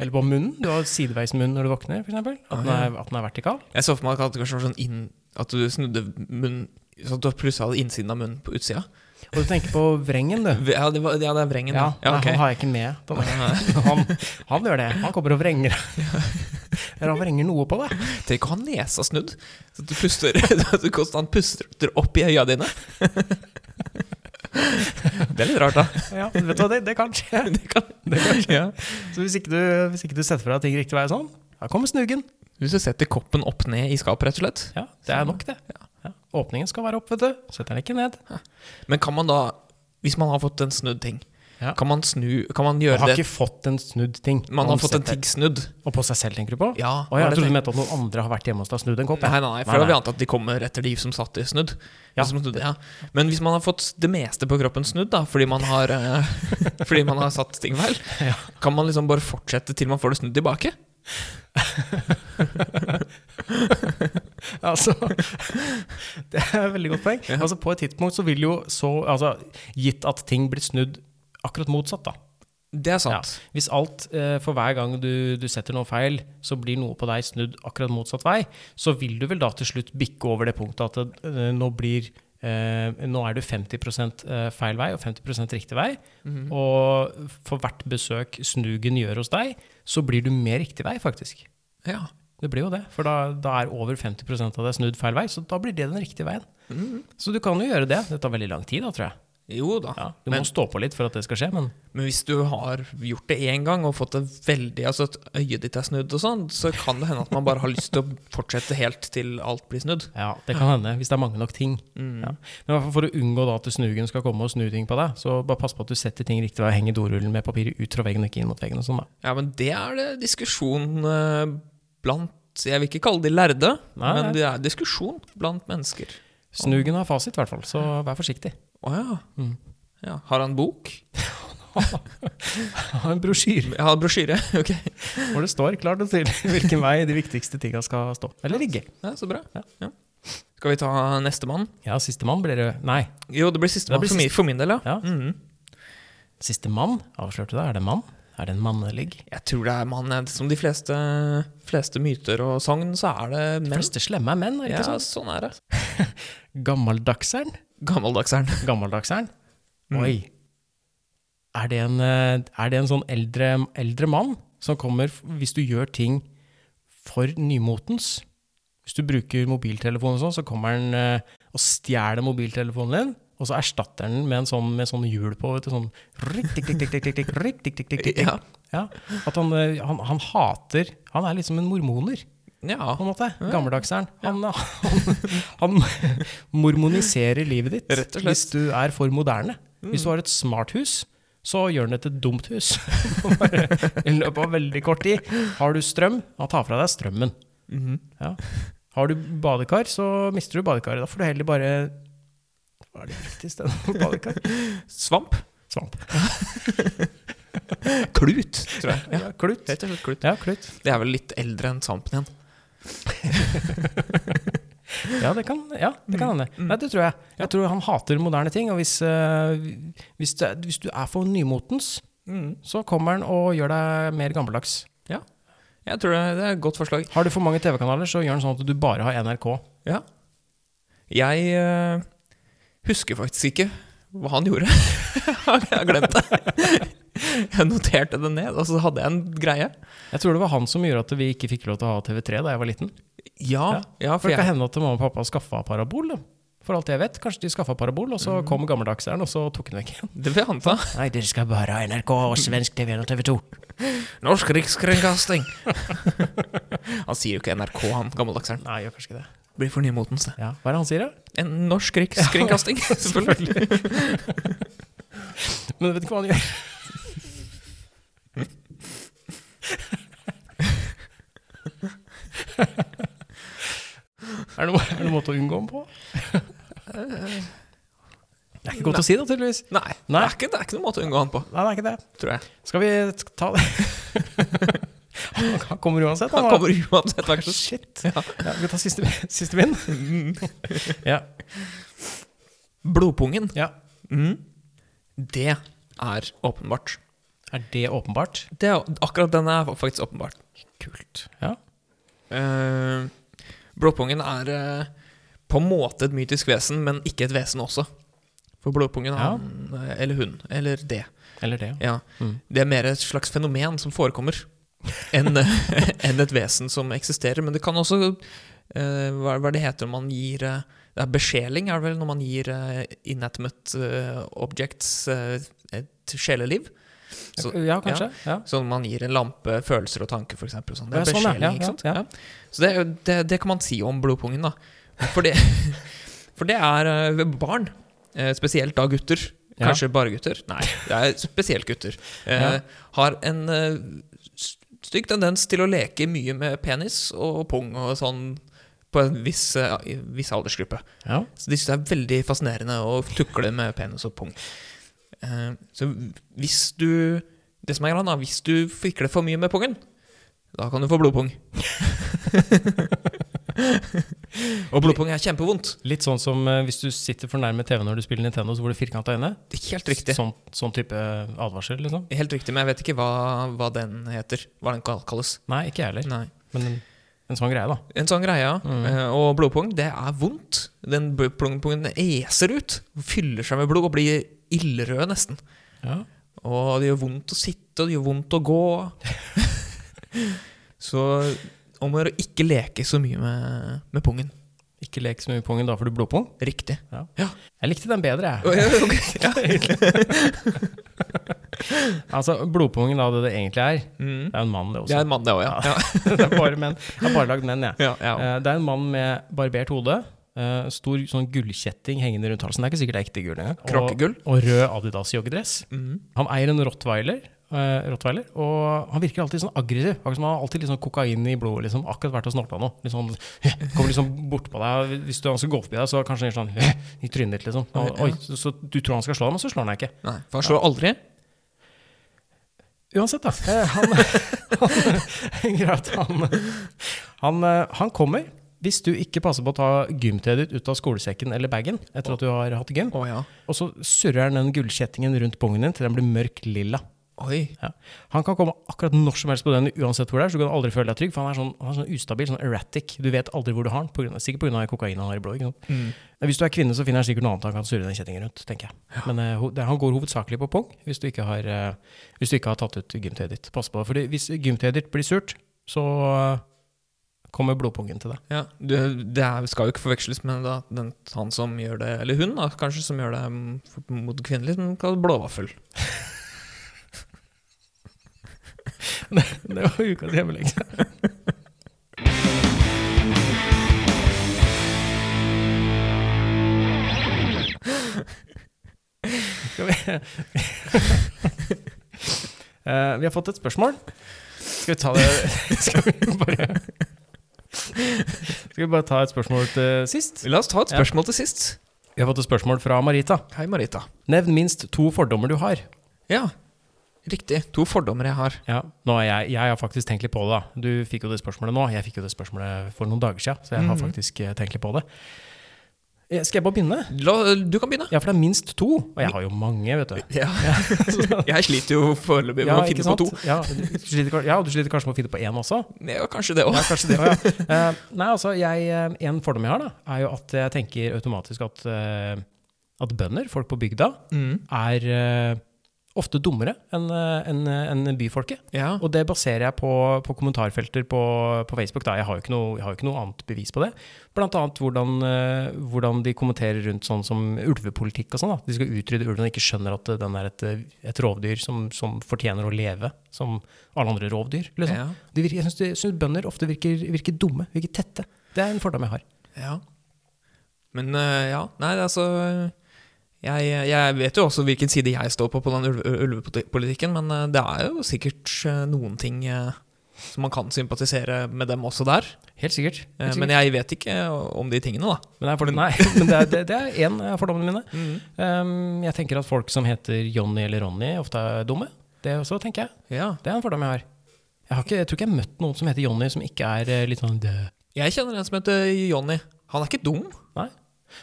S2: Eller på munnen, du har sideveis munn når du våkner for eksempel,
S3: Ah,
S2: at den er, at den er vertikal.
S3: Jeg så for meg at det kanskje var sånn inn, at du snudde munnen Sånn at du plutselig hadde innsiden av munnen på utsida.
S2: Og du tenker på vrengen du.
S3: Ja, det, var, ja, det er vrengen.
S2: Ja, nei,
S3: ok.
S2: han har jeg ikke med. Da- Han, han gjør det, han kommer og vrenger. Eller han vrenger noe på deg.
S3: Tenk å ha nesa snudd, så at du puster at du konstant puster opp i øya dine. Det er litt rart, da.
S2: Ja, vet du hva, det, det kan skje.
S3: Det kan, ja.
S2: Så hvis ikke, du, hvis ikke du setter fra deg ting riktig vei og sånn, da kommer snuggen.
S3: Hvis du setter koppen opp ned i skapet, rett og slett.
S2: Ja, det er nok det. Ja. Åpningen skal være opp, vet du. Setter den ikke ned.
S3: Men kan man da, hvis man har fått en snudd ting,
S2: Ja.
S3: kan man snu Kan man
S2: Man
S3: gjøre
S2: har
S3: det
S2: ikke fått en snudd ting.
S3: Man har
S2: Man
S3: fått en
S2: setter-
S3: ting snudd.
S2: Og på seg selv, tenker du på?
S3: Ja,
S2: Å, jeg
S3: hva er det
S2: trodde du
S3: tenk-
S2: mente at noen andre har vært hjemme hos deg og snudd en kopp.
S3: Nei,
S2: ja.
S3: nei, nei, for da hadde vi antatt at de kommer etter de som satt i snudd.
S2: Ja.
S3: Som snudde, ja. Men hvis man har fått det meste på kroppen snudd, da, fordi man har, eh, fordi man har satt ting feil,
S2: Ja.
S3: kan man liksom bare fortsette til man får det snudd tilbake?
S2: Altså, det er et veldig godt poeng. Altså, på et tidspunkt så vil jo så altså, Gitt at ting blir snudd akkurat motsatt, da.
S3: Det
S2: Ja.
S3: er sant.
S2: Hvis alt eh, for hver gang du, du setter noe feil, så blir noe på deg snudd akkurat motsatt vei, så vil du vel da til slutt bikke over det punktet at eh, nå blir eh, nå er du 50 eh, feil vei og 50 riktig vei. Og for hvert besøk snugen gjør hos deg, så blir du mer riktig vei, faktisk.
S3: Ja.
S2: Det blir jo det, for da, da er over 50 av deg snudd feil vei, så da blir det den riktige veien. Så du kan jo gjøre det. Det tar veldig lang tid, da, tror jeg.
S3: Jo da.
S2: Ja, du
S3: men,
S2: må stå på litt for at det skal skje, men
S3: men hvis du har gjort det én gang og fått det veldig Altså at øyet ditt er snudd og sånn, så kan det hende at man bare har lyst til å fortsette helt til alt blir snudd.
S2: Ja, det kan hende, hvis det er mange nok ting. Ja. Men i hvert fall For å unngå da at snugen skal komme og snu ting på deg, så bare pass på at du setter ting riktig vei og henger dorullen med papiret ut fra veggen og ikke inn mot veggen. og sånn da.
S3: Ja, men det er det diskusjon eh, blant Jeg vil ikke kalle de lærde,
S2: Nei, nei.
S3: men det er diskusjon blant mennesker.
S2: Snugen har fasit, i hvert fall, så vær forsiktig.
S3: Å ja.
S2: Mm.
S3: ja. Har han bok?
S2: Ha en brosjyre
S3: Jeg har brosjyre. ok.
S2: hvor det står klart og tydelig hvilken vei de viktigste tinga skal stå. Eller ligge.
S3: Ja, så bra.
S2: Ja.
S3: Ja. Skal vi ta nestemann?
S2: Ja, sistemann blir det Nei,
S3: Jo, det blir sistemann
S2: Det blir
S3: for, min- for min del, ja.
S2: Ja.
S3: Mhm.
S2: sistemann avslørte deg. Er det mann? Er det en mannelig?
S3: Jeg tror det er mann. ja. Som de fleste, fleste myter og sagn, så er det
S2: De
S3: menn.
S2: fleste slemme er menn, er det
S3: Ja,
S2: ikke sant?
S3: sånn er det.
S2: Gammeldagseren?
S3: Gammeldagseren.
S2: Gammeldagseren? Oi. Er det en, eh, er det en sånn eldre, eldre mann som kommer f- hvis du gjør ting for nymotens? Hvis du bruker mobiltelefon og sånn, så kommer han eh, og stjeler mobiltelefonen din. Og så erstatter den med en sånn med sånn hjul på. Vet du, sånn rikk, tikk, tikk, tikk, tikk, tikk, tikk, rikk, tikk, tikk, tikk, tikk.
S3: Ja.
S2: Ja. At han, eh, han, han hater Han er liksom en mormoner
S3: Ja.
S2: på en måte. Gammeldagseren. Han, han, han mormoniserer livet ditt
S3: Rett og slett. Mm.
S2: hvis du er for moderne. Hvis du har et smart hus, så gjør den det til et dumt hus. Bare I løpet av veldig kort tid. Har du strøm, han tar fra deg strømmen.
S3: Mhm.
S2: ja. Har du badekar, så mister du badekaret. Da får du heller bare Hva er det riktige stedet for badekar?
S3: Svamp.
S2: Svamp.
S3: Klut, tror jeg. Ja,
S2: Ja, klut.
S3: helt og slett klut.
S2: Ja, klut.
S3: Det er vel litt eldre enn Sampen igjen.
S2: Ja, det kan ja, det
S3: Mm.
S2: kan hende. Nei, det tror jeg. Jeg tror han hater moderne ting. Og hvis, eh, hvis, det, hvis du er for nymotens,
S3: Mhm.
S2: så kommer han og gjør deg mer gammeldags.
S3: Jeg tror det, det er et godt forslag.
S2: Har du for mange TV-kanaler, så gjør han sånn at du bare har NRK.
S3: Ja. Jeg eh, husker faktisk ikke hva han gjorde. jeg har glemt det. Jeg noterte det ned, og så hadde jeg en greie.
S2: Jeg tror det var han som gjorde at vi ikke fikk lov til å ha TV3 da jeg var liten.
S3: Ja, ja
S2: For
S3: for
S2: det
S3: jeg
S2: kan hende at mamma og pappa skaffa parabol. da. For alt jeg vet, kanskje de skaffa parabol, og så kom gammeldagseren, og så tok den vekk igjen.
S3: Det vil jeg anta.
S2: Mm. Nei, dere skal bare ha NRK og svensk TV og TV 2.
S3: Norsk rikskringkasting! han sier jo ikke NRK, han gammeldagseren.
S2: Nei, gjør kanskje ikke det.
S3: Blir for nymotens, det.
S2: Ja, Hva er det han sier, da?
S3: En norsk rikskringkasting, selvfølgelig.
S2: Men vet ikke hva han gjør. er, det noe, er det noen måte å unngå ham på? Det er ikke godt å si, da, tydeligvis.
S3: Nei, Det,
S2: Nei.
S3: er ikke, det er ikke noen måte å unngå han på,
S2: Nei, det er ikke det.
S3: tror jeg.
S2: Skal vi t- ta det? Han kommer uansett.
S3: Han
S2: da.
S3: kommer uansett hva som skjer.
S2: Shit. Ja. vi kan ta siste, siste min. ja.
S3: Blodpungen,
S2: ja.
S3: Mm. det er åpenbart.
S2: Er det åpenbart?
S3: Det er, akkurat den er faktisk åpenbart.
S2: Kult. Ja.
S3: Eh, blodpungen er eh, på en måte et mytisk vesen, men ikke et vesen også. For blodpungen,
S2: Ja.
S3: han, eh, eller hun, eller det.
S2: Eller det, ja.
S3: Ja.
S2: Mm.
S3: Det er mer et slags fenomen som forekommer, enn enn et vesen som eksisterer. Men det kan også eh, hva, hva det heter når man gir eh, det er Besjeling er det vel når man gir eh, inanimate eh, objects eh, et sjeleliv. Så-
S2: ja, kanskje. Ja.
S3: Sånn man gir en lampe følelser og tanker, f.eks. Sånn.
S2: Ja,
S3: Det er
S2: sånn, ja.
S3: besjeling,
S2: Ja, ja,
S3: ikke sant?
S2: ja.
S3: Ja. Så det, er jo- det, det kan man si om blodpungen, da. For det, for det er eh, ved barn, eh, spesielt da gutter,
S2: Ja.
S3: kanskje bare gutter, nei, det er spesielt gutter, eh,
S2: Ja.
S3: har en eh, s- stygg tendens til å leke mye med penis og pung og sånn på en viss, eh, i- viss aldersgruppe.
S2: Ja.
S3: Så de syns det er veldig fascinerende å tukle med penis og pung. Eh, så hvis du Det som er greia, da, hvis du fikler for mye med pungen, da kan du få blodpung. og blodpung er kjempevondt.
S2: Litt sånn som eh, hvis du sitter for nærme TV når du spiller Nintendo, så får du firkanta øyne.
S3: Det er helt riktig.
S2: Sånn, sånn type advarsel, liksom.
S3: Helt riktig, Men jeg vet ikke hva, hva den heter. Hva den kall- kalles.
S2: Nei, ikke jeg heller.
S3: Nei.
S2: Men en, en sånn greie, da.
S3: En sånn greie. ja. Eh, og blodpung, det er vondt. Den bl- blodpungen eser ut. Fyller seg med blod og blir ildrød nesten.
S2: Ja.
S3: Og det gjør vondt å sitte, og det gjør vondt å gå. så om å gjøre å ikke leke så mye med, med pungen.
S2: Ikke lek så mye pungen, da får du blodpung.
S3: Riktig.
S2: Ja.
S3: Ja.
S2: Jeg likte den bedre, jeg.
S3: ja.
S2: Altså, blodpungen, da, det det egentlig er
S3: Mm.
S2: Det er jo en mann, det
S3: Øh. Det er
S2: også.
S3: en mann, det òg, ja.
S2: det er bare menn. Jeg har bare lagd menn, jeg.
S3: ja. ja, ja.
S2: Eh, Det er en mann med barbert hode. eh, Stor sånn gullkjetting hengende rundt halsen. Det er ikke sikkert det er ekte gull engang.
S3: Krakkegull.
S2: Og, og rød Adidas joggedress.
S3: Mm.
S2: Han eier en rottweiler, eh, rottweiler, og han virker alltid sånn aggressiv. Akkurat som han har alltid litt sånn kokain i blodet. Liksom. Akkurat vært og snorta noe. Litt sånn, kommer liksom bortpå deg. Hvis du han skal gå forbi deg, så kanskje han gjør sånn i trynet ditt, liksom. Og, oi, så, så du tror han skal slå deg, men så slår han deg ikke.
S3: Nei, for han slår aldri.
S2: Uansett, da. eh, Han, han, greit, han, han, eh, han kommer. Hvis du ikke passer på å ta gymtøyet ditt ut av skolesekken eller bagen etter at du har hatt gym,
S3: Å ja.
S2: og så surrer han den gullkjettingen rundt pungen din til den blir mørk lilla.
S3: Oi.
S2: Ja. Han kan komme akkurat når som helst på den uansett hvor det er, så du kan aldri føle deg trygg, for han er sånn, han er sånn ustabil, sånn erratic. Du vet aldri hvor du har han, på grunn av, sikkert pga. kokain han har i blodet. ikke sant?
S3: Mm.
S2: Men Hvis du er kvinne, så finner han sikkert noe annet han kan surre den kjettingen rundt, tenker jeg. Men eh, ho- det, han går hovedsakelig på pung hvis du ikke har, eh, hvis du ikke har tatt ut gymtøyet ditt. Pass på, for hvis gymtøyet ditt blir surt, så eh, kommer blodpungen til deg.
S3: Ja, du, det er, skal jo ikke forveksles med da, den, han som gjør det, eller hun da, kanskje, som gjør det mm, for- mot kvinnelig, men kall det blåvaffel.
S2: Det var ukas hjemmelekse. Skal vi Eh, Vi har fått et spørsmål. Skal vi ta det Skal vi bare Skal vi bare ta et spørsmål til sist?
S3: La oss ta et spørsmål til sist.
S2: Vi har fått et spørsmål fra Marita.
S3: Hei, Marita.
S2: Nevn minst to fordommer du har.
S3: Ja. Riktig. To fordommer jeg har.
S2: Ja, nå har jeg, jeg har faktisk tenkt litt på det. da. Du fikk jo det spørsmålet nå. Jeg fikk jo det spørsmålet for noen dager siden, så jeg
S3: Mhm.
S2: har faktisk eh, tenkt litt på det. Eh, Skal jeg bare begynne?
S3: La, du kan begynne.
S2: Ja, for det er minst to. Og jeg har jo mange, vet du.
S3: Ja. jeg sliter jo foreløpig med
S2: Ja,
S3: å
S2: ikke
S3: finne på
S2: sant?
S3: to.
S2: Ja, du sliter, kan- ja, du sliter kanskje med å finne på én også?
S3: Ja, kanskje det òg.
S2: Ja, kanskje det også, ja. Eh, nei, altså, jeg, eh, en fordom jeg har, da, er jo at jeg tenker automatisk at, eh, at bønder, folk på bygda,
S3: Mm.
S2: er eh, ofte dummere enn eh, enn, eh, enn byfolket.
S3: Ja.
S2: Og det baserer jeg på, på kommentarfelter på, på Facebook. Da. Jeg, har jo ikke noe, jeg har jo ikke noe annet bevis på det. Blant annet hvordan, eh, hvordan de kommenterer rundt sånn som ulvepolitikk og sånn. da. De skal utrydde ulven og ikke skjønner at eh, den er et, eh, et rovdyr som, som fortjener å leve som alle andre rovdyr. Liksom.
S3: Ja.
S2: De virker, jeg syns- jeg syns bønder ofte virker, virker dumme, virker tette. Det er en fordom jeg har.
S3: Ja. Men eh, ja, nei, det er altså jeg, jeg vet jo også hvilken side jeg står på på den ulve- ulvepolitikken, men eh, det er jo sikkert eh, noen ting eh, som man kan sympatisere med dem også der.
S2: Helt sikkert.
S3: Eh, Men jeg vet ikke om de tingene, da.
S2: Men det er, for, nei, men det er, det, det er en av fordommene mine.
S3: Mm.
S2: Um, jeg tenker at folk som heter Johnny eller Ronny, ofte er dumme. Det også, tenker jeg.
S3: Ja.
S2: Det er en fordom jeg har. Jeg, har ikke, jeg tror ikke jeg har møtt noen som heter Johnny, som ikke er eh, litt sånn død.
S3: Jeg kjenner en som heter Jonny. Han er ikke dum.
S2: Nei.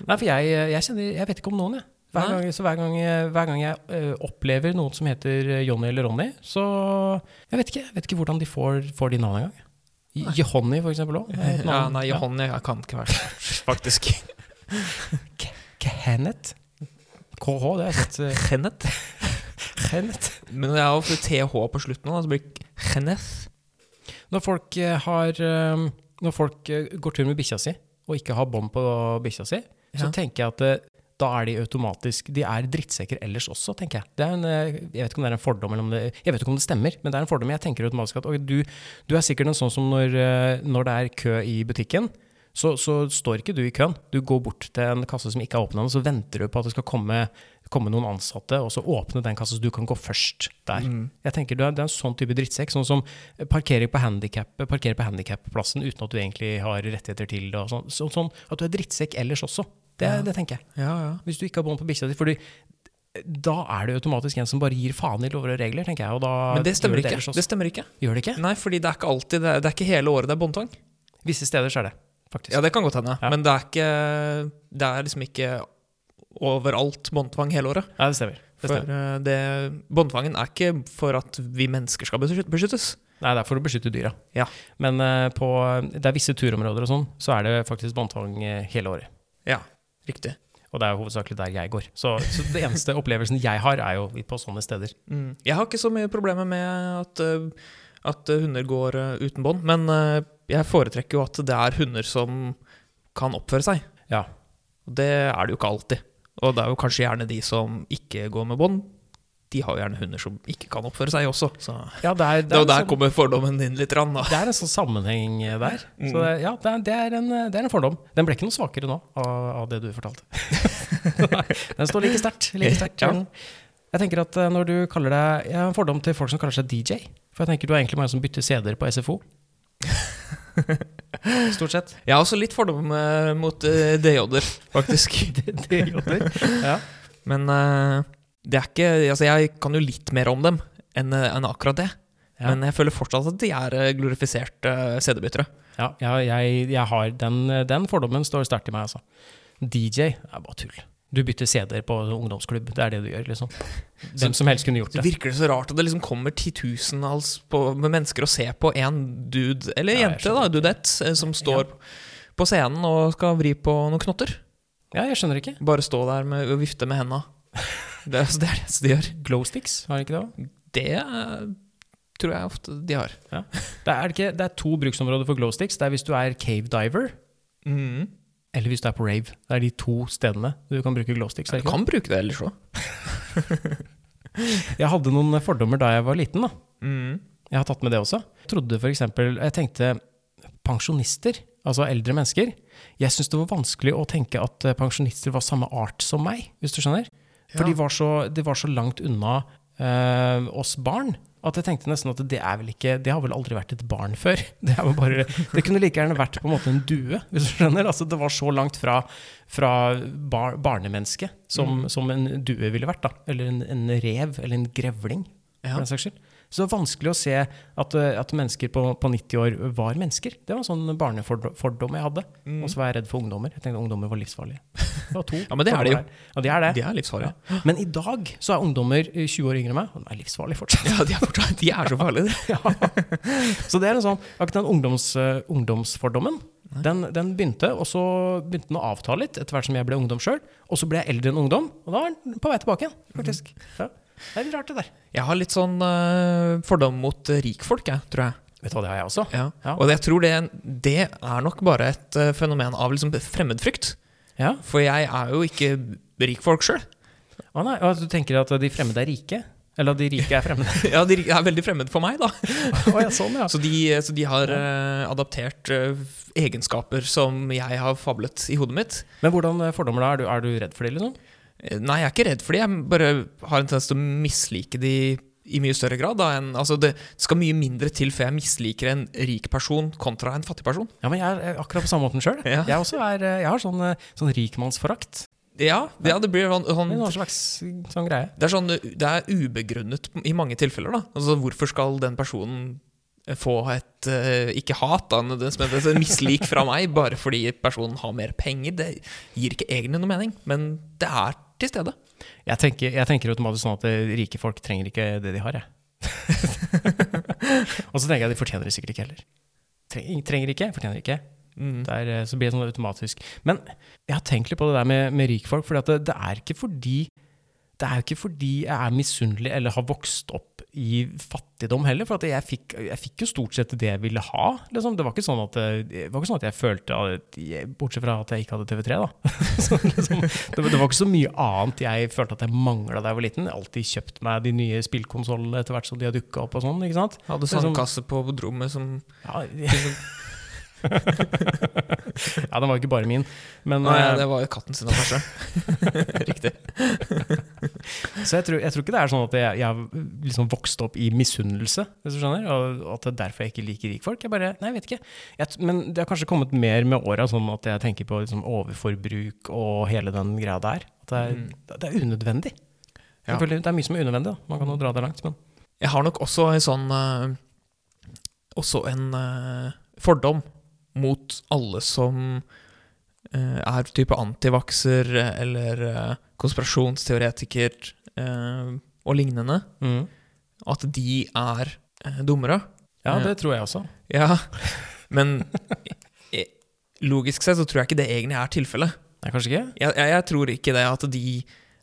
S2: Nei, for jeg, eh, jeg, kjenner, jeg vet ikke om noen, jeg. Hver
S3: Nei.
S2: gang, så hver gang, jeg- hver gang jeg eh, opplever noen som heter eh, Johnny eller Ronny, så Jeg vet ikke, jeg vet ikke hvordan de får, får de navnene engang. Johnny, for eksempel òg.
S3: Ja, nei, Johnny jeg kan ikke være faktisk.
S2: Kenneth. KH, det har jeg sett. eh,
S3: Kenneth.
S2: Kenneth.
S3: Men det er jo for TH på slutten, da, så blir det Kenneth.
S2: Når folk, eh, har, eh, når folk eh, går tur med bikkja si, og ikke har bånd på bikkja si, så
S3: Ja.
S2: tenker jeg at eh, da er de automatisk De er drittsekker ellers også, tenker jeg. Det er en, eh, jeg vet ikke om det er en fordom, eller om det, jeg vet ikke om det stemmer, men det er en fordom. Jeg tenker automatisk at «Oi, du, du er sikkert en sånn som når, eh, når det er kø i butikken. Så, så står ikke du i køen. Du går bort til en kasse som ikke er åpna, og så venter du på at det skal komme, komme noen ansatte, og så åpne den kassa, så du kan gå først der. Jeg tenker du er, Det er en sånn type drittsekk. Sånn som parkering på handicap- parkere på handikapplassen uten at du egentlig har rettigheter til det. Og sånn, sånn, sånn at du er drittsekk ellers også. Det, det tenker jeg.
S3: Ja, ja.
S2: Hvis du ikke har bånd på bikkja di. Fordi da er det automatisk en som bare gir faen i lover og regler, tenker jeg. Og da
S3: Men det stemmer
S2: gjør
S3: ikke.
S2: ellers også.
S3: Det sånn. stemmer ikke.
S2: Gjør det ikke?
S3: Nei, fordi det er ikke alltid Det er, det er ikke hele året det er båndtvang.
S2: Visse steder så er det, faktisk.
S3: Ja, det kan godt hende.
S2: Ja.
S3: Men det er ikke Det er liksom ikke overalt båndtvang hele året.
S2: Nei, det stemmer. Det
S3: For
S2: stemmer.
S3: eh, det Båndtvangen er ikke for at vi mennesker skal beskyt- beskyttes.
S2: Nei, det er for å beskytte dyra.
S3: Ja.
S2: Men eh, på, det er visse turområder og sånn, så er det faktisk båndtvang eh, hele året.
S3: Ja, riktig.
S2: Og det er jo hovedsakelig der jeg går. Så, så det eneste opplevelsen jeg har, er jo på sånne steder.
S3: Mm. Jeg har ikke så mye problemer med at, eh, at eh, hunder går eh, uten bånd, men eh, jeg foretrekker jo at det er hunder som kan oppføre seg.
S2: Ja.
S3: Og det er det jo ikke alltid. Og det er jo kanskje gjerne de som ikke går med bånd. De har jo gjerne hunder som ikke kan oppføre seg også. Så.
S2: Ja, det er,
S3: Det er jo
S2: en
S3: der
S2: sånn,
S3: kommer fordommen din litt. Rann, da.
S2: det er en sånn sammenheng eh, der. Så det, ja, det er, det, er en, eh, det er en fordom. Den ble ikke noe svakere nå av, av det du fortalte. Den står like sterkt. Like sterkt.
S3: Ja.
S2: Men Jeg tenker at eh, når du kaller deg Jeg har en fordom til folk som kaller seg DJ. For jeg tenker du er egentlig mange som bytter CD-er på SFO. Stort sett.
S3: Jeg har også litt fordom eh, mot eh, DJ-er, faktisk.
S2: DJ-er. Ja.
S3: Men eh, det er ikke Altså, jeg kan jo litt mer om dem enn eh, enn akkurat det.
S2: Ja.
S3: Men jeg føler fortsatt at de er eh, glorifiserte eh, CD-byttere.
S2: Ja, jeg, jeg, jeg har den, den fordommen står sterkt i meg, altså. DJ er bare tull. Du bytter CD-er på ungdomsklubb, det er det du gjør, liksom. Hvem som helst kunne gjort
S3: Så
S2: det.
S3: virker det så rart at det liksom kommer titusenalls på- med mennesker og ser på én dude, eller
S2: Ja, jeg
S3: jente, da, dudette, eh, som står på scenen og skal vri på noen knotter.
S2: Ja, jeg skjønner ikke.
S3: Bare stå der med, og vifte med henda. Det, er- altså, det er det eneste de gjør.
S2: Glowsticks, har de ikke det òg?
S3: Det eh, tror jeg ofte de har.
S2: Det, er ikke- det er to bruksområder for glowsticks. Det er hvis du er cave diver,
S3: Mm.
S2: eller hvis du er på rave. Det er de to stedene du kan bruke glowsticks. er det
S3: Du
S2: ikke
S3: kan bruke det ellers òg.
S2: det? Jeg hadde noen fordommer da jeg var liten, da.
S3: Mm.
S2: Jeg har tatt med det også. Jeg trodde for eksempel, jeg tenkte pensjonister, altså eldre mennesker. Jeg syntes det var vanskelig å tenke at eh, pensjonister var samme art som meg, hvis du skjønner. For
S3: Ja.
S2: de var så, de var så langt unna eh, oss barn. At jeg tenkte nesten at det er vel ikke Det har vel aldri vært et barn før. Det, er vel bare, det kunne like gjerne vært på en måte en due, hvis du skjønner. Altså, det var så langt fra, fra
S3: Mm.
S2: bar, barnemennesket som, som en due ville vært. Da. Eller en, en rev, eller en grevling.
S3: Ja.
S2: for den saks skyld. Så det var vanskelig å se at, eh, at mennesker på, på 90 år var mennesker. Det var en sånn barnefordom jeg hadde. Og så var jeg redd for ungdommer. Jeg tenkte ungdommer var livsfarlige. Det var to
S3: Mm. Ja, men det er de jo.
S2: fordommer her. Ja, de er det.
S3: De er livsfarlige.
S2: Ja. Men i dag så er ungdommer eh, 20 år yngre enn meg, og de er livsfarlige fortsatt.
S3: Ja, de er, fortsatt, de er så farlige, de.
S2: Ja. Så det er en sånn, akkurat den ungdoms, eh, ungdomsfordommen, den, den begynte, og så begynte den å avta litt etter hvert som jeg ble ungdom sjøl. Og så ble jeg eldre enn ungdom, og da var den på vei tilbake igjen, faktisk. Ja. Det er litt rart, det der.
S3: Jeg har litt sånn eh, fordom mot eh, rikfolk, jeg, tror jeg.
S2: Vet du hva, det har jeg også.
S3: Ja.
S2: Ja.
S3: Og jeg tror det, det er nok bare et eh, fenomen av liksom fremmedfrykt.
S2: Ja.
S3: For jeg er jo ikke rikfolk sjøl.
S2: Å nei, og du tenker at de fremmede er rike? Eller at de rike er fremmede?
S3: Ja, de er veldig fremmed for meg, da.
S2: Å ja, sånn, ja.
S3: Så de, så de har eh, adaptert eh, egenskaper som jeg har fablet i hodet mitt.
S2: Men hvordan eh, fordommer da? Er du, er du redd for de, liksom?
S3: Eh, Nei, jeg er ikke redd for de. Jeg bare har en tendens til å mislike de i mye større grad. Da, enn, altså det skal mye mindre til før jeg misliker en rik person kontra en fattig person.
S2: Ja, men jeg er eh, akkurat på samme måten sjøl.
S3: Ja.
S2: Jeg, også er, eh, jeg har sånn, eh, sånn rikmannsforakt.
S3: Ja, det, ja, det blir sånn,
S2: Det
S3: sånn
S2: er noen slags sånn greie.
S3: Det er, sånn, det er ubegrunnet i mange tilfeller. Da. Altså, hvorfor skal den personen få et eh, ikke hat, da, men et mislik fra meg, bare fordi personen har mer penger? Det gir ikke egentlig noe mening, men det er til stede.
S2: Jeg tenker, jeg tenker automatisk sånn at eh, rike folk trenger ikke det de har, jeg. og så tenker jeg de fortjener det sikkert ikke heller. Trenger, trenger ikke, fortjener ikke. Det er, eh, så blir det sånn automatisk. Men jeg har tenkt litt på det der med, med rikfolk, for det, det er ikke fordi det er jo ikke fordi jeg er misunnelig eller har vokst opp i fattigdom heller. For at jeg, fikk, jeg fikk jo stort sett det jeg ville ha. Liksom. Det, var ikke sånn at, eh, det var ikke sånn at jeg følte at jeg, Bortsett fra at jeg ikke hadde TV3, da. Så liksom, det, var- det var ikke så mye annet jeg følte at jeg mangla da jeg var liten. Jeg har alltid kjøpt meg de nye spillkonsollene etter hvert som de har dukka opp og sånn. ikke sant?
S3: Hadde
S2: Det er som-
S3: sandkasse på rommet som
S2: Ja, ja, den var ikke bare min. Men,
S3: Nei,
S2: eh,
S3: det var jo katten sin, da, kanskje. Riktig.
S2: Så jeg tror, jeg tror ikke det er sånn at jeg, jeg har liksom vokst opp i misunnelse, hvis du skjønner, og og at det er derfor jeg ikke liker rikfolk. Jeg bare, nei, jeg vet ikke. Jeg, t- men det har kanskje kommet mer med åra, sånn at jeg tenker på liksom, overforbruk og hele den greia der. At det er, det er unødvendig.
S3: Mm. Ja.
S2: Selvfølgelig, Det er mye som er unødvendig, da. Man kan jo dra det langt, men
S3: Jeg har nok også en sånn eh, Også en eh, fordom mot alle som eh, er type antivakser eh, eller eh, konspirasjonsteoretiker eh, og lignende.
S2: Mm.
S3: At de er eh, dummere.
S2: Ja, det tror jeg også.
S3: Ja, men eh, logisk sett så tror jeg ikke det egentlig er tilfellet.
S2: Nei, kanskje ikke?
S3: Jeg, jeg, jeg tror ikke det at de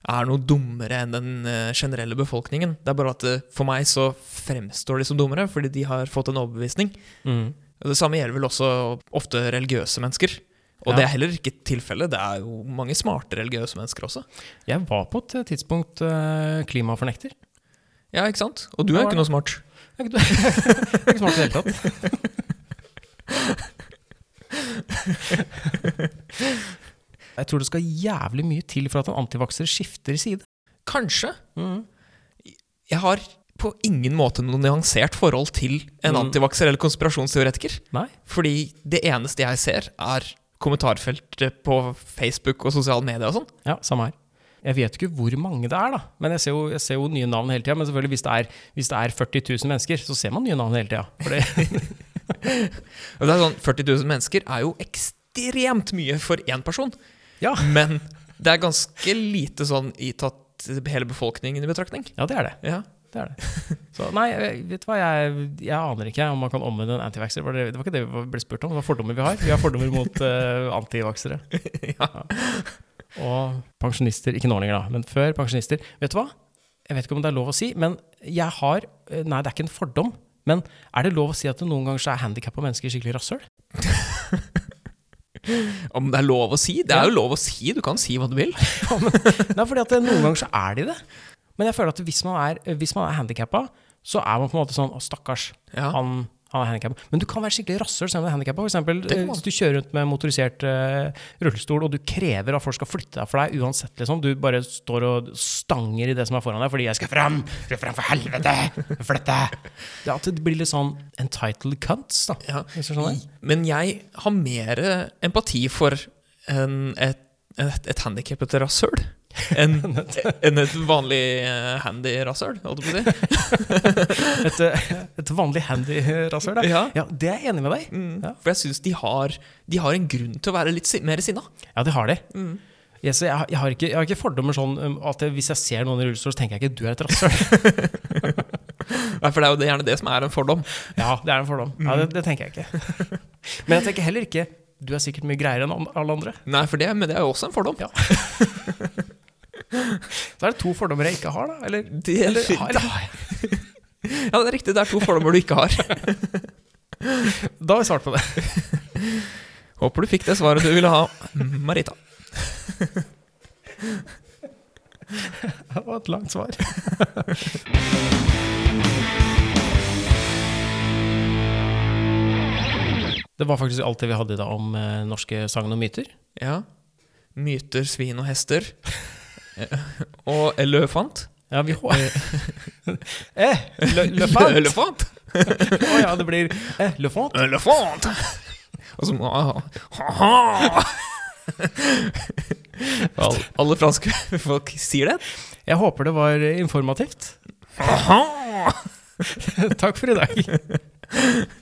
S3: er noe dummere enn den eh, generelle befolkningen. Det er bare at eh, for meg så fremstår de som dummere, fordi de har fått en overbevisning.
S2: Mm.
S3: Og Det samme gjelder vel også ofte religiøse mennesker. Og
S2: Ja.
S3: det er heller ikke tilfellet. Det er jo mange smarte religiøse mennesker også.
S2: Jeg var på et tidspunkt eh, klimafornekter.
S3: Ja, ikke sant? Og du er
S2: Ja,
S3: jo
S2: var
S3: ikke noe smart.
S2: Jeg er ikke, jeg er ikke smart i det hele tatt. Jeg tror det skal jævlig mye til for at en antivakser skifter side.
S3: Kanskje.
S2: Mm.
S3: Jeg har på ingen måte noe nyansert forhold til en
S2: Mm.
S3: antivakser eller konspirasjonsteoretiker.
S2: Nei.
S3: Fordi det eneste jeg ser, er kommentarfeltet på Facebook og sosiale medier og sånn.
S2: Ja, samme her. Jeg vet ikke hvor mange det er, da. Men jeg ser jo, jeg ser jo nye navn hele tida. Men selvfølgelig, hvis det, er, hvis det er 40 000 mennesker, så ser man nye navn hele tida. For det,
S3: Og det er sånn, 40 000 mennesker er jo ekstremt mye for én person.
S2: ja.
S3: Men det er ganske lite sånn i tatt hele befolkningen i betraktning.
S2: ja, det er det.
S3: Ja.
S2: det, er det. Så, nei, vet du hva, jeg, jeg aner ikke om man kan omvende en antivaxer. Det, det var ikke det vi ble spurt om, det var fordommer vi har. Vi har fordommer mot uh, antivaksere. Ja. Og pensjonister, ikke nå lenger da, men før pensjonister. Vet du hva? Jeg vet ikke om det er lov å si, men jeg har eh, Nei, det er ikke en fordom, men er det lov å si at det noen ganger så er handikappa mennesker skikkelig rasshøl?
S3: Om det er lov å si? Det er jo lov å si, du kan si hva du vil.
S2: Ja, men, nei, fordi at det, noen ganger så er de det. Men jeg føler at hvis man er, hvis man er handikappa, så er man på en måte sånn Å, stakkars.
S3: Ja.
S2: Han, han er handikappa. Men du kan være skikkelig rasshøl selv om du er handikappa.
S3: Det kan man.
S2: eh, Hvis du kjører rundt med motorisert eh, rullestol, og du krever at folk skal flytte deg for deg uansett, liksom. Du bare står og stanger i det som er foran deg fordi 'jeg skal fram', jeg skal fram for helvete, flytt deg. Det, at det blir litt sånn entitled cunts, da.
S3: Ja.
S2: Hvis du skjønner?
S3: Men jeg har mer empati for en, et et, et handikappet rasshøl enn enn et vanlig eh, handy rasshøl, holdt jeg på å si.
S2: Et, eh, et vanlig handy eh, rasshøl, da.
S3: Ja.
S2: Ja, det er jeg enig med deg
S3: Mm.
S2: Ja.
S3: For jeg syns de, har- de har en grunn til å være litt si mer sinna.
S2: Ja, det har de.
S3: Mm.
S2: Jeg, så jeg, har- jeg, har ikke, jeg har ikke fordommer sånn um, at jeg, hvis jeg ser noen i rullestol, så tenker jeg ikke du er et rasshøl.
S3: Nei, For det er jo det- gjerne det som er en fordom.
S2: Ja, det er en fordom. Ja, det, det tenker jeg ikke. Men jeg tenker heller ikke du er sikkert mye greiere enn an- alle andre.
S3: Nei, for det, men det er jo også en fordom.
S2: Ja. Så er det to fordommer jeg ikke har, da. Eller,
S3: Det,
S2: eller, har- eller har jeg?
S3: ja, det er riktig. Det er to fordommer du ikke har.
S2: Da har vi svart på det.
S3: Håper du fikk det svaret du ville ha, Marita.
S2: Det var et langt svar. Det var faktisk alt det vi hadde i dag om eh, norske sagn og myter.
S3: Ja. Myter, svin og hester. Eh, og elefant.
S2: Ja, vi hå- eh, le, Lefant!
S3: Elefant!
S2: Å ja, det blir eh, Lefant.
S3: Elefant! Og så må ha-ha! Alle, alle franske folk sier det.
S2: Jeg håper det var informativt.
S3: Ha-ha!
S2: Takk for i dag.